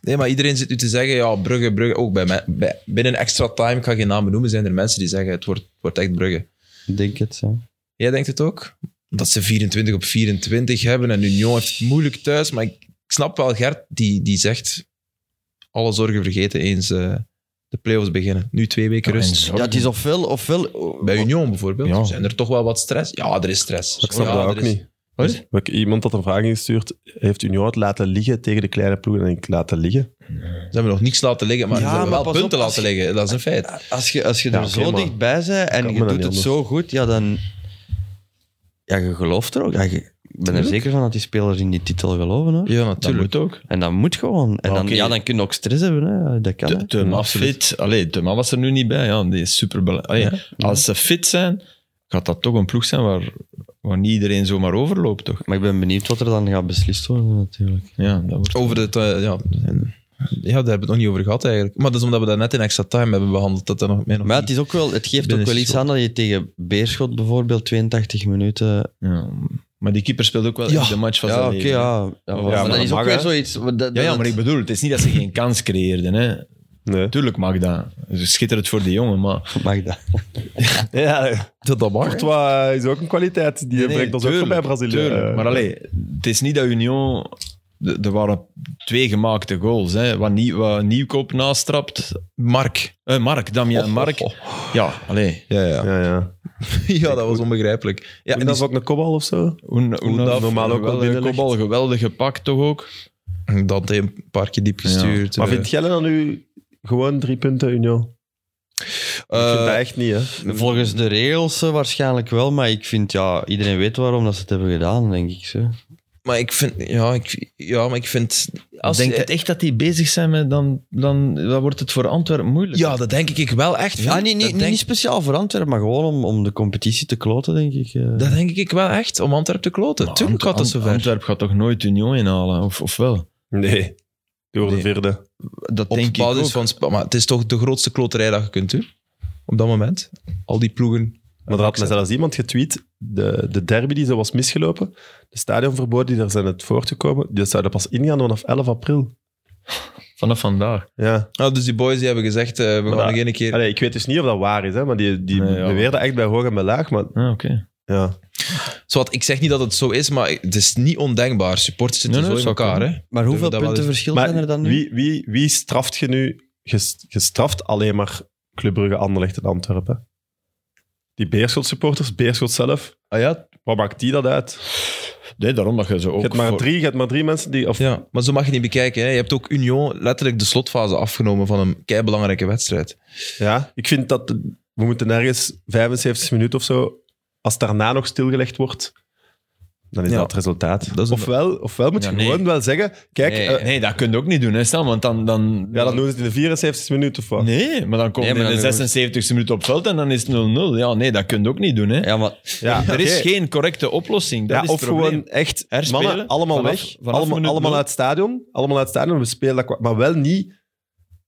Nee, maar iedereen zit nu te zeggen, ja, Brugge, Brugge. Ook bij mij. bij- binnen extra time, ik ga geen namen noemen, zijn er mensen die zeggen, het wordt, wordt echt Brugge.
Ik denk het, ja.
Jij denkt het ook? Omdat ze 24 op 24 hebben en Union heeft het moeilijk thuis. Maar ik, ik snap wel Gert, die, die zegt alle zorgen vergeten eens eh, de play-offs beginnen. Nu twee weken
en
rust.
zorgen.
Ja, het is ofwel... ofwel
Bij Union bijvoorbeeld
Ja.
zijn er toch wel wat stress. Ja, er is stress.
Ik
Oh
snap
Ja,
dat
er
ook
is-
niet.
Wat?
Ik- Dus Iemand had een vraag ingestuurd. Heeft Union het laten liggen tegen de kleine ploeg? En ik laten liggen.
Ze hebben nog niks laten liggen, maar
Ja,
ze hebben
maar
wel
pas
punten
op,
laten
als je-
liggen. Dat is een feit.
Als je, als je
Ja,
er
oké,
zo
maar
dichtbij bent
kan
en
me
je
dat
doet
niet
het
anders.
zo goed, ja, dan... Ja, je gelooft er ook. Ja, je, ben er zeker van dat die spelers in die titel geloven. Hè?
Ja,
Dat
natuurlijk.
moet ook.
En dat moet gewoon. En
Ja,
dan,
oké.
Ja, dan kun je ook stress hebben. Hè? Dat kan. hè.
Te- Teuma
absoluut.
fit. Allee, Teuma was er nu niet bij. Ja, die is superbelangrijk. Allee, Als ze fit zijn, gaat dat toch een ploeg zijn waar, waar niet iedereen zomaar overloopt, toch?
Maar ik ben benieuwd wat er dan gaat beslist worden, natuurlijk.
Ja, dat wordt...
Over het, eh, ja, en- ja, daar hebben we het nog niet over gehad eigenlijk. Maar dat is omdat we dat net in extra time hebben behandeld. Dat dat nog meer nog
Maar
niet-
het, is ook wel, het geeft
Ben
ook
is
wel iets
schot.
aan dat je tegen Beerschot bijvoorbeeld 82 minuten...
Ja. Maar die keeper speelt ook wel
Ja.
echt de match van
Ja,
zijn
oké,
leven.
ja. Ja, maar
maar
dat
dat
is ook
mag,
weer
hè.
zoiets... dat- dat-
Ja, ja, maar ik bedoel, het is niet dat ze geen kans creëerden. Hè.
Nee.
Tuurlijk mag dat. Dus Schitterend voor die jongen, maar...
Mag dat?
Ja,
dat dat mag.
Courtois is ook een kwaliteit. Die
Nee,
brengt ons ook
tuurlijk,
voorbij Brazilië.
tuurlijk.
Eh,
Maar allee, het is niet dat Union... de- Er waren twee gemaakte goals. Hè. Wat, Nieuw, wat Nieuwkoop nastrapt.
Mark.
Eh, Mark, Damian Mark. Ja, allee.
Ja, ja.
Oh, ja, ja.
ja, dat was onbegrijpelijk. Ja, en
En dat is
dat,
ook een kopbal of zo?
Oen- Oendaf,
normaal ook wel
geweldige
binnenlegt.
kopbal, geweldig gepakt toch ook.
dat heeft een paar keer diep gestuurd.
Maar
eh.
vindt Gelle dan nu gewoon drie punten, Union? ik vind dat
Eh,
echt niet, hè?
Volgens de regels eh, waarschijnlijk wel, maar ik vind, ja, iedereen weet waarom dat ze het hebben gedaan, denk ik. Zo.
maar ik vind... Ja, ik, ja maar ik vind... Als,
Denkt het echt dat die bezig zijn met... Dan, dan, dan wordt het voor Antwerpen moeilijk.
ja, dat denk ik wel echt.
Ja, niet,
dat
niet,
denk,
niet speciaal voor Antwerpen, maar gewoon om, om de competitie te kloten, denk ik. eh.
dat denk ik wel echt, om Antwerpen te kloten.
Maar
Tuurlijk
Nou, Ant-
gaat dat
Ant-
zover.
Antwerpen gaat toch nooit Union inhalen, of, of wel?
Nee. Door de
Nee.
vierde.
Dat
op
denk ik ook.
basis van... Spa- Maar het is toch de grootste kloterij dat je kunt doen? Op dat moment. Al die ploegen.
Maar er had me zelfs iemand getweet, de, de derby die zo was misgelopen, de stadionverboden die er zijn het voortgekomen, die zouden pas ingaan vanaf 11 april.
Vanaf vandaag.
Ja.
Ah, dus die boys die hebben gezegd, eh, we
Maar
gaan
dat-
nog één keer...
Allee, ik weet dus niet of dat waar is, hè, maar die, die
Nee, ja.
beweerden echt bij hoog en bij laag. Maar
Ah, oké.
ja,
Zowat, ik zeg niet dat het zo is, maar het is niet ondenkbaar. Supporters zitten
Nee, nee,
zo in
dat zou
elkaar. Hè?
maar hoeveel
dat wel
punten
eens-
verschil zijn er
maar
dan nu?
wie, wie, wie straft je nu? Ges- Je straft alleen maar Club Brugge, Anderlecht en Antwerpen. hè. Die Beerschot supporters, Beerschot zelf,
Ah ja,
wat maakt die dat uit?
nee, daarom dat je ze
Je
ook...
hebt maar
voor-
drie, je hebt maar drie mensen die... Of,
Ja, maar zo mag je niet bekijken. Hè? Je hebt ook Union letterlijk de slotfase afgenomen van een keibelangrijke wedstrijd.
Ja, ik vind dat we moeten ergens 75 minuten of zo, als het daarna nog stilgelegd wordt, dan is
Ja.
dat het resultaat.
Dat is een-
ofwel, ofwel moet je
Ja, nee.
gewoon wel zeggen, kijk,
Nee,
eh,
nee, dat kun je ook niet doen, hè, Stan, want dan... dan
ja, dan doen ze het in de 74 minuten of wat.
Nee, maar dan komt
Nee, maar
in
dan-
de 76e minuut op veld en dan is het 0-0. Ja, nee, dat kun je ook niet doen, hè.
Ja, maar
Ja,
er is
oké.
geen correcte oplossing. Dat
Ja,
is het
of
probleem.
gewoon echt
Herspelen,
mannen, allemaal
vanaf-
weg.
vanaf
allemaal
minuut
allemaal
nul.
uit het stadion. Allemaal uit het stadion. We spelen dat, kwa- maar wel niet...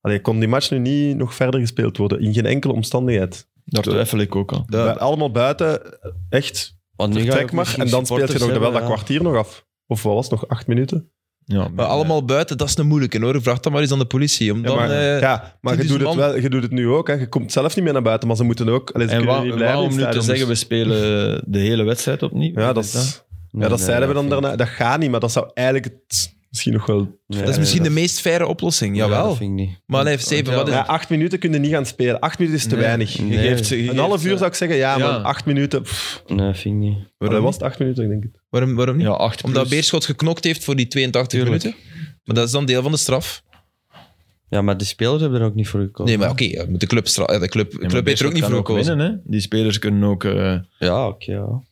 Allee, kon die match nu niet nog verder gespeeld worden? In geen enkele omstandigheid.
Daar twijfel ik ook aan.
Bij- Allemaal buiten, eh, echt,
Want nu ga je
vertrek
ook
maar.
misschien
En dan speelt je nog
supporters eh,
wel dat
hebben, ja.
kwartier nog af. Of wat was het, nog acht minuten?
Ja,
Maar allemaal buiten, dat is een moeilijke hoor. Vraag dat maar eens aan de politie. Om
Ja,
dan,
maar,
eh,
ja, maar je,
10.000
doet
man.
het wel, je doet het nu ook. Hè. Je komt zelf niet meer naar buiten, maar ze moeten ook... Allee, ze
En
kunnen
wa-
niet blijven in het
waarom nu te
stadion,
zeggen, we
dus-
spelen de hele wedstrijd opnieuw?
Ja,
Wat
dat,
is
is- ja, dat
Nee,
zeiden we dan
nee,
daarna. Dat gaat niet, maar dat zou eigenlijk het, misschien nog wel...
Nee,
dat is
nee,
misschien
dat-
de meest faire oplossing.
Ja,
Jawel.
dat vind ik niet.
maar nee, Steven,
Ja,
wat is
Ja,
het?
acht minuten kun je niet gaan spelen. Acht minuten is te
Nee.
weinig.
Je
Nee.
geeft, je
Een
geeft-
half uur zou ik zeggen, ja,
Ja.
maar acht minuten... Pff,
Nee, vind ik niet.
maar dat was het acht minuten, ik denk het.
Waarom, waarom niet?
Ja, acht
Omdat
plus.
Beerschot geknokt heeft voor die 82
Tuurlijk.
minuten. Maar dat is dan deel van de straf.
Ja, maar de spelers hebben er ook niet voor gekozen.
Nee, maar oké, ja, moet de club, stra- ja, de club,
Ja, maar
club heeft er ook
Beerschot
niet
kan
voor gekozen.
winnen, hè. Die spelers kunnen ook... eh,
Ja, oké. ja.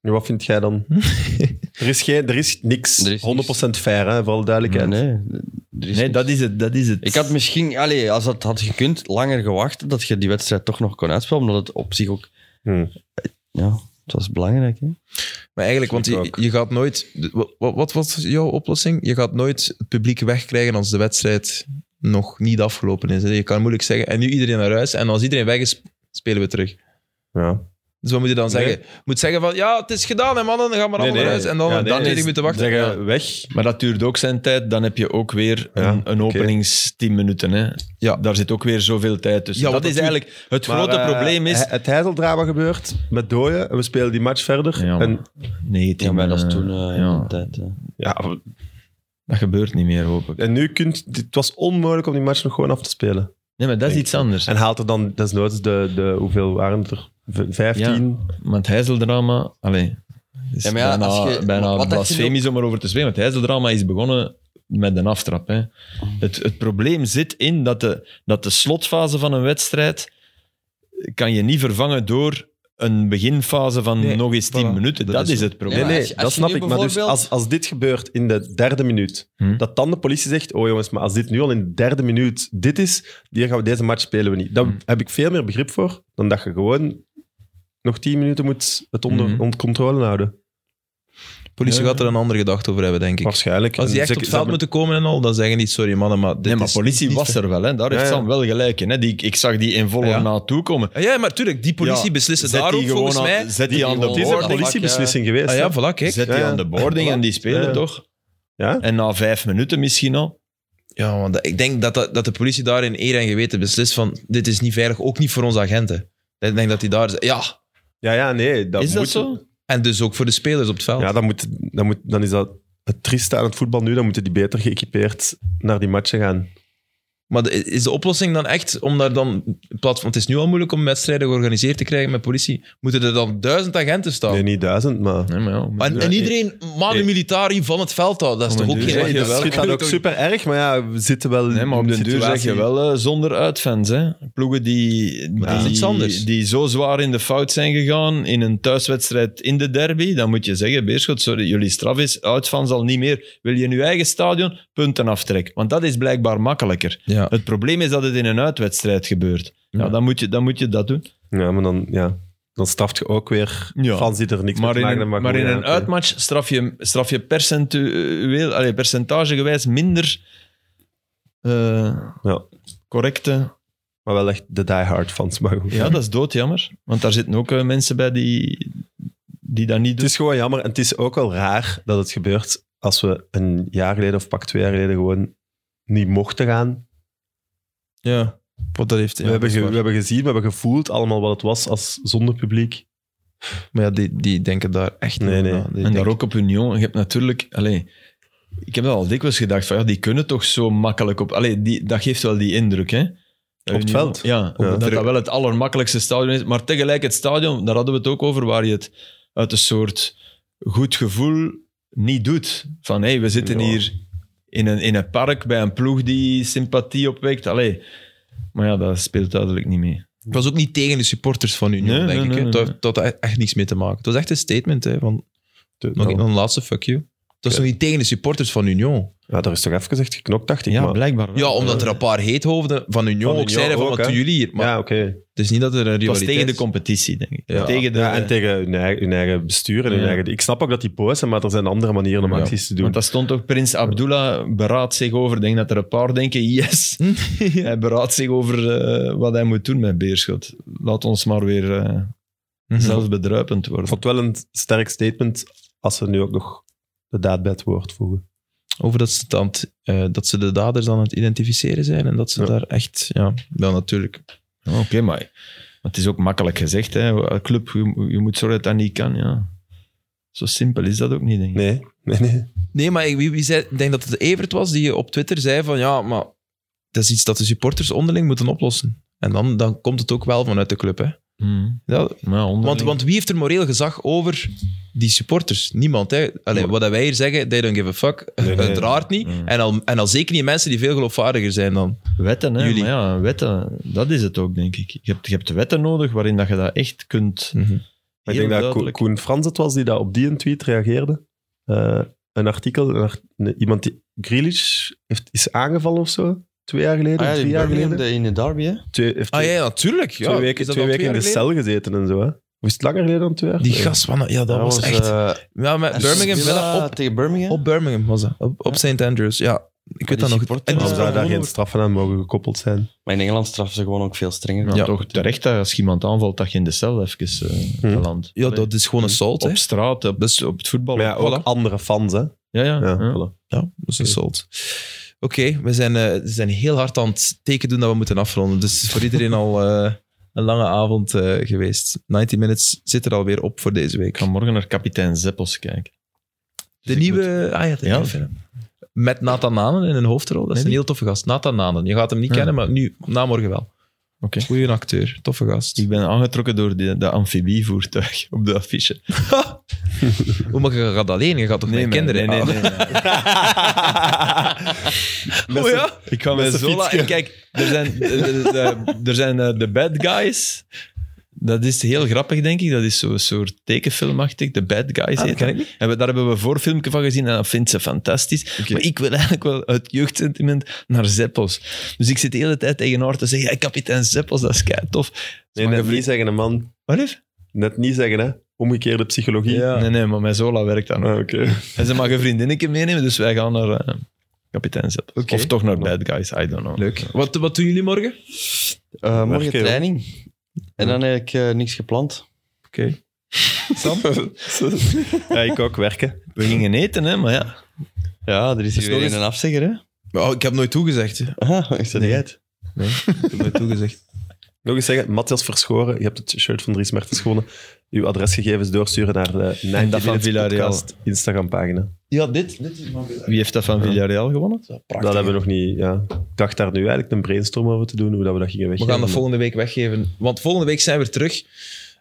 Nu, wat vind jij dan? er, is geen, er is niks.
Er is niks.
100% fair, hè, voor alle duidelijkheid.
Nee, er is
Nee,
niks.
dat is het. Dat is het.
Ik had misschien, allee, als dat had gekund, langer gewacht dat je die wedstrijd toch nog kon uitspelen, omdat het op zich ook,
Hm.
ja, het was belangrijk. Hè?
Maar eigenlijk, want
Vind ik
je, je gaat nooit... Wat, wat was jouw oplossing? Je gaat nooit het publiek wegkrijgen als de wedstrijd nog niet afgelopen is. hè. Je kan moeilijk zeggen, en nu iedereen naar huis. En als iedereen weg is, spelen we terug.
Ja.
Dus wat moet je dan
Nee.
zeggen? Je moet zeggen van, ja, het is gedaan, hè, mannen. Dan gaan we allemaal
nee.
naar huis. En dan
Ja, nee,
20
is-
minuten wachten.
Zeggen, weg.
Maar dat duurt ook zijn tijd. Dan heb je ook weer
Ja,
een, een
oké.
openings 10 minuten. Hè.
Ja.
Daar zit ook weer zoveel tijd tussen.
Ja,
dat
want
is
dat
eigenlijk het
Maar,
grote
eh,
probleem is...
he- Het heizeldrama gebeurt met dooien en we spelen die match verder.
Ja, maar-
en,
nee,
Ja, maar dat is toen eh, in
ja.
de tijd. eh.
ja,
Dat gebeurt niet meer, hoop ik.
en nu kunt... Het was onmogelijk om die match nog gewoon af te spelen.
Nee, maar dat is
Denk
iets anders.
En haalt er dan desnoods de... de hoeveel waren het er? V- Vijftien?
Maar het heizeldrama... Allee, is
Ja, maar ja,
bijna,
als je-
bijna
wat dacht je
blasfemisch om erover te spreken. Want het heizeldrama is begonnen met een aftrap. Hè. Het, het probleem zit in dat de, dat de slotfase van een wedstrijd kan je niet vervangen door een beginfase van
Nee,
nog eens 10
voilà.
minuten. Dat,
Dat
is,
is
het probleem.
Nee,
Ja,
nee,
als je- als
dat
je
snap
nu
ik. Maar dus
bijvoorbeeld-
als, als dit gebeurt in de derde minuut,
Hm.
dat dan de politie zegt, oh jongens, maar als dit nu al in de derde minuut dit is, hier gaan we deze match spelen we niet. Daar
Hm.
heb ik veel meer begrip voor dan dat je gewoon nog tien minuten moet het onder,
Hm.
onder controle houden.
politie
Ja.
gaat er een andere gedachte over hebben, denk ik.
Waarschijnlijk.
Als die
En
echt
ze-
op het
ze
veld
hebben-
moeten komen en al, dan zeggen die sorry mannen, maar dit
Nee, maar
is
politie
niet
was
ver-
er wel. Hè. Daar heeft
Ja, ja.
Sam wel gelijk in. Hè. Die, ik zag die in volle
Ja.
naartoe komen.
Ah, ja, maar tuurlijk, die politie
Ja,
beslissen
zet die
daarop
gewoon
volgens
aan-
mij.
Zet die aan de
Het is
boord,
een
boarding.
dan
politiebeslissing geweest.
Ah
hè.
ja, voilà, kijk.
Zet die
Ja, ja.
aan de boarding en die spelen
Ja, ja.
toch?
Ja.
En na vijf minuten misschien al.
Ja, want dat- ik denk dat, dat, dat de politie daar in eer en geweten beslist van dit is niet veilig, ook niet voor onze agenten. Ik denk dat die daar... Ja,
ja, ja, nee. Dat
is dat
moet-
zo?
en dus ook voor de spelers op het veld.
Ja, dan, moet, dan, moet, dan is dat het trieste aan het voetbal nu. Dan moeten die beter geëquipeerd naar die matchen gaan.
Maar de- is de oplossing dan echt om daar dan... in plaats van- Want het is nu al moeilijk om wedstrijden georganiseerd te krijgen met politie. Moeten er dan duizend agenten staan?
Nee, niet duizend, maar...
Nee, maar ja, maar-
Maar- en,
Ja, nee.
iedereen manu militari van het veld houden. Dat is
Om
toch
een
ook
duur
geen...
zeg je
dat
wel-
schiet dat ook
Toch-
super erg, maar ja, we zitten wel
Nee, maar op
in
de
een
duur zeg
situatie-
je wel eh, zonder uitfans. Hè? Ploegen die,
Maar dat is
die,
iets anders.
die zo zwaar in de fout zijn gegaan in een thuiswedstrijd in de derby, dan moet je zeggen, Beerschot, sorry, jullie straf is, uitfans al niet meer. Wil je in je eigen stadion punten aftrekken? Want dat is blijkbaar makkelijker.
Ja.
Het probleem is dat het in een uitwedstrijd gebeurt. Ja,
Ja.
dan moet je, dan moet je dat doen.
Ja, maar dan, ja, dan straft je ook weer
Ja.
fans die er niks
Maar
mee
in,
maken.
een,
maar
maar
goed,
in
ja,
een
oké.
uitmatch straf je, straf je percentueel, allee, percentagegewijs minder eh,
Ja.
correcte
Maar wel echt de diehard fans. Maar goed.
Ja, dat is doodjammer. Want daar zitten ook eh, mensen bij die, die dat niet
Het
doen.
is gewoon jammer en het is ook wel raar dat het gebeurt als we een jaar geleden of pak twee jaar geleden gewoon niet mochten gaan.
ja. Wat dat heeft...
we, hebben ge- we hebben gezien, we hebben gevoeld allemaal wat het was als zonder publiek.
Maar ja, die, die denken daar echt
Nee,
niet
nee.
aan. Die
en daar
denken-
ook op Union. Je hebt natuurlijk... Allee, ik heb dat al dikwijls gedacht. Van, ja, die kunnen toch zo makkelijk op... Allee, die, dat geeft wel die indruk, hè? Dat
Op het
Union-
veld?
Ja, dat
natuurlijk.
dat wel het allermakkelijkste stadion is. Maar tegelijk het stadion, daar hadden we het ook over, waar je het uit een soort goed gevoel niet doet. Van, hé, we zitten
Ja.
hier in een, in een park bij een ploeg die sympathie opwekt. Allee, maar ja, dat speelt duidelijk niet mee.
Het was ook niet tegen de supporters van Union,
Nee,
denk
nee,
ik. hè.
nee,
Dat
nee.
dat had echt, echt niks mee te maken. Het was echt een statement hè, van nog
Nou,
een laatste fuck you. Het was nog niet tegen de supporters van Union.
Ja, daar is toch even echt geknokt, dacht ik.
Ja,
maar-
blijkbaar wel.
Ja, omdat
Eh,
er een paar heethoofden van Union
Van
ook
Union
zeiden van
ook,
wat
hè.
doen jullie hier. Maar
ja, oké.
het is niet dat er een
Het was
rivaliteit...
tegen de competitie, denk ik.
Ja.
Tegen de,
Ja, en tegen hun eigen, hun eigen bestuur. En hun
Ja.
eigen, ik snap ook dat die boos zijn, maar er zijn andere manieren om
Ja.
acties te doen.
Want daar stond toch Prins Abdullah beraadt zich over. Ik denk dat er een paar denken, yes. Hij beraadt zich over eh, wat hij moet doen met Beerschot. Laat ons maar weer eh,
Mhm.
zelfbedruipend
Ik
worden.
vond het wel een sterk statement als ze nu ook nog de daad bij het woord voegen.
Over dat ze, dan, eh, dat ze de daders aan het identificeren zijn en dat ze
Ja.
daar echt... Ja, wel natuurlijk.
Ja, Oké, maar maar het is ook makkelijk gezegd. Hè. Club, je, je moet zorgen dat dat niet kan. Ja. Zo simpel is dat ook niet, denk ik.
Nee, nee, nee.
Nee, maar ik, wie, wie zei, ik denk dat het Evert was die op Twitter zei van ja, maar dat is iets dat de supporters onderling moeten oplossen. En dan, dan komt het ook wel vanuit de club. Hè.
Mhm.
Ja,
Maar ja, onderling-
Want, want wie heeft er moreel gezag over die supporters? Niemand. Hè? Allee, wat dat wij hier zeggen, they don't give a fuck.
Nee, nee.
Uiteraard niet.
Mm.
En, al, en al zeker niet mensen die veel geloofwaardiger zijn dan.
Wetten, hè?
Jullie.
Maar ja, wetten, dat is het ook, denk ik. Je hebt, je hebt wetten nodig waarin dat je dat echt kunt.
Mhm.
Maar ik
heel
denk dat Ko-
duidelijk-
Koen Frans het was die dat op die een tweet reageerde. Eh, een artikel, een art- nee, iemand die Grealish heeft, is aangevallen of zo. Twee jaar geleden,
Ah ja,
drie
die
jaar
Birmingham
geleden.
de- in de derby, hè?
Twee, heeft
Ah
twee,
ja, ja, natuurlijk. Ja,
twee
Is
weken,
dat
twee
al
weken in de
jaar geleden?
cel gezeten en zo. Hè? Of is het langer geleden dan twee jaar?
Die
geleden?
gast van... Ja, dat, was, echt...
eh,
ja, met Birmingham.
Villa
Villa op,
tegen Birmingham.
op Birmingham was dat. Op, op St. Andrews, ja. Ik weet dat nog.
supporters-
En die
Waarom zou
Ja,
sprong
daar geen
over.
straffen aan mogen gekoppeld zijn?
Maar in Engeland straffen ze gewoon ook veel strenger.
Ja,
Ja.
toch terecht dat als je iemand aanvalt, dat je in de cel even eh
Hm.
belandt.
Ja, dat is gewoon een salt, hè. Dus
Op straat, op, op het voetbal.
Maar ja, ook
Voilà.
andere fans, hè?
ja, ja,
Ja,
ja.
voilà.
Ja, dat is een salt. Oké, we zijn, eh, we zijn heel hard aan het teken doen dat we moeten afronden. Dus het is voor iedereen al eh, een lange avond eh, geweest. 90 Minutes zit er alweer op voor deze
Ik
week.
ga morgen naar kapitein Zeppels kijken.
De
ik
nieuwe... Ah ja, de
Ja.
nieuwe film. Met Nathan Nanen in een hoofdrol. Dat is
Nee,
een
die-
heel toffe gast. Nathan Nanen. Je gaat hem niet
Ja.
kennen, maar nu, na morgen wel.
Oké.
Goeie acteur. Toffe gast.
Ik ben aangetrokken door de, dat amfibievoertuig op de affiche.
Hoe mag je gaat alleen? Je gaat toch met kinderen?
Nee,
Ah.
nee, nee. nee.
Oh ja?
Ik ga
Met
met
zijn
Zola...
fietsje.
En kijk, er zijn, er, er- er zijn eh, de bad guys. dat is heel grappig, denk ik. Dat is zo'n soort tekenfilmachtig. The Bad Guys heet dat.
ik niet.
En we- daar hebben we een voorfilmpje van gezien en dat vindt ze fantastisch. Maar ik wil eigenlijk wel uit jeugdsentiment naar Zeppels. Dus ik zit de hele tijd tegen haar te zeggen, hey, kapitein Zeppels, dat is kei tof.
Nee, net niet zeggen, hè, man.
Wat lief?
Net niet zeggen, hè. Omgekeerde psychologie.
Nee, nee, maar mijn Zola werkt daar nog.
Ah, Oké.
En ze mag een vriendinnetje meenemen, dus wij gaan naar eh, kapitein Zeppels.
Oké.
Of toch naar Bad Guys, I don't know.
Leuk. Wat, wat doen jullie morgen?
Eh, morgen
Werken,
training. En dan heb ik eh, niks gepland.
Sam?
Ja, ik ook werken.
We gingen eten, hè, maar ja.
Ja, er is hier
nog
weer
eens-
een afzegger, hè?
Oh, ik heb nooit toegezegd. hè.
Ah, ik zet
Nee.
het uit.
Ik heb nooit toegezegd.
Nog eens zeggen, Matthias Verschoren, je hebt het shirt van Dries Mertens gewonnen. Uw adresgegevens doorsturen naar de 90
dat van
Minutes
Villarreal.
Podcast Instagram-pagina.
Ja, dit, dit is van
Wie heeft dat van Villarreal gewonnen?
Dat hebben we nog niet... Ja. Ik dacht daar nu eigenlijk een brainstorm over te doen, hoe dat we dat gingen
We
weggeven.
gaan dat volgende week weggeven. Want volgende week zijn we terug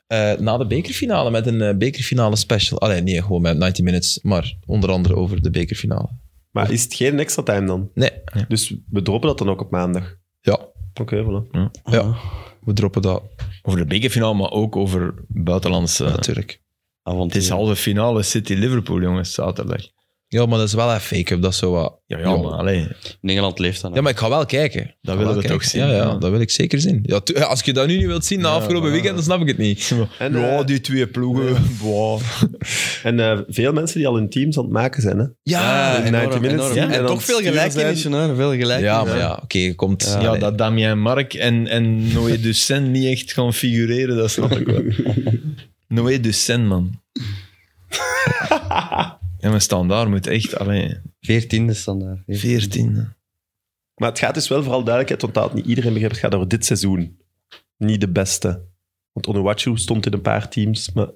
eh, na de bekerfinale met een eh, bekerfinale special. Allee, nee, gewoon met 90 Minutes, maar onder andere over de bekerfinale.
Maar is het geen extra time dan?
Nee.
Dus we droppen dat dan ook op maandag?
Ja,
Oké, voilà.
Ah,
we droppen dat
Over de bekerfinale, maar ook eh, over buitenlandse...
natuurlijk.
Het is halve finale City-Liverpool, jongens, zaterdag.
Ja, maar dat is wel een fake-up, dat is zo wat...
Ja,
Ja.
ja, maar allee,
In Engeland leeft dan.
Ja, maar ik ga wel kijken. Ik ga
willen
wel
we
kijken.
toch zien,
Ja, ja,
ja.
dat wil ik zeker zien. Ja, tu- ja, als je dat nu niet wilt zien na
Ja,
afgelopen
voilà.
weekend, dan snap ik het niet.
En,
ja,
eh,
die twee ploegen. boah.
En eh, veel mensen die al hun teams aan het maken zijn, hè?
Ja,
in 90 minutes, ja.
En,
en dan
toch veel
sturen
gelijkenissen, hè? Veel gelijkenissen.
ja maar ja, oké, je komt...
Ja,
Allee.
dat Damien Mark en, en Noé Ducent niet echt gaan figureren, dat snap ik wel. Noé Ducent, man. En we staan daar, moet echt alleen
Veertiende standaard.
14.
Maar het gaat dus wel vooral duidelijkheid, want dat had niet iedereen begrepen. Het gaat over dit seizoen. Niet de beste. Want Onuwachu stond in een paar teams. Maar...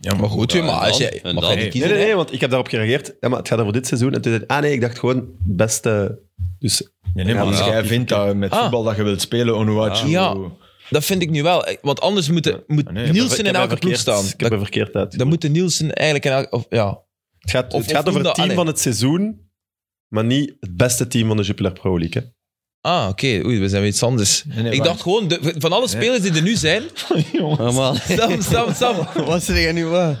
Ja,
Maar goed, ja, maar als
en
je...
dan-
mag
en
jij niet
dan-
Nee,
kiezen,
nee,
hè?
nee, want ik heb daarop gereageerd. Ja, maar het gaat over dit seizoen. En toen zei ik, ah nee, ik dacht gewoon beste. Dus
Nee, nee, maar
Ja,
als
ja.
jij vindt dat met
Ah.
voetbal dat je wilt spelen, Onuachu...
Ja. Dat vind ik nu wel. eh, Want anders moet, de- moet
nee, ik heb-
Nielsen in
ik heb
elke
mij
ploeg
verkeerd-
staan.
Ik heb
Dan,
me verkeerd uit.
dan moet de Nielsen eigenlijk in elke... Of, ja.
Het gaat,
of-
het gaat
of
over
doen
het
dat-
team
allee.
van het seizoen, maar niet het beste team van de Jupiler Pro League. Hè.
Ah, oké. Oei, we zijn weer iets anders.
nee,
ik
maar-
dacht gewoon, de- van alle spelers die er nu zijn...
Normaal.
Sam, Sam, Sam.
Oh, Wat zeg jij nu wat?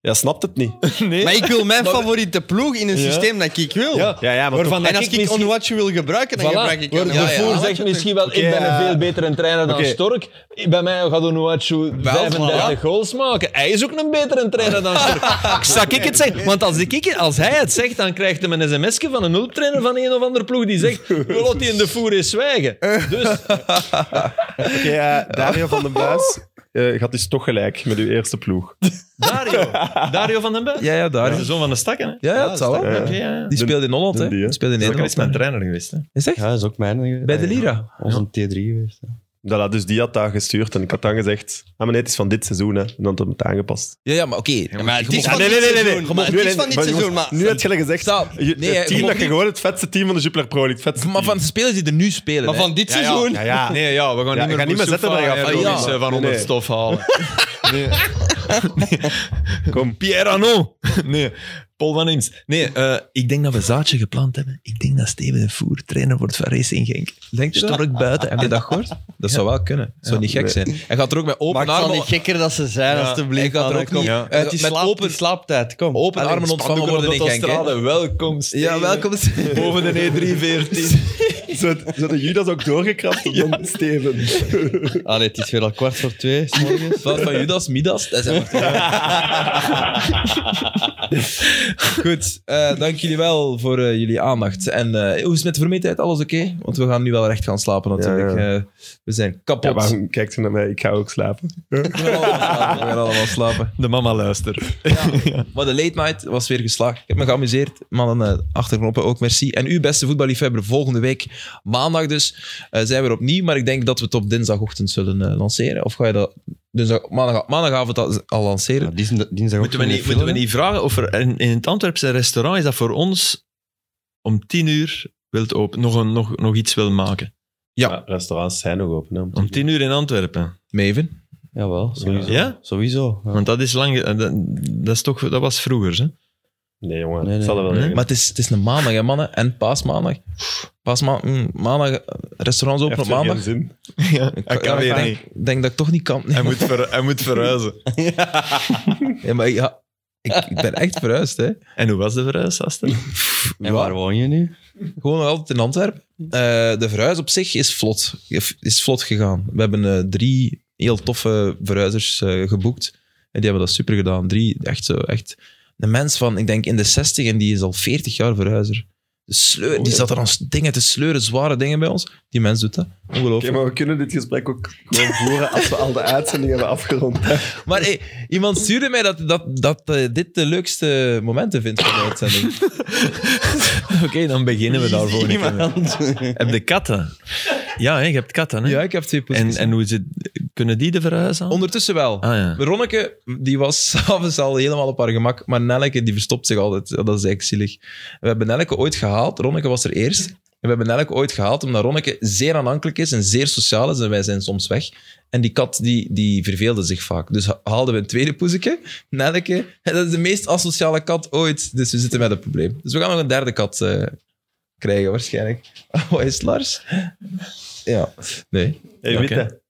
Ja, snapt het niet.
Maar ik wil mijn favoriete ploeg in een systeem dat ik wil.
ja, ja maar toch-
En als ik, Onwatch wil gebruiken, dan gebruik ik
Wordt
Onuachu.
Ja,
de
ja,
voer
ja.
zegt misschien wel, ik ben
ja.
een veel betere trainer dan
eh, Oké.
Stork. Bij mij gaat Onuachu 35 goals maken. Hij is ook een betere trainer dan Stork. Zal ik het zeggen? Want als, ik, als hij het zegt, dan krijgt hij een sms'je van een hulptrainer van een of andere ploeg die zegt, we laten die in de voer eens zwijgen. Dus,
Oké, eh, Dario van den Buis eh gaat dus toch gelijk met uw eerste ploeg.
Dario. Dario van den Berg.
Ja, ja, daar.
De zoon van de stakken, hè?
Ja, ja, het zal wel.
Stakken,
Ja.
oké, ja, ja.
Die
Doen-
speelde in Holland,
doen
hè.
die, hè?
Die speelde in
Dat
Nederland.
is mijn trainer geweest, hè?
Is echt?
Ja, dat is ook mijn.
Bij de Lira.
Onze T3 geweest.
Voilà, dus die had dat gestuurd en ik had dan gezegd, ah maar nee, het is van dit seizoen hè. En dan had hem het aangepast. Ah,
Ja, ja, maar oké.
Maar het is
Je mag-
van dit seizoen. Maar het is van dit
Maar
seizoen,
jongens,
maar...
Nu had je dat gezegd,
Stop.
je-
Nee, je
het team
mag
dat je
niet-
gewoon het vetste team van de Jupiler Pro League, het vetste
Maar van de spelers die er nu spelen,
Maar
hè.
van dit seizoen.
team. Ja, ja.
Nee, ja, we gaan
Ja,
niet
ik
meer
ga niet meer zetten, maar ik ga
Moussafa en
van- ja.
Robbins, eh, van onder
Nee,
het
nee.
stof halen. Nee. Kom. Pierre Anon. Nee. Paul van Eems. Nee, eh, ik denk dat we zaadje geplant hebben. Ik denk dat Steven de Voer trainer wordt van Racing Genk.
Denk je dat?
Stork buiten.
Heb je dat gehoord? Dat zou wel kunnen. Dat zou niet gek zijn. Hij gaat er ook met open
Maak het
armen...
dan niet gekker dat ze zijn,
Ja,
alstublieft.
ik had er
man,
ook
kom.
niet-
Eh, Het is
Met
slaap-
open-
het is slaaptijd, kom.
Open armen ontvangen worden in Genk, hè.
Welkom,
Ja, welkom.
Boven de E314.
Zo, zo de Judas ook doorgekrapt op dan Steven.
Allee, het is weer al kwart voor twee, s morgens.
Plaats van Judas, Midas. Dat zijn Goed, eh, dank jullie wel voor eh, jullie aandacht. En eh, hoe is het met de vermetelheid? Alles oké? Want we gaan nu wel recht gaan slapen natuurlijk.
Ja,
Eh, we zijn kapot.
Ja, waarom kijkt ze naar mij? Ik ga ook slapen.
We gaan allemaal slapen. We gaan allemaal slapen.
De mama luistert.
Maar de late night was weer geslaagd. Ik heb me geamuseerd. Mannen, eh, achterknoppen ook merci. En u, beste voetballiefhebber, volgende week, maandag dus, eh, zijn we er opnieuw. Maar ik denk dat we het op dinsdagochtend zullen eh, lanceren. Of ga je dat dinsdag, maandag, maandagavond al, al lanceren?
Dinsdag, dinsdag
Moeten we, niet, moeten we niet vragen of er in, in het Antwerpse restaurant is dat voor ons om tien uur wilt open, nog, een, nog, nog iets wil maken?
Ja.
restaurants zijn nog open. hè.
Om tien uur in Antwerpen.
Maven?
Jawel, sowieso.
Ja?
Sowieso. ja.
Want dat is lang. eh, Dat, dat, is toch, dat was vroeger. Hè?
Nee, jongen.
Nee, nee.
dat zal er wel
Nee?
regenen.
Maar het is, het is een maandag, hè, mannen. En paasmaandag. Paasmaandag, maandag, eh, restaurants open
Heeft
op
zo geen
maandag.
zin.
Hij kan
Ja, ik
weer
denk,
niet.
denk dat ik toch niet kan. Nee,
Hij moet, ver- hij moet verhuizen.
Ja, maar ja, ik, ik ben echt verhuisd, hè.
En hoe was de verhuis, Aster?
En waar woon je nu?
Gewoon nog altijd in Antwerpen. Eh, de verhuis op zich is vlot, is vlot gegaan. We hebben eh, drie heel toffe verhuizers eh, geboekt. En die hebben dat super gedaan. Drie, echt zo, echt. Een mens van, ik denk in de 60 en die is al 40 jaar verhuizer. De sleur, die zat er aan s- dingen te sleuren, zware dingen bij ons. Die mens doet dat. Ongelooflijk.
Oké, maar we kunnen dit gesprek ook gewoon voeren als we al de uitzending hebben afgerond.
Maar hey, iemand stuurde mij dat, dat, dat eh, dit de leukste momenten vindt van de uitzending.
Oké, dan beginnen we daar volgende keer. mee. Heb je katten? Ja, hè, je hebt katten. Hè?
Ja, ik heb twee
en,
posities.
en hoe zit, kunnen die de verhuis aan?
Ondertussen wel.
Ah, ja.
Ronneke, die was s'avonds al helemaal op haar gemak. Maar Nelleke, die verstopt zich altijd. Dat is eigenlijk zielig. We hebben Nelleke ooit gehaald. Ronneke was er eerst. En we hebben Nelleke ooit gehaald omdat Ronneke zeer aanhankelijk is en zeer sociaal is. En wij zijn soms weg. En die kat, die, die verveelde zich vaak. Dus ha- haalden we een tweede poezeke, Nelleke. En dat is de meest asociale kat ooit. Dus we zitten met een probleem. Dus we gaan nog een derde kat eh, krijgen, waarschijnlijk. Wat is het, Lars? Ja, nee.
Hey,
Oké.
Witte.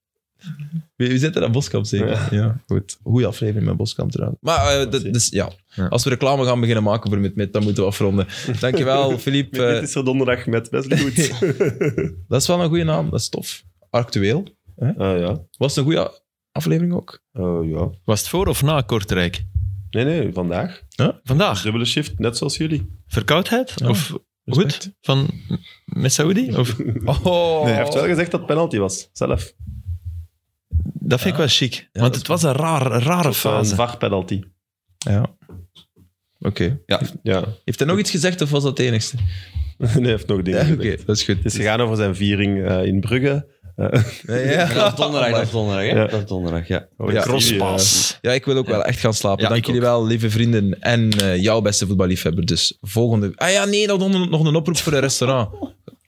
We, we zitten aan Boskamp zeker. Ja,
Ja.
goed. Goeie aflevering met Boskamp trouwens. Maar eh, dat, dus, ja. als we reclame gaan beginnen maken voor MidMid, dan moeten we afronden. Dankjewel, Filip.
Dit
eh,
is er donderdag met Wesley Goed.
Eh, dat is wel een goede naam, dat is tof. Actueel.
Ah ja.
Was het een goede a- aflevering ook?
Oh ja.
Was het voor of na Kortrijk?
Nee, nee, vandaag.
Vandaag?
Dubbele shift, net zoals jullie.
Verkoudheid? Of goed? Van met Saoedi? Of,
Oh,
Hij heeft wel gezegd dat het penalty was, zelf.
dat vind ik wel chic. Want het was een raar, rare
Een
fase.
VAR-penalty.
ja. Oké.
Ja.
Heeft hij nog iets gezegd of was dat het enigste?
nee, hij heeft nog dingen
Ja, oké,
gezegd.
dat is goed.
Het is gegaan over zijn viering eh, in Brugge.
Ja, dat is donderdag, dat is donderdag, hè?
Ja.
Dat is donderdag, Ah, ja.
Over eh,
Ja.
de crosspas.
Ja, ik wil ook wel echt gaan slapen.
Ja,
Dank
ik
jullie wel, lieve vrienden. En eh, jouw beste voetballiefhebber. Dus volgende... Ah ja, nee, nog een, nog een oproep voor een restaurant.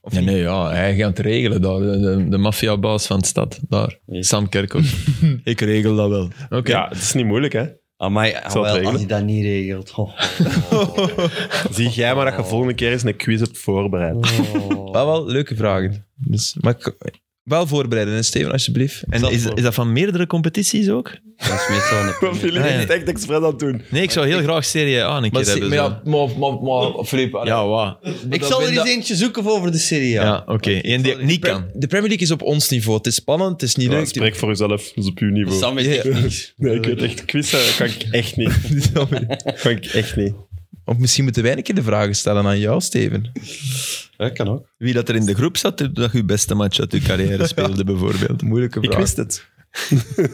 Of
Ja,
niet?
nee, ja, hij gaat het regelen. Daar. De, de, de maffiabaas van de stad, daar. Sam Kerkhoff. ik regel dat wel. Oké.
Ja, het is niet moeilijk, hè.
Amai,
zal het
Ah, wel, als
regelen.
je dat niet regelt. ho, ho, ho,
Zie jij maar dat
Oh.
je volgende keer eens een quiz hebt voorbereid.
ho.
Wel, wel leuke vragen. Dus, maar ik- wel voorbereiden, hè, Steven, alsjeblieft.
En is, is dat van meerdere competities ook?
Dat is meestal een
Maar Filip is het echt expres aan het doen.
Nee, ik zou heel graag Serie A een keer
Maar,
hebben.
maar
zo.
ja, maar, maar, maar Filip, allee.
ja, wat?
Ik zal er eens eentje zoeken voor over de Serie A.
Ja, oké. Eén die ik niet
Pre-
kan.
De Premier League is op ons niveau. Het is spannend, het is niet
Ja,
leuk.
spreek voor jezelf, dat is op uw niveau.
Sam weet echt niks.
Nee, ik weet echt, quizzen dat kan ik echt niet. Dat kan ik echt niet.
Of misschien moeten wij een keer de vragen stellen aan jou, Steven.
Dat kan ook.
Wie dat er in de groep zat, dat je je beste match uit je carrière speelde, bijvoorbeeld.
Moeilijke
Ik
vraag.
wist het.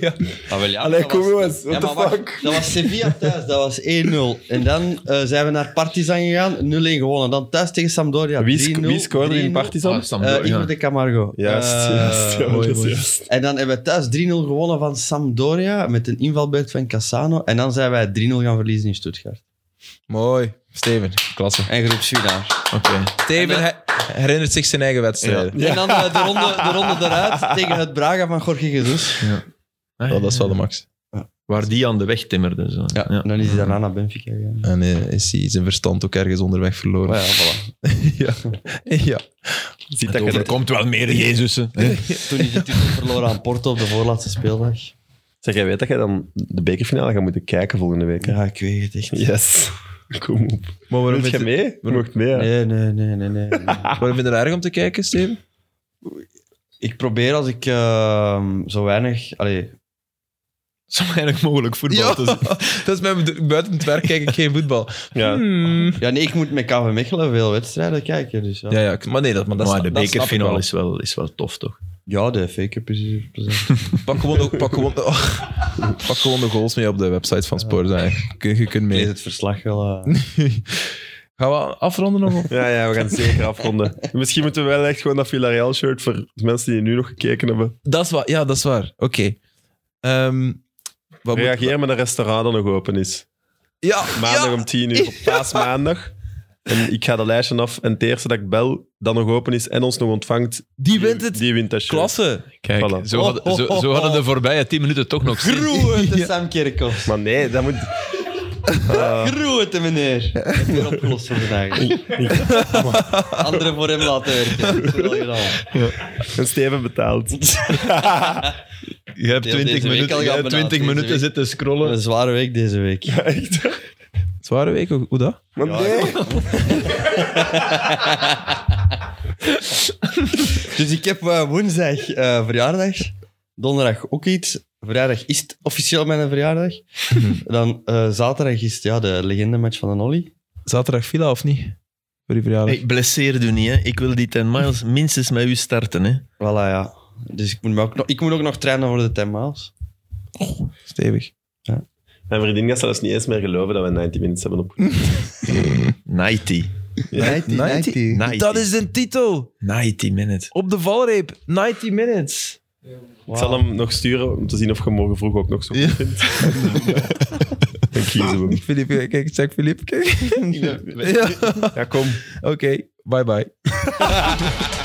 ja.
Ah, wel, ja,
Allee,
dat
kom
was-
jongens, what
Ja,
the
maar wacht,
fuck?
dat was Sevilla thuis, dat was 1-0. En dan eh, zijn we naar Partizan gegaan, 0-1 gewonnen. Dan thuis tegen Sampdoria,
Wie, sc
3-0,
wie scoorde in
3-0.
Partizan?
Ah,
Eh, Igor de Camargo.
Juist,
Eh,
juist, ja,
mooi,
dat is
mooi.
juist.
En dan hebben we thuis 3-0 gewonnen van Sampdoria met een invalbeurt van Cassano. En dan zijn wij 3-0 gaan verliezen in Stuttgart.
Mooi. Steven, klasse.
En groepsfinaal.
Oké.
Steven
En
he- herinnert zich zijn eigen wedstrijden.
En dan eh, de, ronde, de ronde eruit tegen het Braga van Jorge Jesus.
Ah,
Oh, dat is wel de max.
Waar die aan de weg timmerde. Zo.
Ja, En dan is hij daarna naar Benfica gegaan.
En eh, is hij zijn verstand ook ergens onderweg verloren.
Maar ja, voilà.
ja. ja.
Ziet dat je net-
komt wel meer Jezusen.
Toen is de titel verloren aan Porto op de voorlaatste speeldag.
Zeg, jij weet dat jij dan de bekerfinale gaat moeten kijken volgende week. hè?
Ja, ik weet het echt.
Yes. Kom op.
Maar waarom
Wil
vind,
je
je,
mee? Je mocht mee, hè?
Nee, nee, nee, nee. nee.
waarom vind je het erg om te kijken, Steven?
ik probeer als ik ehm, zo weinig. Allee,
Zo weinig mogelijk voetbal te
dus-
zien.
dat is mijn bedo- buiten het werk kijk ik geen voetbal.
Ja.
Hmm.
ja, nee, ik moet met KV Mechelen veel wedstrijden kijken. Dus ja.
Ja, ja, maar nee, dat, maar dat,
maar
sna-
de
dat snap ik wel.
bekerfinale is wel, is wel tof, toch?
Ja, de FA Cup is hier plezant.
Pak gewoon, de, pak, gewoon de, oh, pak gewoon de goals mee op de website van Sporza. hè. Kun- Je, kunt
Lees
mee.
het verslag wel. eh.
Gaan we afronden nog? of-
Ja, ja, we gaan het zeker afronden. Misschien moeten we wel echt gewoon dat Villarreal-shirt voor de mensen die nu nog gekeken hebben.
Dat is waar. Ja, dat is waar. Oké. Ehm, wat moet-
Reageer met een restaurant dat nog open is.
Ja,
Maandag
ja.
om 10 uur, op paasmaandag. En ik ga dat lijstje af. En het eerste dat ik bel, dat nog open is en ons nog ontvangt,
Die wint het.
die wint dat shirt.
Klasse.
Kijk,
Voilà.
zo, oh, hadden, zo, zo hadden de voorbije tien minuten toch nog zin.
Groeien, de Sam Kerkhoff.
Maar nee, dat moet...
Groeten, meneer. Dat is weer opgelost voor vandaag. Anderen voor hem laten werken. Dat is wel gedaan.
En Steven betaalt.
Je hebt
Die had
20
deze week
minuten,
al
je
gaan
hebt 20
benaderd, deze
minuten
week.
zitten scrollen.
Een zware week deze week.
Zware week, hoe hoe dat?
Maar nee.
Dus ik heb eh, woensdag eh, verjaardag. Donderdag ook iets. Vrijdag is het officieel mijn verjaardag.
Mhm.
Dan eh, zaterdag is het ja, de legendematch van de Olly.
Zaterdag fila of niet? Voor die verjaardag.
Ik blesseer u niet, hè. Ik wil die 10 miles minstens met u starten, hè.
Voilà, ja. Dus ik moet, me ook nog, ik moet ook nog trainen voor de 10 miles.
Stevig.
Mijn vriendin gaat zelfs niet eens meer geloven dat we 90 minutes hebben op.
90.
90, 90.
90.
Dat is de titel.
90 minutes.
Op de valreep. 90 minutes.
Ik zal hem nog sturen om te zien of je morgen vroeg ook nog zo goed vindt. Dan kiezen we hem.
Filip, kijk, check Filip. Kijk. Ja.
Ja, kom.
Oké, bye bye.